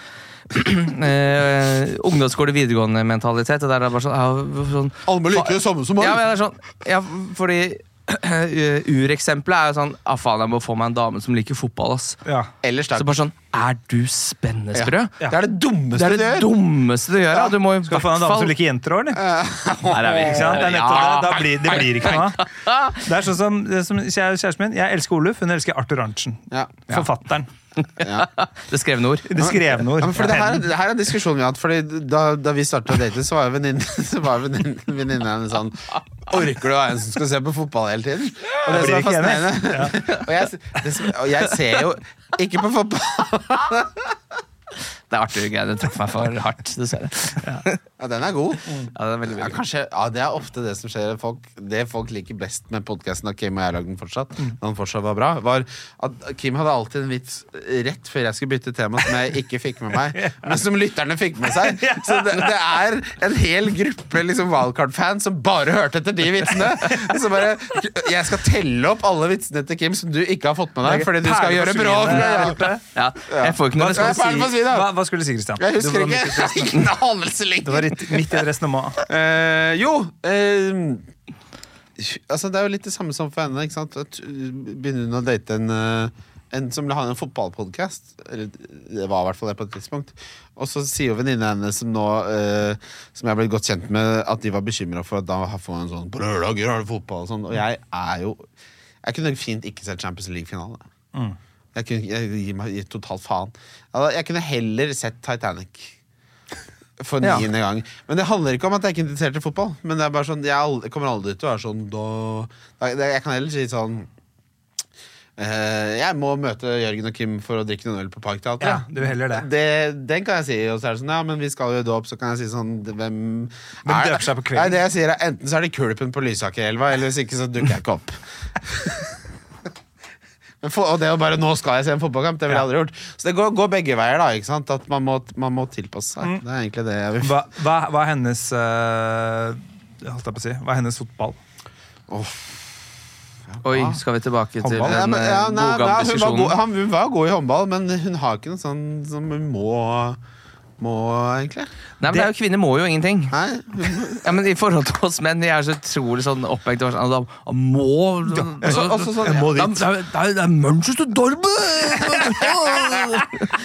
Speaker 5: (clears throat) eh, ungdomsskole, videregående-mentalitet. Det der er bare sånn, ja, sånn
Speaker 3: Alle liker det samme som meg.
Speaker 5: Ja, men det er sånn, ja, fordi (clears throat) eh, ureksempelet er jo sånn ah, faen, jeg må få meg en dame som liker fotball. ass.
Speaker 4: Ja.
Speaker 3: Ellers
Speaker 5: Så
Speaker 3: takk.
Speaker 5: bare sånn Er du spennesprø?
Speaker 3: Ja. Det er det dummeste
Speaker 5: Det er det
Speaker 3: du gjør.
Speaker 5: dummeste du gjør. Ja. Du må i
Speaker 4: Skal vi få en
Speaker 5: hvert
Speaker 4: dame
Speaker 5: fall-
Speaker 4: som liker jenter òg, eller?
Speaker 5: Der er vi.
Speaker 4: Ikke sant? Det er nettopp det. Da blir, det blir ikke noe av.
Speaker 3: (laughs)
Speaker 4: Det er sånn som, det som kjære- kjæresten min. Jeg elsker Oluf, hun elsker Arthur Arntzen.
Speaker 3: Ja.
Speaker 4: Forfatteren.
Speaker 3: Ja.
Speaker 5: Det skrevne ord.
Speaker 4: Det skrevne ord.
Speaker 3: Ja, men for det, her,
Speaker 4: Pennen.
Speaker 3: det her er en diskusjon vi har hatt. Fordi Da, da vi startet å date, så var jo venninnen- (laughs) så var venninnen venninnen hennes sånn Orker du å være en som skal se på fotball hele tiden? Og det som er
Speaker 4: Jeg blir ikke enig.
Speaker 3: fascinerende (laughs) og, jeg, det som, og jeg ser jo ikke på fotball (laughs)
Speaker 5: Det er artig greier. Det traff meg for hardt, dessverre.
Speaker 3: Ja, den er god.
Speaker 5: Ja, det er veldig,
Speaker 3: Ja,
Speaker 5: veldig.
Speaker 3: kanskje, ja, det er ofte det som skjer. Folk, det folk liker best med podkasten at Kim og jeg lagde den fortsatt,
Speaker 4: Mm.
Speaker 3: da den fortsatt var bra, var at Kim hadde alltid en vits rett før jeg skulle bytte tema som jeg ikke fikk med
Speaker 4: (laughs)
Speaker 3: meg, men som lytterne fikk med seg. Så det, det er en hel gruppe liksom Wildcard-fans som bare hørte etter de vitsene. Så bare Jeg skal telle opp alle vitsene til Kim som du ikke har fått med deg, fordi du skal
Speaker 4: Perle
Speaker 3: gjøre
Speaker 4: på
Speaker 3: bra.
Speaker 4: svinet, Bjarte.
Speaker 5: Ja, jeg får ikke noe
Speaker 3: Jeg er ferdig med å
Speaker 5: respons.
Speaker 3: si det.
Speaker 4: Hva, hva skulle du si, Christian?
Speaker 3: Jeg
Speaker 4: Det
Speaker 3: husker
Speaker 4: var midt
Speaker 3: (laughs)
Speaker 4: i-
Speaker 3: ikke. Ingen anelse lenger.
Speaker 4: Det var litt- midt i et resonnement.
Speaker 3: Eh, jo eh, Altså Det er jo litt det samme som for henne. Ikke sant? At, uh, begynner hun å date en, eh, en som har en fotballpodkast? Eller det var i hvert fall det på et tidspunkt. Og så sier jo venninna hennes som nå eh, Som jeg har blitt godt kjent med, at de var bekymra for at da får hun en sånn På lørdager har du fotball og sånn. Og jeg er jo Jeg kunne fint ikke sett Champions League-finale. Jeg kunne jeg, gir meg gir totalt faen. Altså, Jeg kunne heller sett Titanic for
Speaker 5: Ja.
Speaker 3: niende gang. Men det handler ikke om at jeg ikke er interessert i fotball. Men det er bare sånn, jeg er aldri, kommer aldri til å være sånn da, da, Jeg kan heller si sånn eh, Jeg må møte Jørgen og Kim for å drikke noen øl på
Speaker 4: Ja,
Speaker 3: Parkteatret.
Speaker 4: du heller det.
Speaker 3: Det, den kan jeg si, og så er det sånn, ja, men vi skal jo i dåp, så kan jeg si sånn det- Hvem
Speaker 4: døper seg på kvelden?
Speaker 3: Nei, det jeg sier er Enten så er det Kulpen på Lysakerelva, eller hvis ikke så dukker jeg ikke opp. Men for, og det å bare 'nå skal jeg se en fotballkamp', det ville jeg aldri gjort. Så det går, går begge veier, da. ikke sant? At man må, man må tilpasse seg. Det er egentlig det jeg vil
Speaker 4: Mm. Hva, hva, hva er hennes eh, holdt jeg på å si, Hva er hennes fotball?
Speaker 5: Oi, skal vi tilbake til
Speaker 4: Håndball?
Speaker 3: Ja,
Speaker 5: en
Speaker 3: men, ja,
Speaker 5: eh,
Speaker 3: nei, nei,
Speaker 5: godgammel
Speaker 3: hun, var god,
Speaker 5: diskusjon?
Speaker 3: han, hun var god i håndball, men hun har ikke noe sånn som hun må, må egentlig.
Speaker 5: Nei, men det er jo Kvinner må jo ingenting.
Speaker 3: Nei, hun,
Speaker 5: Ja, men I forhold til oss menn, vi er så utrolig sånn opphengt i sånn, da Må
Speaker 3: også- også sånn-
Speaker 5: Det
Speaker 3: Jeg må
Speaker 5: er- det er- det er- det er Manchester Derby!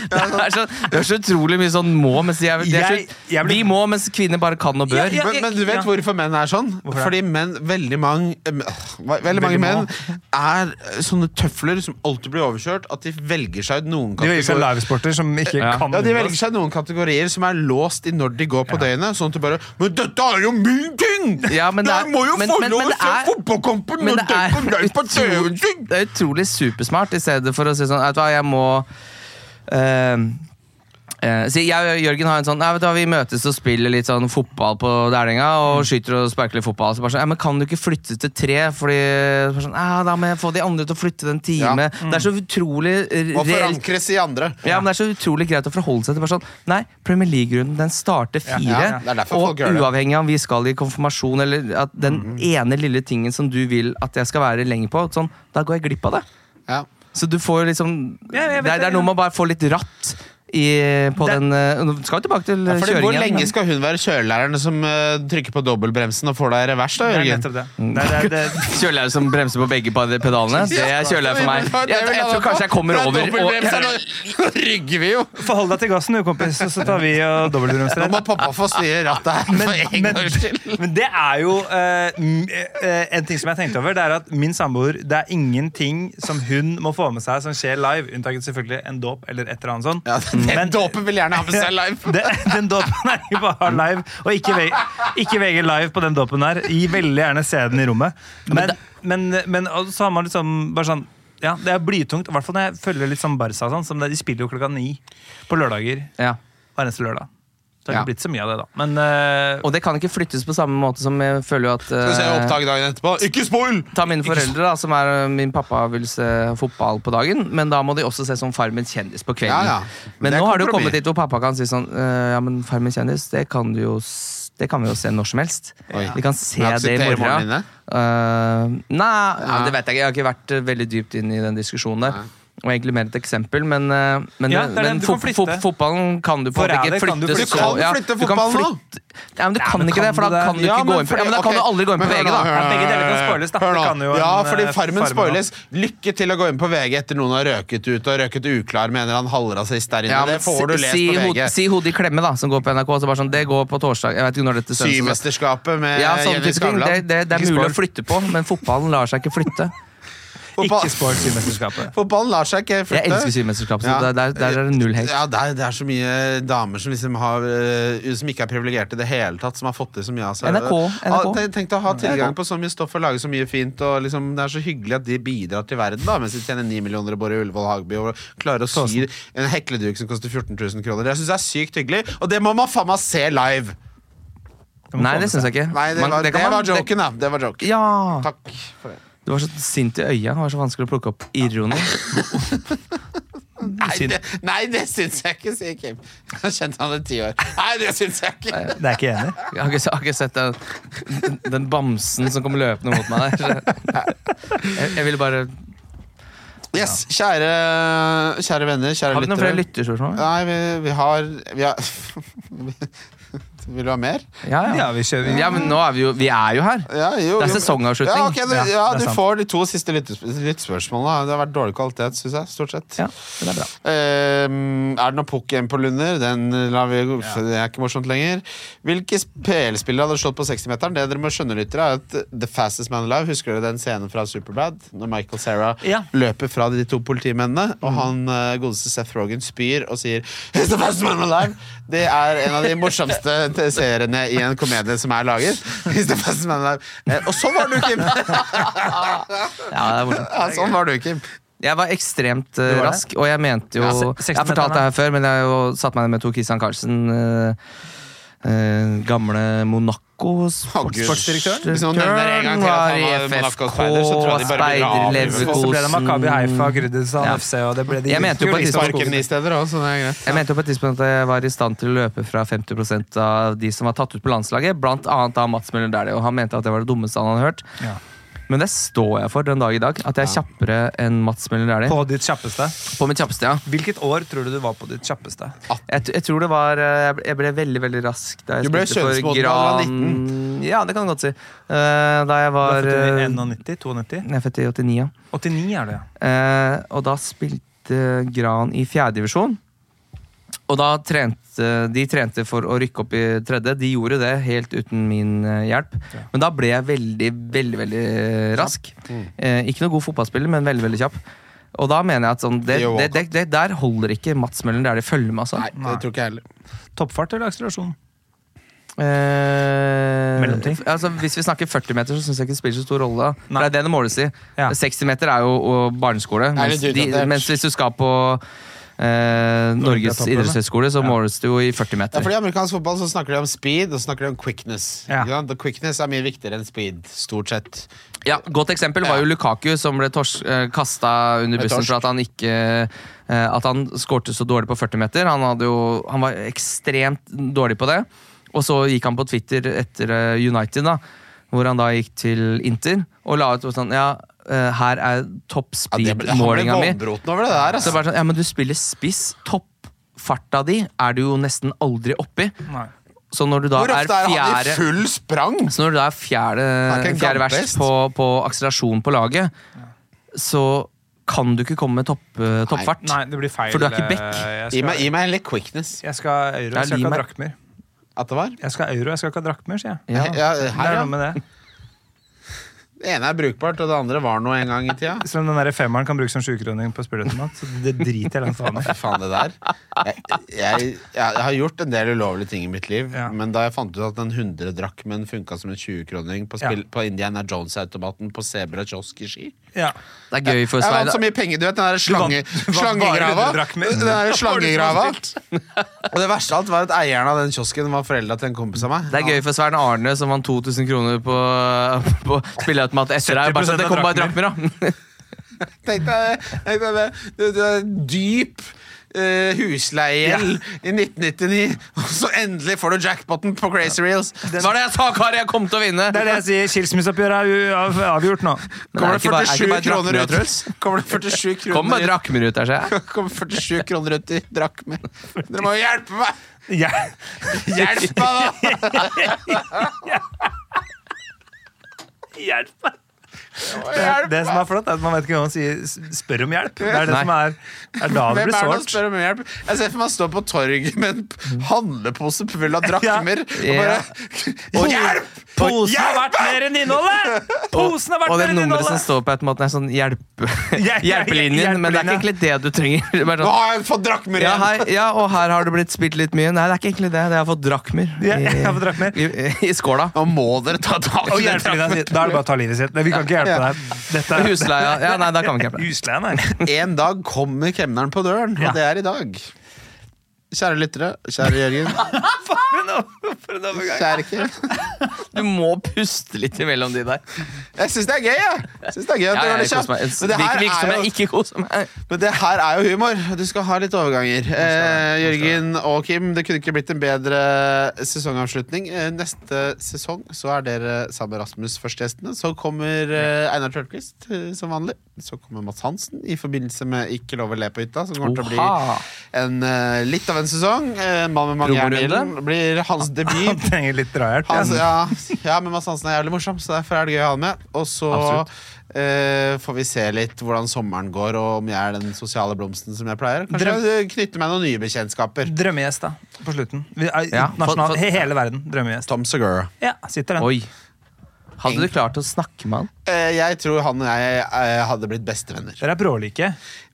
Speaker 5: Det er så, det er så utrolig mye sånn må, mens de er, de er
Speaker 4: Jeg- jeg
Speaker 5: så,
Speaker 4: blir-
Speaker 5: Vi må, mens kvinner bare kan og bør.
Speaker 4: (laughs) Ja, ja.
Speaker 3: men, men du vet
Speaker 4: Ja.
Speaker 3: hvorfor menn er sånn?
Speaker 4: Hvorfor
Speaker 3: Fordi menn, veldig mange eh, men- åh, Veldig, mange menn
Speaker 4: mange.
Speaker 3: er eh, sånne tøfler som alltid blir overkjørt. At de velger seg ut noen
Speaker 4: De velger seg
Speaker 3: kategorier.
Speaker 4: livesporter som ikke
Speaker 5: Ja.
Speaker 4: kan
Speaker 3: Ja, de
Speaker 4: unngås.
Speaker 3: velger seg noen kategorier som er låst i når de går på døgnet. Sånn at du bare Men dette er jo min ting!
Speaker 5: Ja, men det er-
Speaker 3: jeg må jo
Speaker 5: men-
Speaker 3: få
Speaker 5: men-
Speaker 3: lov
Speaker 5: men
Speaker 3: å
Speaker 5: det
Speaker 3: se
Speaker 5: er-
Speaker 3: fotballkampen når
Speaker 5: Men det
Speaker 3: den
Speaker 5: er,
Speaker 3: kommer på TV-en
Speaker 5: utrolig, det er utrolig supersmart, i stedet for å si sånn Vet du hva, jeg må eh, eh, si, jeg og Jørgen har en sånn Nei, vet du hva, Vi møtes og spiller litt sånn fotball på Dælinga og skyter og sparker litt fotball. Så bare sånn, «Nei, men Kan du ikke flytte til tre? Fordi så bare sånn, «Nei, Da må jeg få de andre til å flytte den time.
Speaker 3: Ja.
Speaker 5: Det er så utrolig eh,
Speaker 3: Og
Speaker 5: reelt
Speaker 3: forankres i andre.
Speaker 5: ja, men Det er så utrolig greit å forholde seg til bare sånn Nei, Premier League-runden den starter fire.
Speaker 3: Ja, ja. Det er derfor folk
Speaker 5: Og
Speaker 3: gjør det.
Speaker 5: uavhengig av om vi skal i konfirmasjon eller at den ene lille tingen som du vil at jeg skal være lenger på, sånn, da går jeg glipp av det.
Speaker 3: Ja.
Speaker 5: Så du får jo liksom
Speaker 4: Ja, jeg vet
Speaker 5: det, er- det
Speaker 4: det,
Speaker 5: er noe
Speaker 4: ja.
Speaker 5: med å bare få litt ratt i, på
Speaker 4: Det-
Speaker 5: den eh, Nå skal vi tilbake til eh,
Speaker 3: Fordi
Speaker 5: kjøringen.
Speaker 3: Hvor lenge skal hun være kjørelæreren som eh, trykker på dobbeltbremsen og får deg i revers? da,
Speaker 4: Det er
Speaker 3: Jørgen?
Speaker 4: nettopp det. det, er- (laughs) det, er- det.
Speaker 5: Kjølelærer som bremser på begge pad- pedalene? Det er kjølelærer for meg. Jeg, jeg, tror kanskje jeg kommer over og
Speaker 3: Nå (laughs) rygger vi jo!
Speaker 4: Forhold deg til gassen, du, kompis, og så tar vi og
Speaker 3: Nå må
Speaker 4: dobbeltromsrett.
Speaker 3: pappa få styre rattet her.
Speaker 4: Men,
Speaker 3: for en
Speaker 4: men,
Speaker 3: gangs skyld.
Speaker 4: men det er jo eh, m- eh, En ting som jeg tenkte over, det er at min samboer Det er ingenting som hun må få med seg som skjer live, unntaket selvfølgelig en dåp eller et eller annet sånt.
Speaker 3: Ja,
Speaker 4: Men-
Speaker 3: (laughs) den dåpen vil gjerne ha med seg live.
Speaker 4: (laughs) Det, den dåpen er ikke bare live, og ikke, VG, ikke VG live på den dåpen her. Gi veldig gjerne se den i rommet. Men, men, men og så har man liksom bare sånn ja, Det er blytungt, i hvert fall når jeg følger litt sånn Barca. og Sånn, som det, de spiller jo klokka ni på lørdager
Speaker 5: ja.
Speaker 4: hver eneste lørdag. Så det har
Speaker 3: Ja.
Speaker 4: ikke blitt så mye av det, da. Men eh,
Speaker 5: Og det kan ikke flyttes på samme måte som jeg føler jo at
Speaker 3: Skal vi se
Speaker 5: eh,
Speaker 3: opptak dagen etterpå. Ikke spoil!
Speaker 5: Ta mine foreldre, da, som er øh, min pappa vil se fotball på dagen, men da må de også se sånn Farmen kjendis på kvelden.
Speaker 3: Ja, ja.
Speaker 5: Men
Speaker 3: Det er
Speaker 5: nå har det jo
Speaker 3: kompromiss.
Speaker 5: kommet dit hvor pappa kan si sånn øh, Ja, men Farmen kjendis, det kan du jo s- det kan vi jo se når som helst.
Speaker 3: Oi.
Speaker 5: Vi kan se
Speaker 3: Men
Speaker 5: det i
Speaker 3: aksepterer moren
Speaker 5: morgen.
Speaker 3: din det?
Speaker 5: Øh, nei, ja,
Speaker 3: Nei.
Speaker 5: det vet jeg ikke. Jeg har ikke vært øh, veldig dypt inn i den diskusjonen der.
Speaker 3: Nei.
Speaker 5: Og egentlig mer et eksempel, men, øh, men,
Speaker 4: Ja, det er det,
Speaker 5: men
Speaker 4: du kan
Speaker 5: fot-
Speaker 4: flytte.
Speaker 5: fot- fotballen kan du på en måte
Speaker 4: Forræder
Speaker 5: ikke
Speaker 4: kan du
Speaker 5: flytte
Speaker 4: flytte.
Speaker 3: Du kan flytte fotballen nå.
Speaker 5: Ja, men du kan
Speaker 4: men
Speaker 5: ikke
Speaker 4: kan
Speaker 5: det, for
Speaker 4: du det?
Speaker 5: da kan du
Speaker 3: Ja,
Speaker 5: ikke
Speaker 3: men
Speaker 5: gå inn på
Speaker 3: fordi-
Speaker 5: Ja, men da kan
Speaker 3: ok.
Speaker 5: du aldri gå inn på
Speaker 3: Men hør
Speaker 5: VG,
Speaker 3: nå,
Speaker 5: da.
Speaker 3: hør nå,
Speaker 4: Ja, begge deler kan
Speaker 3: hør nå.
Speaker 4: spoiles, da.
Speaker 3: Eh, Hør nå.
Speaker 4: Det kan jo
Speaker 3: ja,
Speaker 4: en,
Speaker 3: fordi
Speaker 4: eh,
Speaker 3: Farmen
Speaker 4: Farmen
Speaker 3: spoiles. Lykke til å gå inn på VG etter noen har røket ut og røket uklar med en eller annen halvrasist der inne.
Speaker 5: Ja, men
Speaker 3: det får du
Speaker 5: si-
Speaker 3: lest
Speaker 5: si,
Speaker 3: på
Speaker 5: hod-
Speaker 3: VG.
Speaker 5: Si hodet i klemme, da, som går på NRK. Så bare sånn, det går på torsdag. Jeg vet ikke når dette sendes.
Speaker 3: Symesterskapet med
Speaker 5: Ja, sånne
Speaker 3: Jenny
Speaker 5: type ting.
Speaker 3: eh, Skavlan.
Speaker 5: Det, det, det er
Speaker 3: Ikke
Speaker 5: mulig å
Speaker 3: spoil.
Speaker 5: flytte på, men fotballen lar seg ikke
Speaker 3: (laughs)
Speaker 5: flytte.
Speaker 3: Fotball-
Speaker 4: ikke spoil Symesterskapet.
Speaker 3: Fotballen lar seg ikke flytte.
Speaker 5: Jeg elsker symesterskapet, så
Speaker 3: Ja.
Speaker 5: der, der, der er det null hate.
Speaker 3: Ja, der, det er så mye damer som liksom har eh, Som ikke er privilegerte i det hele tatt, som har fått til så mye av seg.
Speaker 5: NRK,
Speaker 3: Ah,
Speaker 5: NRK.
Speaker 3: tenk- Tenk å ha tilgang på så mye stoff og lage så mye fint. Og liksom, det er så hyggelig at de bidrar til verden, da, mens de tjener 9 millioner og bor i Ullevål Hagby og klarer å sy en hekleduk som koster 14 000 kroner. Jeg syns det er sykt hyggelig, og det må man faen meg se live!
Speaker 5: Nei, det syns jeg ikke.
Speaker 3: Nei, det
Speaker 5: Man-
Speaker 3: var, det
Speaker 5: kan man-
Speaker 3: var joken, da. Det var joken.
Speaker 5: Ja!
Speaker 3: Takk for det.
Speaker 5: Du var så sint i øya. Det var så vanskelig å plukke opp ironi.
Speaker 3: Nei, det, nei, det syns jeg ikke, sier Kim. (laughs) Jeg har kjent han i ti år. Nei, det syns jeg ikke.
Speaker 4: Det er ikke jeg enig. i.
Speaker 5: Jeg har ikke, jeg har ikke sett den, den, den bamsen som kom løpende mot meg der. Jeg, jeg ville bare
Speaker 3: Yes, kjære, kjære venner, kjære
Speaker 5: Har vi noen flere
Speaker 3: lyttere.
Speaker 5: lytterspørsmål?
Speaker 3: Nei, vi, vi har, vi har (laughs) Vil du ha mer?
Speaker 5: Ja, ja.
Speaker 4: Ja, vi kjører.
Speaker 5: ja, men nå er vi jo Vi er jo her.
Speaker 3: Ja, jo,
Speaker 5: Det er
Speaker 3: jo.
Speaker 5: sesongavslutning.
Speaker 3: Ja, ok, du,
Speaker 4: Ja,
Speaker 3: ja,
Speaker 4: det er
Speaker 3: du
Speaker 4: sant.
Speaker 3: får de to siste lyttes- lyttespørsmålene. Det har vært dårlig kvalitet, syns jeg. Stort sett.
Speaker 5: Ja, det er bra.
Speaker 3: Ehm, er det noe pukk igjen på Lunder? Den lar vi gå, for Det er ikke morsomt lenger. Hvilke PL-spillere hadde slått på 60-meteren? Det dere må skjønne, lyttere, er at The Fastest Man Alive Husker dere den scenen fra Superbad? Når Michael Sarah
Speaker 4: Ja.
Speaker 3: løper fra de to politimennene, og han eh, godeste Seth Rogan spyr og sier He's the fastest man alive! Det er en av de morsomste t- seriene i en komedie som er laget. He's the fastest man alive. Eh, og sånn var du, Kim!
Speaker 5: Ja, det er morsomt.
Speaker 3: (laughs) ja, sånn var du, Kim.
Speaker 5: Jeg var ekstremt eh,
Speaker 4: var det?
Speaker 5: rask, og jeg mente jo
Speaker 4: Ja, se-
Speaker 5: Jeg har fortalt det her før, men jeg har jo satt meg ned med Tor Christian Carlsen. eh, eh, gamle Monaco
Speaker 3: Gud.
Speaker 5: sportsdirektøren
Speaker 3: Hvis noen nevner en gang til at
Speaker 5: var
Speaker 3: han
Speaker 5: i
Speaker 3: var
Speaker 5: FFK,
Speaker 3: Monaco-speider, så tror jeg de bare blir
Speaker 5: speider
Speaker 3: avlivet.
Speaker 4: Og så ble det Makabi Haifa,
Speaker 5: Leverkosen
Speaker 4: Grudisan
Speaker 5: Ja.
Speaker 4: FC, og det ble de
Speaker 5: Jeg mente jo på et tidspunkt-
Speaker 3: Sparken i steder også, så
Speaker 4: sånn,
Speaker 3: det er greit.
Speaker 5: Jeg mente jo på et tidspunkt at jeg var i stand til å løpe fra 50 av de som var tatt ut på landslaget, blant annet av Mats Møller Dæhlie, og han mente at det var det dummeste han hadde hørt.
Speaker 4: Ja.
Speaker 5: Men det står jeg for den dag i dag, at jeg er kjappere enn Mats Møller Dæhlie.
Speaker 4: På ditt kjappeste.
Speaker 5: På mitt kjappeste, ja.
Speaker 4: Hvilket år tror du du var på ditt kjappeste?
Speaker 5: Jeg, t- jeg tror det var eh, Jeg ble, jeg ble veldig veldig rask da jeg
Speaker 3: Du ble
Speaker 5: spilte for
Speaker 3: kjønnsmodell da du var
Speaker 5: Gran Ja, det kan du godt si. Eh, da jeg var eh,
Speaker 4: 91, 92?
Speaker 5: Jeg er født i 89, ja.
Speaker 4: 89 er det, ja.
Speaker 5: Eh, og da spilte Gran i fjerdedivisjon. Og da trente de trente for å rykke opp i tredje. De gjorde det helt uten min eh, hjelp. Men da
Speaker 3: Mm.
Speaker 5: Eh, ble jeg veldig, veldig veldig rask. Eh, ikke noe god fotballspiller, men veldig veldig kjapp. Og da mener jeg at sånn, det,
Speaker 3: Det gjør
Speaker 5: det, det, det, der holder ikke Mats Møller der de følger med, altså.
Speaker 3: Nei, det tror ikke jeg heller.
Speaker 4: Toppfart eller akselerasjon?
Speaker 5: Eh,
Speaker 4: Mellomting?
Speaker 5: f- Altså, hvis vi snakker 40 meter, så syns jeg ikke det spiller så stor rolle. da. For
Speaker 4: Nei.
Speaker 5: Det er det det måles i.
Speaker 4: Ja.
Speaker 5: 60 meter er jo og barneskole.
Speaker 3: er
Speaker 5: Mens,
Speaker 3: litt
Speaker 5: de,
Speaker 3: utdatert.
Speaker 5: mens hvis du skal på eh, Norges
Speaker 4: Olympiatoppen,
Speaker 5: idrettshøgskole, så måles det jo i
Speaker 3: Ja,
Speaker 5: 40 meter.
Speaker 3: fordi I amerikansk fotball så snakker de om speed og så snakker de om quickness.
Speaker 4: Ja.
Speaker 3: Ikke sant? Og quickness er mye viktigere enn speed, stort sett.
Speaker 5: Ja, Godt eksempel var jo Lukaku, som ble tors- eh, kasta under
Speaker 3: Med
Speaker 5: bussen
Speaker 3: torsk.
Speaker 5: for at han ikke eh, At han skårte så dårlig på 40 meter. Han, hadde jo, han var ekstremt dårlig på det. Og så gikk han på Twitter etter eh, United, da, hvor han da gikk til Inter og la ut sånn Ja, eh, her er topp
Speaker 3: Ja, det ble, han ble
Speaker 5: speed-målinga mi.
Speaker 3: voldbroten over det der.
Speaker 5: Så
Speaker 3: Altså.
Speaker 5: bare sånn, ja, men du spiller spiss. Toppfarta di er du jo nesten aldri oppi.
Speaker 4: Nei.
Speaker 5: Så når du da
Speaker 3: Hvor
Speaker 5: er
Speaker 3: ofte er han i
Speaker 5: fjerde
Speaker 3: full sprang?
Speaker 5: så når du da er fjerde,
Speaker 3: ikke en
Speaker 5: fjerde vers
Speaker 3: gammest.
Speaker 5: på, på akselerasjon på laget, så kan du ikke komme med topp, eh, toppfart.
Speaker 4: Nei, det blir feil.
Speaker 5: For du er ikke Beck.
Speaker 4: eh,
Speaker 3: Gi
Speaker 4: Jeg
Speaker 3: meg,
Speaker 4: skal,
Speaker 3: gi meg litt quickness.
Speaker 4: jeg skal ha euro,
Speaker 5: Ja,
Speaker 4: jeg skal
Speaker 5: gi
Speaker 4: ikke ha
Speaker 5: meg-
Speaker 4: drakmer.
Speaker 3: At det var?
Speaker 4: Jeg skal ha euro, jeg skal ikke ha drakmer, sier jeg.
Speaker 5: Ja.
Speaker 3: Ja,
Speaker 4: det
Speaker 3: her,
Speaker 4: er
Speaker 3: ja.
Speaker 4: noe med det.
Speaker 3: Det ene er brukbart, og det andre var noe en gang i tida.
Speaker 4: Selv om den der femmeren kan brukes som sjukroning på spilleautomat, så det driter jeg langt faen i.
Speaker 3: Fy faen, det der. Jeg, jeg, jeg har gjort en del ulovlige ting i mitt liv,
Speaker 4: Ja.
Speaker 3: men da jeg fant ut at den 100-drakmen funka som en 20-kroning på, spill-
Speaker 4: Ja.
Speaker 3: på Indiana Jones-automaten på Sebra kiosk i Ski
Speaker 4: Ja.
Speaker 5: Det er gøy for
Speaker 3: Jeg vant så
Speaker 5: Svein.
Speaker 3: mye penger, du vet den der slange,
Speaker 4: vant bare
Speaker 3: slangegrava.
Speaker 4: 100 drakmer.
Speaker 3: Den der slangegrava.
Speaker 4: Det
Speaker 3: (laughs) Og det verste av alt var at eieren av den kiosken var foreldra til en kompis av meg.
Speaker 5: Det er gøy for Svein Arne, som vant 2000 kroner på, (laughs) på spilleautomat etter deg. Bare sånn, det kom bare drakmer, da.
Speaker 3: Tenk deg, tenk deg det. Du, du er dyp uh, husleiegjeld i 1999, og så endelig får du jackpoten på Crazy Reels.
Speaker 5: Hva er det jeg sa, Kari? Jeg kom til å vinne!
Speaker 4: er det jeg sier. Skilsmisseoppgjøret er u- av- avgjort nå.
Speaker 3: Kommer det
Speaker 5: ikke bare- er ikke
Speaker 3: 47
Speaker 5: bare
Speaker 3: kroner
Speaker 5: drakmer,
Speaker 3: ut, Truls? Kommer det 47
Speaker 5: (laughs) Kom med
Speaker 3: kroner ut?
Speaker 5: drakmer ut der, ser
Speaker 4: (laughs)
Speaker 5: jeg.
Speaker 3: (laughs) Kommer 47 kroner ut i drakmer. Dere må jo hjelpe meg!
Speaker 4: Ja.
Speaker 3: Hjelp meg, da!
Speaker 4: Hjelp meg!
Speaker 3: Hjelp
Speaker 4: Det som
Speaker 3: meg!
Speaker 4: er flott, er at man vet ikke hva man sier. s- Spør om hjelp. Det er det
Speaker 5: Nei.
Speaker 4: som er, det er da det
Speaker 3: Hvem
Speaker 4: blir
Speaker 3: er det som
Speaker 4: sårt.
Speaker 3: spør om hjelp? Jeg ser for meg å stå på torget med en handlepose full av drakmer og bare (laughs) Hjelp!
Speaker 4: Posen har vært mer enn innholdet! Posen har vært
Speaker 5: Og det
Speaker 4: mer enn
Speaker 5: nummeret som
Speaker 4: innholdet!
Speaker 5: står på automaten, er sånn hjelpe,
Speaker 4: (laughs) ja, ja,
Speaker 5: hjelpelinjen. Men det er ikke egentlig det du trenger. (laughs) Det er bare
Speaker 3: Nå
Speaker 5: sånn,
Speaker 3: har jeg fått drakmer
Speaker 5: ja,
Speaker 3: igjen!
Speaker 5: hei, ja, og her har det blitt spilt litt mye. Nei, det er ikke egentlig det. Det er jeg har fått drakmer
Speaker 4: Ja, jeg har fått drakmer.
Speaker 5: i, i, i skåla.
Speaker 3: Nå må dere ta tak
Speaker 4: Og
Speaker 3: i den
Speaker 4: hjelpelinja sier Da er det bare å ta livet sitt. Nei, vi kan ikke hjelpe deg. Dette er
Speaker 5: Husleia Ja, nei, da kan vi ikke hjelpe.
Speaker 4: Husleie, nei.
Speaker 3: En dag kommer kemneren på døren, og
Speaker 4: Ja.
Speaker 3: det er i dag. Kjære lyttere, kjære
Speaker 5: (laughs)
Speaker 3: Jørgen, kjære Kim.
Speaker 5: Du må puste litt imellom de der.
Speaker 3: Jeg syns det er gøy, jeg. jeg. Synes det er gøy at
Speaker 5: Ja,
Speaker 3: det
Speaker 5: ja,
Speaker 3: var
Speaker 5: jeg
Speaker 3: litt
Speaker 5: koser
Speaker 3: kjapt.
Speaker 5: meg. Jeg
Speaker 3: Men det,
Speaker 5: virker- virker som
Speaker 3: her er
Speaker 5: jeg
Speaker 3: jo,
Speaker 5: ikke koser meg.
Speaker 3: men det her er jo humor. Du skal ha litt overganger. Eh, Jørgen og Kim, det kunne ikke blitt en bedre sesongavslutning. Eh, neste sesong så er dere sammen med Rasmus førstegjestene. Så kommer eh, Einar Tørnquist eh, som vanlig. Så kommer Mads Hansen i forbindelse med Ikke lov å le på hytta, som kommer til å bli
Speaker 5: Oha.
Speaker 3: en, eh, litt av en sesong. Eh, En mann med mange jern i
Speaker 5: Promorunde?
Speaker 3: ilden blir hans
Speaker 4: Han (laughs)
Speaker 3: debut.
Speaker 4: trenger litt drahjelp.
Speaker 3: Han,
Speaker 4: ja.
Speaker 3: ja, ja, men Mads Hansen er jævlig morsom, så derfor er det gøy å ha han med. Og så
Speaker 5: Absolutt.
Speaker 3: eh, får vi se litt hvordan sommeren går, og om jeg er den sosiale blomsten som jeg pleier. Kanskje
Speaker 4: Drøm-
Speaker 3: jeg knytter meg noen nye bekjentskaper.
Speaker 4: Drømmegjest, da. På slutten. Vi er
Speaker 5: Ja,
Speaker 4: internasjonal,
Speaker 5: for- for-
Speaker 4: he- hele verden. Drømmegjest.
Speaker 3: Tom Segura.
Speaker 4: Ja, sitter den.
Speaker 5: Oi. Hadde du klart å snakke med han?
Speaker 3: Eh, jeg tror han og jeg eh, hadde blitt bestevenner.
Speaker 4: Dere er brålike.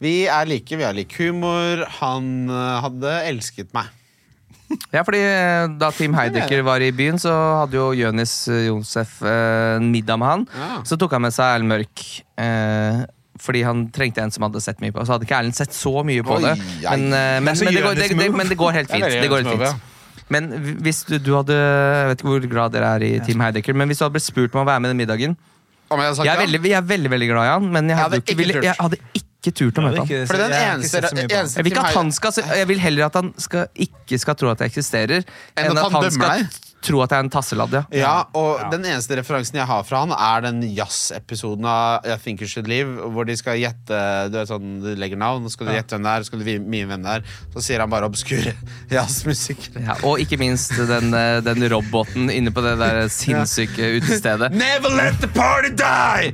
Speaker 3: Vi er like, vi har lik humor. Han eh, hadde elsket meg.
Speaker 5: Ja, fordi eh, Da Team Heidecker var i byen, så hadde jo Jonis eh, Jonsef eh, en middag med han.
Speaker 3: Ja.
Speaker 5: Så tok han med seg Erlend Mørk. Eh, fordi han trengte en som hadde sett mye på Så hadde ikke Erlend sett så mye på
Speaker 3: Oi,
Speaker 5: det.
Speaker 3: ei.
Speaker 5: Men, eh, men,
Speaker 4: Det er så
Speaker 5: men, det, går, det,
Speaker 4: Jonis
Speaker 5: det,
Speaker 4: move.
Speaker 5: men det går helt
Speaker 3: Det er
Speaker 5: fint.
Speaker 3: veldig
Speaker 5: Det går
Speaker 3: Jonis
Speaker 5: helt
Speaker 3: move,
Speaker 5: fint. Men hvis du, du hadde Jeg vet ikke hvor glad dere er i Team Heidecker, men hvis du hadde blitt spurt om å være med den middagen
Speaker 3: Om jeg hadde sagt
Speaker 5: Jeg er
Speaker 3: ja?
Speaker 5: veldig, jeg er veldig, veldig glad i han, men jeg hadde,
Speaker 3: hadde
Speaker 5: jo ikke,
Speaker 3: ikke
Speaker 5: ville,
Speaker 3: turt.
Speaker 5: jeg hadde ikke turt å møte han.
Speaker 3: For den
Speaker 4: Jeg har ikke
Speaker 3: eneste,
Speaker 4: sett så mye på han.
Speaker 3: eneste
Speaker 5: Jeg vil ikke at
Speaker 3: Tim
Speaker 5: han skal, jeg vil heller at han skal, ikke skal tro at jeg eksisterer, enn at, han,
Speaker 3: dømmer
Speaker 5: skal
Speaker 3: deg.
Speaker 5: tro at jeg er en tasseladd. Ja.
Speaker 3: Ja, og
Speaker 4: Ja.
Speaker 3: den eneste referansen jeg har fra han, er den jazz-episoden av I Think You Should Live, hvor de skal gjette Du vet sånn, du legger navn, så skal du gjette hvem det er, så skal du vi- mime hvem det er. Så sier han bare obskure (laughs) jazzmusikere.
Speaker 5: Ja, og ikke minst den, eh, den roboten inne på det (laughs) der sinnssyke utestedet.
Speaker 3: Never let the party die!